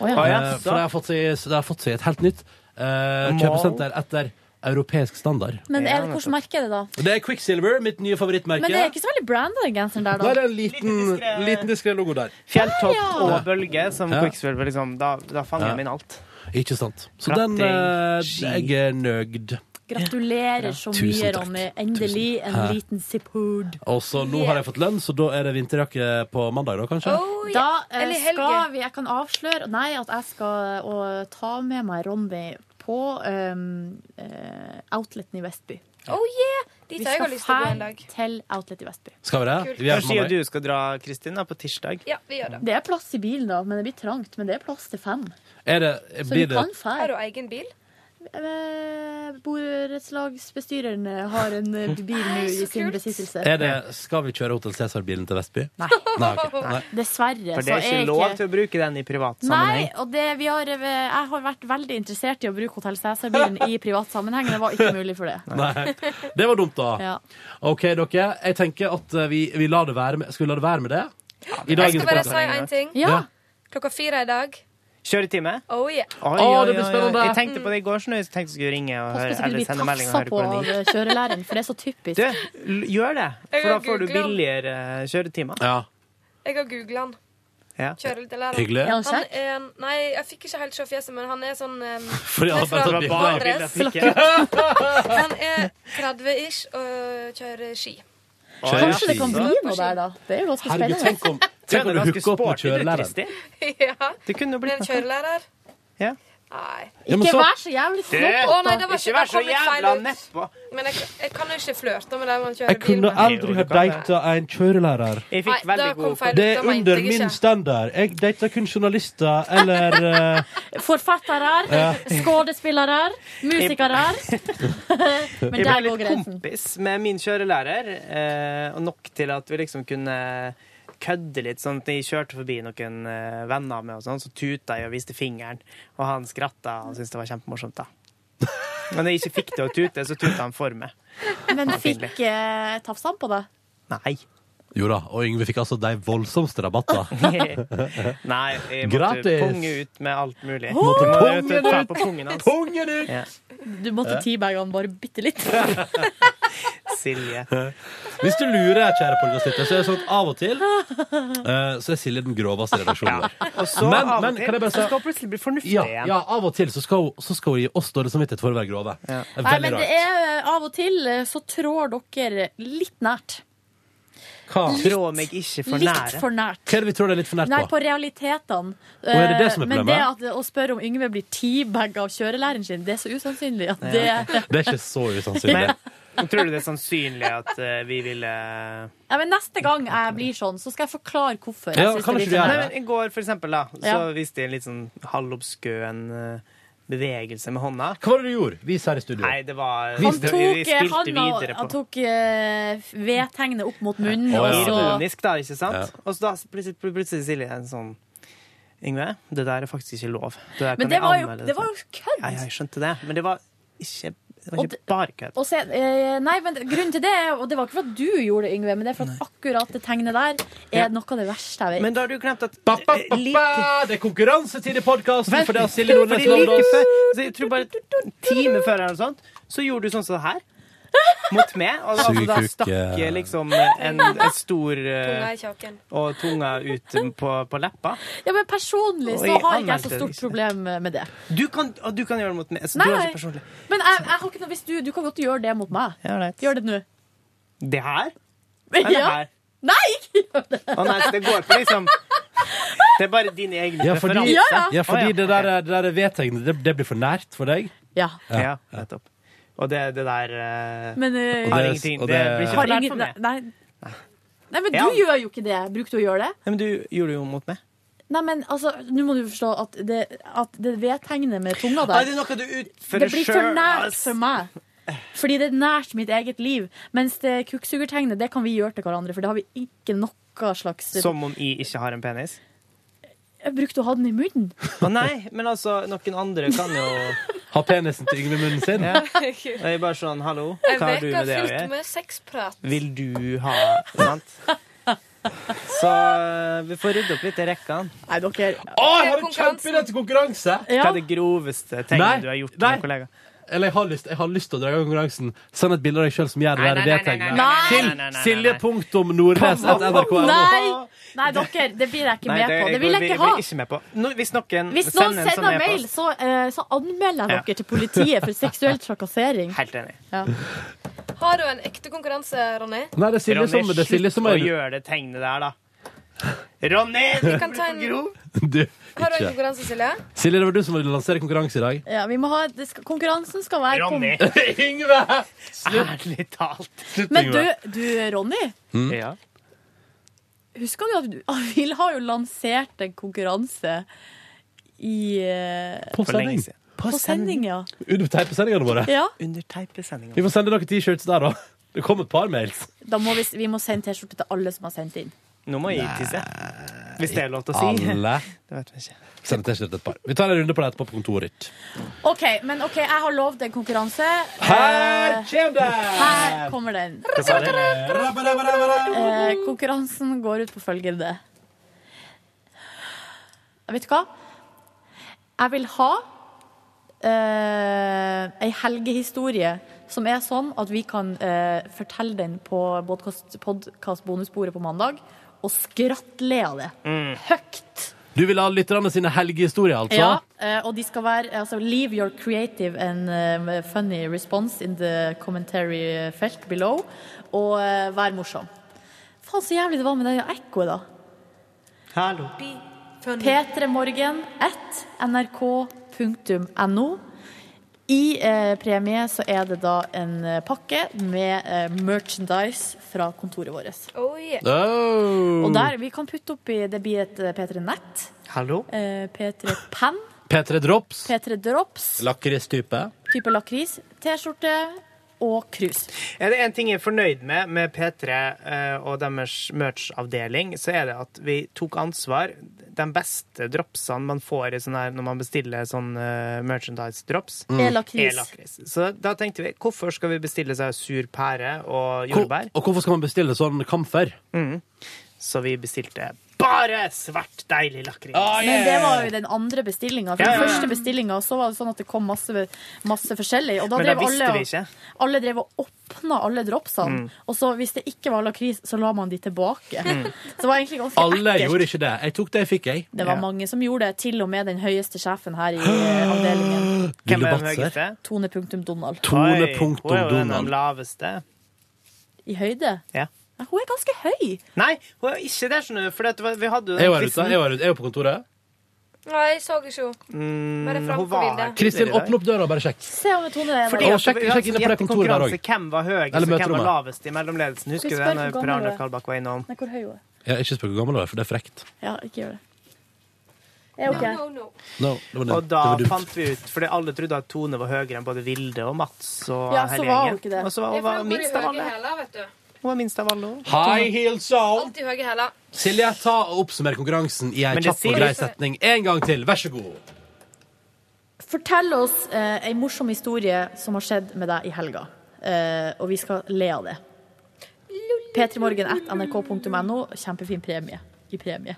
Å, ja. Eh, Å, ja. for det har fått seg, det har fått seg et helt nytt eh, Mall. kjøpesenter etter europeisk standard. Men er det, hvordan merke er det, da? Og Det er Quicksilver, mitt nye favorittmerke. Men det er ikke så veldig branda, den genseren Nei, der, da. det er en liten, liten diskré logo der. Fjelltopp Ah, og ja. bølge som Ja. Quicksilver, liksom. Da, da fanger Ja. jeg min alt. Ikke sant. Så Kratting, den eh, ski. Jeg er nøyd. Gratulerer så Tusen mye, takk. Ronny. Endelig en Hæ? liten sipphood. Og så nå har jeg fått lønn, så da er det vinterjakke på mandag, da, kanskje? Da eh, Eller helge. skal vi Jeg kan avsløre Nei, at jeg skal eh, ta med meg Ronny på um, eh, Outleten i Vestby. Oh yeah! Dit Vi har jeg skal også lyst til å gå en ferd til Outlet i Vestby. Skal vi det? Kult. Vi er på Kanskje mandag. du skal dra, Kristin, da, på tirsdag? Ja, vi gjør det. Det er plass i bilen, da, men det blir trangt. Men det er plass til fem. Er det, Så vi blir det kan fære. Har du egen bil? Eh, Borettslagsbestyreren har en eh, bil nå i sin besittelse. er det, Skal vi kjøre Hotell Cæsar-bilen til Vestby? Nei. ok. Nei. Dessverre. For det er så ikke lov til å bruke den i privat Nei, sammenheng. og det, vi har, eh, jeg har vært veldig interessert i å bruke Hotell Cæsar-bilen i privat sammenheng. Det var ikke mulig for det. Nei. Det var dumt, da. Ja. OK, dere. Jeg tenker at eh, vi, vi lar det være med Skal vi la det være med det? I Jeg dagens skal bare program. si én ting. Ja. Klokka fire i dag. Kjøretime? Oh yeah. Oi, Å, oi, det blir oi, spennende. oi. Jeg tenkte på det i går, så jeg tenkte jeg skulle ringe og Pass på høre, så du eller blir sende melding og tafsa høre på på av den. eh, kjørelæreren, for det er så typisk. Du, l- gjør det, Jeg for da får har du googlet den. billigere eh, kjøretimer. Ja. Jeg har googla han. Ja. Kjører litt eller Hyggelig. Er han Han kjekk? er, nei, jeg fikk ikke helt se fjeset, men han er sånn um, Fordi han bare tar bilder av Han er 30-ish og kjører ski. Kjører Kanskje det ski. kan bli noe der, da. Det er jo ganske Herregud, tenk spennende. om, tenk om du hooker opp med kjørelæreren. ja. Det kunne jo Blir blitt en kjørelærer? Ja. Nei. Ja, men Ikke så- vær så jævlig Du, flott, Å nei, det da. var ikke, vær det så kom litt feil jævla ut. Men jeg, jeg kan jo ikke flørte med dem man kjører Jeg kunne aldri ha data en kjørelærer. Jeg fikk Nei, veldig da kom god- feil ut, Det da er mente under jeg ikke. min standard. Jeg data kun journalister eller eh, Forfattere, Ja. skådespillere, musikere. Jeg ble Men der går litt grensen. kompis med min kjørelærer, eh, og nok til at vi liksom kunne kødde litt. sånn at Jeg kjørte forbi noen eh, venner med, og sånn, så tuta jeg og viste fingeren. Og han skratta og syntes det var kjempemorsomt. da. Men når jeg ikke fikk det å tute, så tuta han for meg. Men fikk eh, tafsa han på det? Nei. Jo da, og Yngve fikk altså de voldsomste rabatter. Nei, jeg måtte Gratis. punge ut med alt mulig. Måtte Jeg punge ut og ta ut. på pungen hans. Pungen ut! Ja. Du måtte Ja. teabage han bare bitte litt. Silje. Hvis du lurer, kjære podkastlytter, så er det sånn at av og til eh, så er Silje den groveste i redaksjonen vår. Og så Men- av og men til kan jeg bare si- så skal hun plutselig bli fornuftig Ja, igjen. ja, av og til så skal, hun- så skal hun gi oss dårlig samvittighet for å være grove. Det er Nei, Veldig men det rart. er eh, av og til eh, så trår dere litt nært. Hva? Trå meg ikke for Litt nære. for nært. Hva er det vi tror det er litt for nært Nei, på? på realitetene. Og er det det som er Eh, Men det problemet? at, å spørre om Yngve blir teabagga av kjørelæreren sin, det er så usannsynlig at det Det er ikke så usannsynlig. Men tror du det er sannsynlig at eh, vi ville Ja, men Neste gang jeg blir sånn, så skal jeg forklare hvorfor. Jeg synes det blir Nei, men sånn. I går, for eksempel, da, så Ja. viste jeg en litt sånn halvobskøen eh, bevegelse med hånda. Hva var det du gjorde? Vis her i studio. Nei, det var Han det- tok, vi eh, spilte handa- videre på. han tok eh, vedtegnet opp mot munnen, Og og så ironisk, da, ikke sant? Og så da plutselig, plutselig Silje en sånn Yngve, det der er faktisk ikke lov. Det der kan Men det vi var jo, anmelde det var for.» jo kødd! Ja, ja, jeg skjønte det, men det var ikke, det var Og ikke bare kødd. Og så, eh, nei, men grunnen til det, er- og det var ikke for at du gjorde det, Yngve, men det er for at akkurat det tegnet der er Ja. noe av det verste jeg vet. Men da har du glemt at eh, Ba, Det er konkurransetid i podkasten, for det har Silje Nordnes Fordi lovd like oss. før, så jeg tror bare en time før eller noe sånt, så gjorde du sånn som det her. Mot meg. Og altså, da Sugekukke. stakk jeg liksom en, en stor Tunga eh, i kjaken. Og tunga ut på, på leppa. Ja, men personlig Oi, så har ikke jeg så anmeldte det stort liksom. ikke. problem med det. Du kan, og du kan gjøre det mot meg. Så Nei, du er nei. ikke personlig. Men jeg, jeg har ikke noe, hvis du, du kan godt gjøre det mot meg. Ja, right. Gjør det nå. Det her? Eller Ja. her? Nei! ikke gjør det. Å nei, så det går på liksom Det er bare dine egne Ja, fordi, preferanser. ja, fordi Ah, Å, det der, det der vedtegnet, det, det blir for nært for deg. Ja. Ja, nettopp. Og det, det der eh, Men, eh, Og har det- ingenting. og Det det- blir ikke Har for nært ingen- for meg. Nei, nei men Ja. du gjør jo ikke det. Bruker du å gjøre det? Nei, men du gjorde det jo mot meg. Nei, men altså, nå må du forstå at det, at det vedtegnet med tunga der Nei, det er noe du utfører Det blir for selv, nært ass. for meg. Fordi det er nært mitt eget liv. Mens det kukksugertegnet, det kan vi gjøre til hverandre, for det har vi ikke noe slags Som om jeg ikke har en penis. Jeg brukte å ha den i munnen. Å nei, men altså, noen andre kan jo Ha penisen til Yngve i munnen sin. ja. Jeg er bare sånn, hallo, Jeg hva har vet du jeg med har det å fulgt gjøre? med sexprat. Vil du ha Sant? Så eh, vi får rydde opp litt i rekkene. Nei, dere Å, jeg har en kjempeidé til konkurranse! Hva er det groveste Nei, tegnet du har gjort med nei. en kollega? Eller jeg har lyst, jeg har lyst til å dra i gang konkurransen. Send et bilde av deg sjøl som gjør det Nei, der nei, nei, nei, vedtegnet. nei, nei, nei, nei, nei, Til silje.nordnes.nrk.no. Nei, nei, dere, det blir jeg ikke Nei, med på. Det vil jeg ikke ha. blir ikke med på. Nå, hvis noen Hvis noen en sånn sender e-post- mail, så, eh, så anmelder jeg Ja. dere til politiet for seksuell trakassering. Helt enig. Ja. Har du en ekte konkurranse, Ronny? Nei, det er Silje som, det er Silje som slutt er å gjøre det tegnet der, da. Ronny! Vi kan ta en, har Du, du en ikke. konkurranse, Silje? Silje, det var du som ville lansere konkurranse i dag. Ja, vi må ha, det skal, konkurransen skal være kom- Ronny. Yngve! Ærlig talt. Men du, du, Ronny, Ja. husker du at du, Vil har jo lansert en konkurranse i eh, På For lenge sending. siden. På sending, ja. Under teipesendingene våre. ja. Under teipesendinga. Vi får sende noen T-shirts der, da. Det kom et par mails. Da må vi, s- vi må sende T-skjorte til alle som har sendt inn. Nå må jeg tisse. Hvis det er lov til å si. Alle. Det vet vi ikke. Send T-skjorte et par. Vi tar en runde på det etterpå på kontoret ditt. OK, men ok, jeg har lovd en konkurranse. Eh. Her kommer den! Her kommer den. Hva sa du? Eh, konkurransen går ut på følgende. Vet du hva? Jeg vil ha eh, ei helgehistorie som er sånn at vi kan eh, fortelle den på podkast-bonusbordet på mandag, og skrattle av det. Mm. Høgt. Du vil ha lytterne sine helgehistorier, altså? Ja, eh, og de skal være altså, Leave your creative and eh, funny response in the commentary felt below. Og eh, vær morsom. Faen, så jævlig det var med det ekkoet, da. Hallo. P3morgen at nrk.no. I eh, premie så er det da en eh, pakke med eh, merchandise fra kontoret vårt. Oh, yeah. Oh. Mm. Og der vi kan putte oppi Det blir et eh, P3 Nett, Hallo? eh, P3 Pen, P3 Drops. P3 Drops Lakristype. type lakris, T-skjorte og krus. Mm. Er det én ting jeg er fornøyd med med P3 eh, og deres merch-avdeling, så er det at vi tok ansvar. De beste dropsene man får i sånn her, når man bestiller sånn eh, merchandise-drops, Mm. Er lakris. er lakris. Så da tenkte vi hvorfor skal vi bestille seg sur pære og Hvor, jordbær? og hvorfor skal man bestille sånn kamfer? Så vi bestilte Bare svart, deilig lakris. Ah, Men det var jo den andre bestillinga. For Ja, ja, den ja. første bestillinga så var det sånn at det kom masse, masse forskjellig. Og da Men da drev visste alle, vi ikke. alle drev og åpna alle dropsene. Mm. Og så hvis det ikke var lakris, så la man de tilbake. Mm. Så det var egentlig ganske Alle ekkelt. gjorde ikke det. Jeg tok det jeg fikk, jeg. Det var mange som gjorde det, til og med den høyeste sjefen her i eh, avdelingen. Hvem er den Batzer? høyeste? Tone punktum Donald. Tone Oi, punktum Hun er jo den Donald. laveste. I høyde? Ja. Nei, Hun er ganske høy. Nei, hun er ikke det, skjønner du. For det var- vi hadde jo Jeg den var ute. quizen. Jeg var ute. Jeg var på kontoret. Nei, jeg så ikke henne. Bare fram Mm, hun på var- bildet. Kristin, åpne opp døra og bare sjekk. Se om Tone er Fordi Å, at sjekk- vi hadde sjekk inne på det sånn kontoret der også. jættekonkurranse. Hvem var høyest, Eller og hvem var møterommet. lavest i mellomledelsen? Husker du Skal det vi spørre når hvor Per gammel du Arne er? Kalbakk var innom? Nei, hvor høy hun er. Ja, ikke spør hvor gammel du er, for det er frekt. Ja, ikke gjør det. Er hun ikke her? No, det var dumt. Og da det var dumt. fant vi ut, fordi alle trodde at Tone var høyere enn både Vilde og Mats og Ja, så hele var hun gjengen. ikke det. Og så var hun Det er var for minst av går i høye alle. hæler, vet du. Hun var minst av alle. hun. High heels on! Alltid høye hæler. Silje, ta og oppsummer konkurransen i en Men det kjapp og sier- grei setning. En gang til, vær så god. Fortell oss eh, ei morsom historie som har skjedd med deg i helga. Eh, og vi skal le av det. p3morgen.nrk.no. Kjempefin premie. I premie.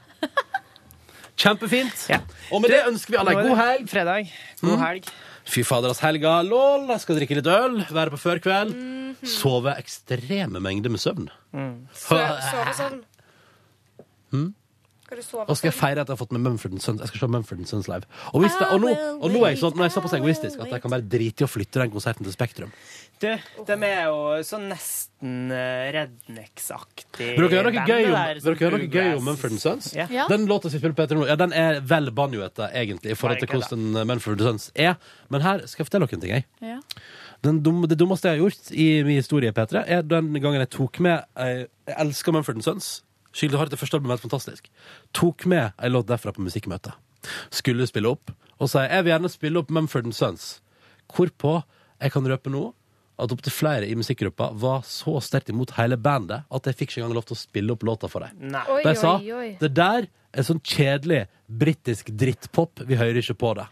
Kjempefint. Og med det ønsker vi alle en god helg. Mm. Fredag. God helg. Fy fader, ass helga. Lol, jeg skal drikke litt øl, være på førkveld. Sove ekstreme mengder med søvn. Hmm? Sø- Sovesøvn. Mm. sånn. Skal du sove? Og skal jeg feire at jeg har fått med Mumford Sons. Jeg skal se Mumford Sons live. Og, hvis det, og, nå, og nå er jeg sånn at nå er jeg såpass egoistisk at jeg kan bare drite i å flytte den konserten til Spektrum. Du, de er jo sånn nesten eh, rednecks-aktig. Vil dere høre noe band, gøy det om, der, vil dere høre som noe Ugress. gøy om Mumford Sons? Ja. Ja. Den låta som vi spiller på P3 nå, ja, den er vel banjoete, egentlig, i forhold til Nei, ikke hvordan eh, Mumford Sons er. Men her skal jeg fortelle dere en ting, jeg. Ja. Den dum, det dummeste jeg har gjort i min historie, P3, er den gangen jeg tok med eh, Jeg elsker Mumford Sons. Skikkelig hardt. Det første albumet er helt fantastisk. Tok med ei låt derfra på musikkmøtet. Skulle spille opp. Og sa jeg jeg vil gjerne spille opp Mumford Sons. Hvorpå jeg kan røpe nå at opptil flere i musikkgruppa var så sterkt imot hele bandet at jeg fikk ikke engang lov til å spille opp låta for dem. Nei. Oi, De sa sånn? oi, oi. det der er sånn kjedelig britisk drittpop, vi hører ikke på det.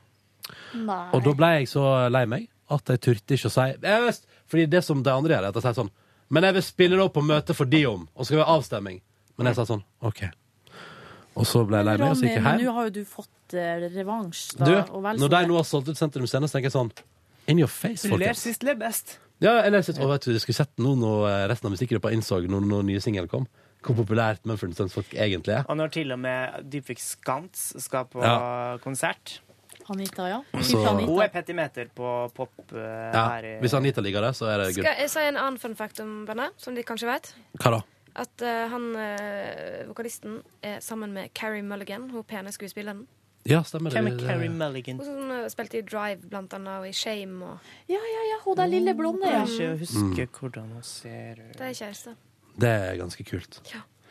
Nei. Og da ble jeg så lei meg at jeg turte ikke å si jeg vet, Fordi det som de andre gjør, er at de sier sånn Men jeg vil spille det opp på møtet for de om, og så skal vi ha avstemning. Men jeg sa sånn OK. Og så ble jeg lei meg, og så gikk jeg men hjem. nå har jo du fått eh, revansj, da. Du, og vel så når de det. nå har solgt ut Sentrum Scene, så tenker jeg sånn In your face, Du ler folkens. sist, ler best. Ja, eller jeg synes, å, vet du, jeg skulle sett nå når eh, resten av musikkgruppa innså når, når nye singel kom, hvor populært Mumford Sons folk egentlig er. Og når til og med Dybvik Skantz skal på Ja. konsert Anita, ja. Og så- Anita. Hun er petimeter på pop eh, Ja, her i hvis Anita liker det, så er det good. Skal jeg si en annen fun fact om bandet, som de kanskje vet? Hva da? At eh, han, eh, vokalisten, er sammen med Carrie Mulligan, hun pene skuespilleren. Ja, stemmer det. Hvem er Carrie Mulligan? Hun som eh, spilte i Drive, blant annet, og i Shame, og Ja, ja, ja. Hun der lille blonde, Jeg ja. kan ikke Mm. huske hvordan hun ser ut. de er kjærester. Det er ganske kult.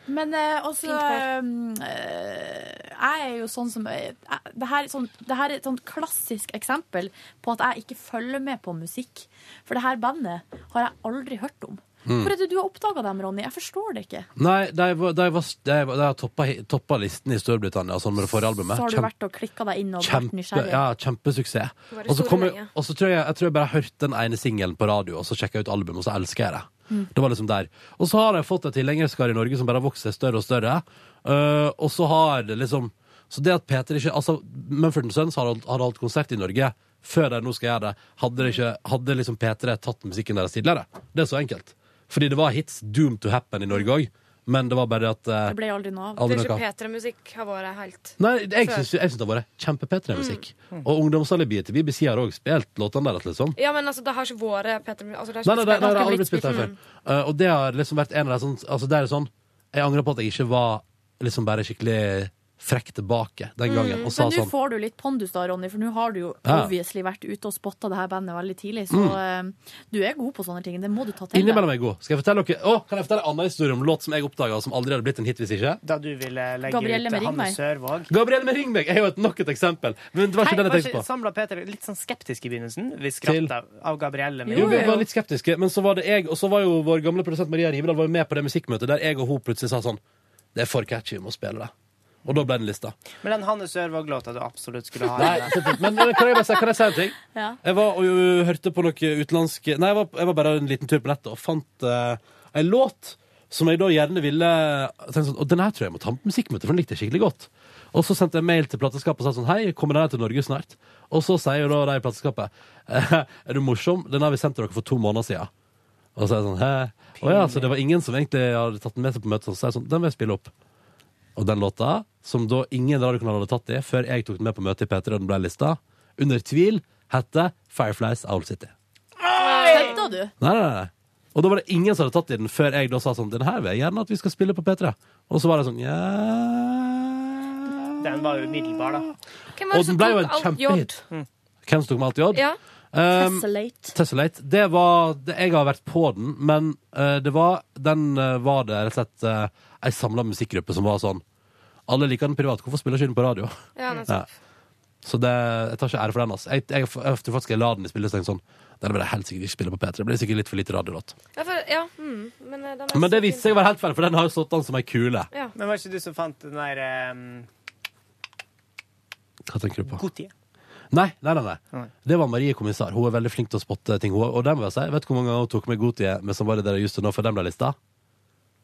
Men eh, altså Fint vær. eh, eh, Jeg er jo sånn som eh, jeg- det her, er sånn, det her er et sånn klassisk eksempel på at jeg ikke følger med på musikk. For det her bandet har jeg aldri hørt om. Mm. Hvor er det du har oppdaga dem, Ronny? Jeg forstår det ikke. Nei, de, var- de, var, de, var- de har toppa, toppa listen i Storbritannia sånn med det forrige albumet. Så har du Kjempe- vært og klikka deg inn og vært Kjempe, nysgjerrig. ja, kjempesuksess. Var det Og så store kom jeg, lenge? og så tror jeg, jeg tror jeg bare hørte den ene singelen på radio, og så sjekka jeg ut albumet, og så elsker jeg det. Mm. Det var liksom der. Og så har jeg fått et tilhengerskare i Norge som bare har vokst seg større og større. Eh, og så har det liksom Så det at Peter ikke Altså, Mumford Sons har holdt- hadde holdt konsert i Norge før de nå skal gjøre det. Hadde, det ikke, hadde liksom P3 tatt musikken deres tidligere? Det er så enkelt. Fordi det var hits doomed to happen i Norge òg, men det var bare det at eh, Det ble aldri noe av. Aldri det er noe av. ikke P3-musikk har vært helt Nei, jeg Før. syns, jeg syns det har vært Mm. kjempe-P3-musikk. Og ungdomsalibiet til BBC har òg spilt låtene deres, liksom. Ja, men altså, det har ikke vært P3-musikk. Altså, det Nei, nei, har nei, ikke nei, det har aldri blitt blitt spilt spilt. der før. Eh, og det har liksom vært en av de sånn Altså, det er sånn Jeg angrer på at jeg ikke var liksom bare skikkelig frekk tilbake den gangen og sa Mm. Men nå sånn. får du litt pondus da, Ronny, for nå har du jo Ja. obviously vært ute og spotta det her bandet veldig tidlig. Så Mm. eh, du er god på sånne ting. Det må du ta til deg. Innimellom er jeg god. Skal jeg fortelle dere Å, kan jeg fortelle en annen historie om låt som jeg oppdaga, som aldri hadde blitt en hit hvis ikke? Da du ville legge Gabrielle med ut Hanne Ringvei. Sørvåg. Gabrielle med Ring meg er jo et nok et eksempel. Men det var ikke den jeg tenkte på. Samla Peter litt sånn skeptisk i begynnelsen. Vi Til- skratta av Gabrielle. med Jo, vi Ringvei. var litt skeptiske, men så var det jeg, og så var jo vår gamle produsent Maria Rivedal var jo med på det musikkmøtet der jeg og hun plutselig sa sånn Det er for catchy, vi må spille det. Og da ble den lista. Men den Hanne Sørvåg-låta du absolutt skulle ha. Nei, selvfølgelig. men men kan jeg bare si, kan jeg si en ting? Ja. Jeg var og jo, hørte på noe utenlandsk Nei, jeg var, jeg var bare en liten tur på nettet og fant eh, en låt som jeg da gjerne ville tenkte sånn, Og den her tror jeg jeg må ta med på musikkmøtet, for den likte jeg skikkelig godt. Og så sendte jeg mail til plateskapet og sa sånn Hei, kommer den her til Norge snart? Og så sier jo da de i plateskapet Er du morsom? Den har vi sendt til dere for to måneder siden. Og så er jeg sånn Hæ? Å ja, så det var ingen som egentlig hadde tatt den med seg på møtet. Så sier jeg sånn Den vil jeg spille opp. Og den låta, som da ingen radiokanal hadde tatt i før jeg tok den med på møtet i P3 og den ble lista, under tvil heter Fireflies Owl City. Kødda du? Nei, nei, nei. Og da var det ingen som hadde tatt i den før jeg da sa sånn Den her vil jeg gjerne at vi skal spille på P3. Og så var det sånn ja. Den var jo umiddelbar, da. Hvem Og den ble jo en kjempehit. Hvem som tok med alt i odd? Ja. Um, Tessellate. Tessellate. Det var det, Jeg har vært på den, men eh, det var den eh, var det rett og slett uh, ei samla musikkgruppe som var sånn Alle liker den privat, hvorfor spiller ikke den på radio? Ja, nettopp. Så det, jeg tar ikke ære for den. Altså. Jeg, jeg, jeg tror faktisk jeg la den i spillet og tenkte sånn Den vil jeg helt sikkert ikke spille på P3. Det blir sikkert litt for lite radiolåt. Ja, for, ja, mm, men eh, den er Men det så viste fin. seg å være helt feil, for den har jo stått an som ei kule. Ja. Men var ikke du som fant den der ehm, Hva tenker du på? Gotye? Nei, nei, nei, nei. Det var Marie Kommissar. Hun er veldig flink til å spotte ting. Hun, og det må jeg si, vet du hvor mange ganger hun tok med Gotie med som var det der just nå før den ble lista?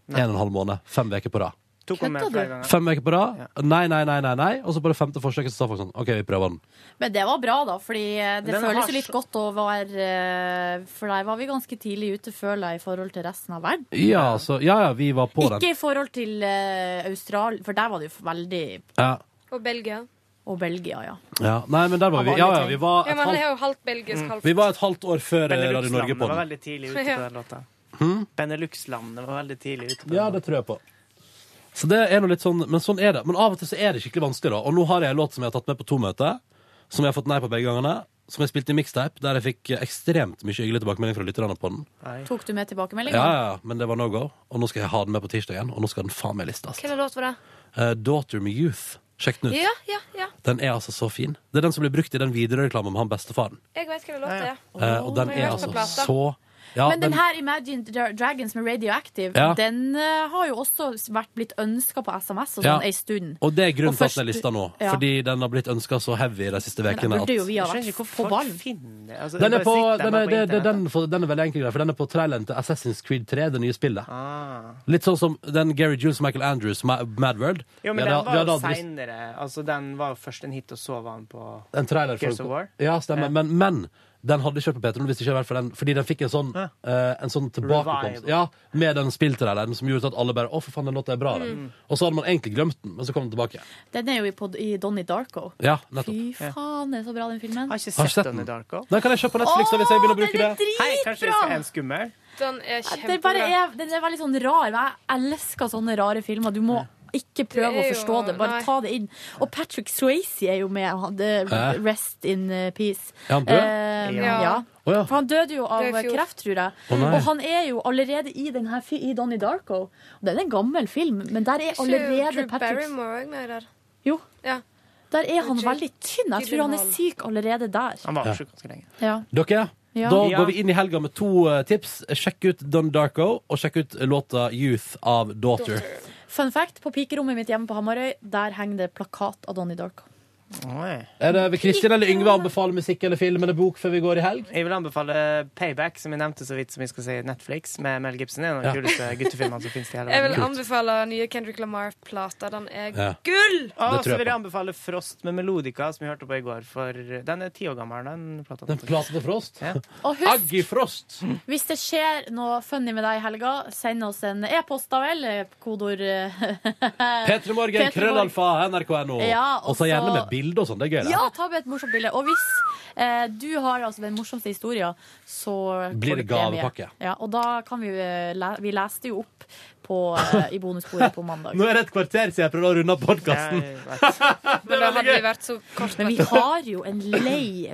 En og en halv måned. Fem uker på rad. Tok hun med Kødder flere du? ganger. Fem uker på rad. Nei, nei, nei, nei, nei. Og så på det femte forsøket så sa folk sånn OK, vi prøver den. Men det var bra, da, fordi eh, det Den føles har- jo litt godt å være eh, For der var vi ganske tidlig ute, føler jeg, i forhold til resten av verden. Ja, så, ja, ja, vi var på Ikke den. i forhold til eh, Australia, for der var det jo veldig Ja. Og Belgia. Og Belgia, ja. ja. Nei, men der var vi. Ja, ja, vi var Ja, et men han er halvt, jo halvt Mm. belgisk, halvt vi var et halvt år før eh, Radio Norge Benelux-landene på var den. veldig tidlig ute på Ja. den låta. Hm? Benelux-landene var veldig tidlig ute på den. Ja, det tror jeg på. Så det er noe litt sånn, Men sånn er det. Men av og til så er det skikkelig vanskelig. da Og nå har jeg en låt som jeg har tatt med på to møter, som jeg har fått nei på begge gangene. Som jeg spilte i mixtape, der jeg fikk eh, ekstremt mye hyggelig tilbakemelding fra lytterne på den. Tok du med tilbakemeldinga? Ja, ja, men det var no go. Og nå skal jeg ha den med på tirsdag igjen, og nå skal den faen meg listes. Hvilken låt var det? Eh, Daughter med Youth. Sjekk den ut. Ja, ja, ja. Den er altså så fin. Det er den som blir brukt i den Widerøe-reklamen om han bestefaren. Jeg vet hvilken låt det er. Eh, og den Jeg er har hørt altså på plata. så ja, Men den her Imagine Dra- Dragons med Radioactive, Ja. den eh, har jo også vært blitt ønska på SMS og Ja. sånn ei stund. Og det er grunnen Og til at den er først- lista nå. Ja. Fordi den har blitt ønska så heavy de siste Men da ukene. burde jo vi ha Jeg skjønner vært ikke på ball. Altså, Den er, bare på, sitter den, bare er, det, på det, internett. den, for, den er veldig enkel, for den er på traileren til Assassin's Creed 3, det nye spillet. Ah. Litt sånn som den Gary Jules Michael Andrews, Ma- Mad World. Jo, men Vi hadde- den vi var jo hadde aldri- seinere. Altså, den var jo først en hit, og så var den på En trailer Gears of War. for Ja, stemmer. Men, men den hadde kjørt på P3 hvis det ikke hadde vært for den, fordi den fikk en sånn, eh, en sånn tilbakekomst. Revival. Ja, med den spilltraileren som gjorde at alle bare 'Å, for faen, den låta er bra', den. Mm. Og så hadde man egentlig glemt den, men så kom den tilbake. Den er jo i, pod- i Donnie Darko. Ja, nettopp. Fy faen, det er så bra, den filmen. Har ikke Har ikke sett den. Den kan jeg kjøpe på Netflix da, hvis jeg begynner å bruke det. Hei, kanskje jeg skal en skummel? Den er Den, bare kjempebra. er, den er veldig sånn rar. men Jeg elsker sånne rare filmer. Du må ikke prøve å Det er forstå jo- det. Bare nei. ta det inn. Og Patrick Swayze er jo med. Han, det, Hæ? rest in uh, peace. Er han død? Eh, Ja. ja. Å, ja. For han døde jo av Det er i fjor. kreft, tror jeg. Å, nei. og han er jo allerede i, den her, fi- i Donnie Darko. Og det er en gammel film, men der er Ikke Drew allerede Patrick Barrymore også med der. Jo. Ja. Der er han Jake veldig tynn. Jeg tror han er Gyllenhaal. syk allerede der. Han var Ja. sjuk ganske lenge. Ja. Dere, Ja. da Ja. går vi inn i helga med to eh, tips. Sjekk ut Don Darko, og sjekk ut låta 'Youth' av Daughter. Fun fact, på pikerommet mitt hjemme på Hamarøy, der henger det plakat av Donnie Darko. Er det vil Kristin eller Yngve anbefale musikk eller film eller bok før vi går i helg? Jeg vil anbefale Payback, som jeg nevnte så vidt som jeg skal si Netflix, med Mel Gibson. Det er en av de Ja. kuleste guttefilmene som finnes i hele Jeg vil verden. anbefale nye Kendrick Lamar-plata. Den er Ja. gull! Det Og tror så jeg vil jeg på. anbefale Frost med Melodica, som vi hørte på i går. For den er ti år gammel, den plata. Den plata til Frost? Og husk- Aggie Frost! Hvis det skjer noe funny med deg i helga, send oss en e-post da vel. eh, Kodeord eh, P3morgen, Petremorgen. krøllalfa, nrk.no. Ja, og så også- gjerne med bilde og sånn. Det er gøy, det. Ja, ta med et morsomt bilde. Og hvis eh, du har altså, den morsomste historien, så får Blir det du premie. gavepakke. Ja, og da kan vi eh, le Vi leste jo opp på, eh, i bonusbordet på mandag. Nå er det et kvarter siden jeg prøvde å runde av podkasten. Men da hadde vi vært så kort Men vi har jo en lei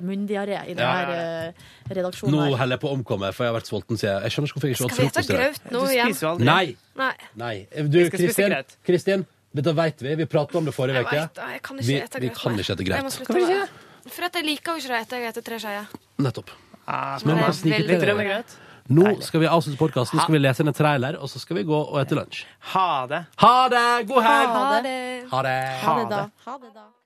Ja, munndiaré i ja, denne eh, redaksjonen. Nå her. holder jeg på å omkomme, for jeg har vært sulten siden Jeg skjønner ikke hvorfor jeg ikke åt Skal vi ta frokost i dag. grøt nå Du igjen? spiser jo aldri. Nei. Nei. Nei. Du, Jeg skal spise Kristin, grøt. Kristin, dette vet vi. Vi pratet om det forrige Jeg vet, uke. det. jeg kan Vi- ikke ete vi grøt. kan ikke ete grøt. Jeg må slutte Hvorfor med det. For at jeg liker jo ikke det etter jeg etter tre skeier. Nettopp. Ah, Men det man er sniker veldig til det. greit. Nå skal vi avslutte podkasten, skal vi lese inn en trailer, og så skal vi gå og ete lunsj. Ha det. Ha det! God helg! Ha det. Ha det. Ha det, da. Ha det, da.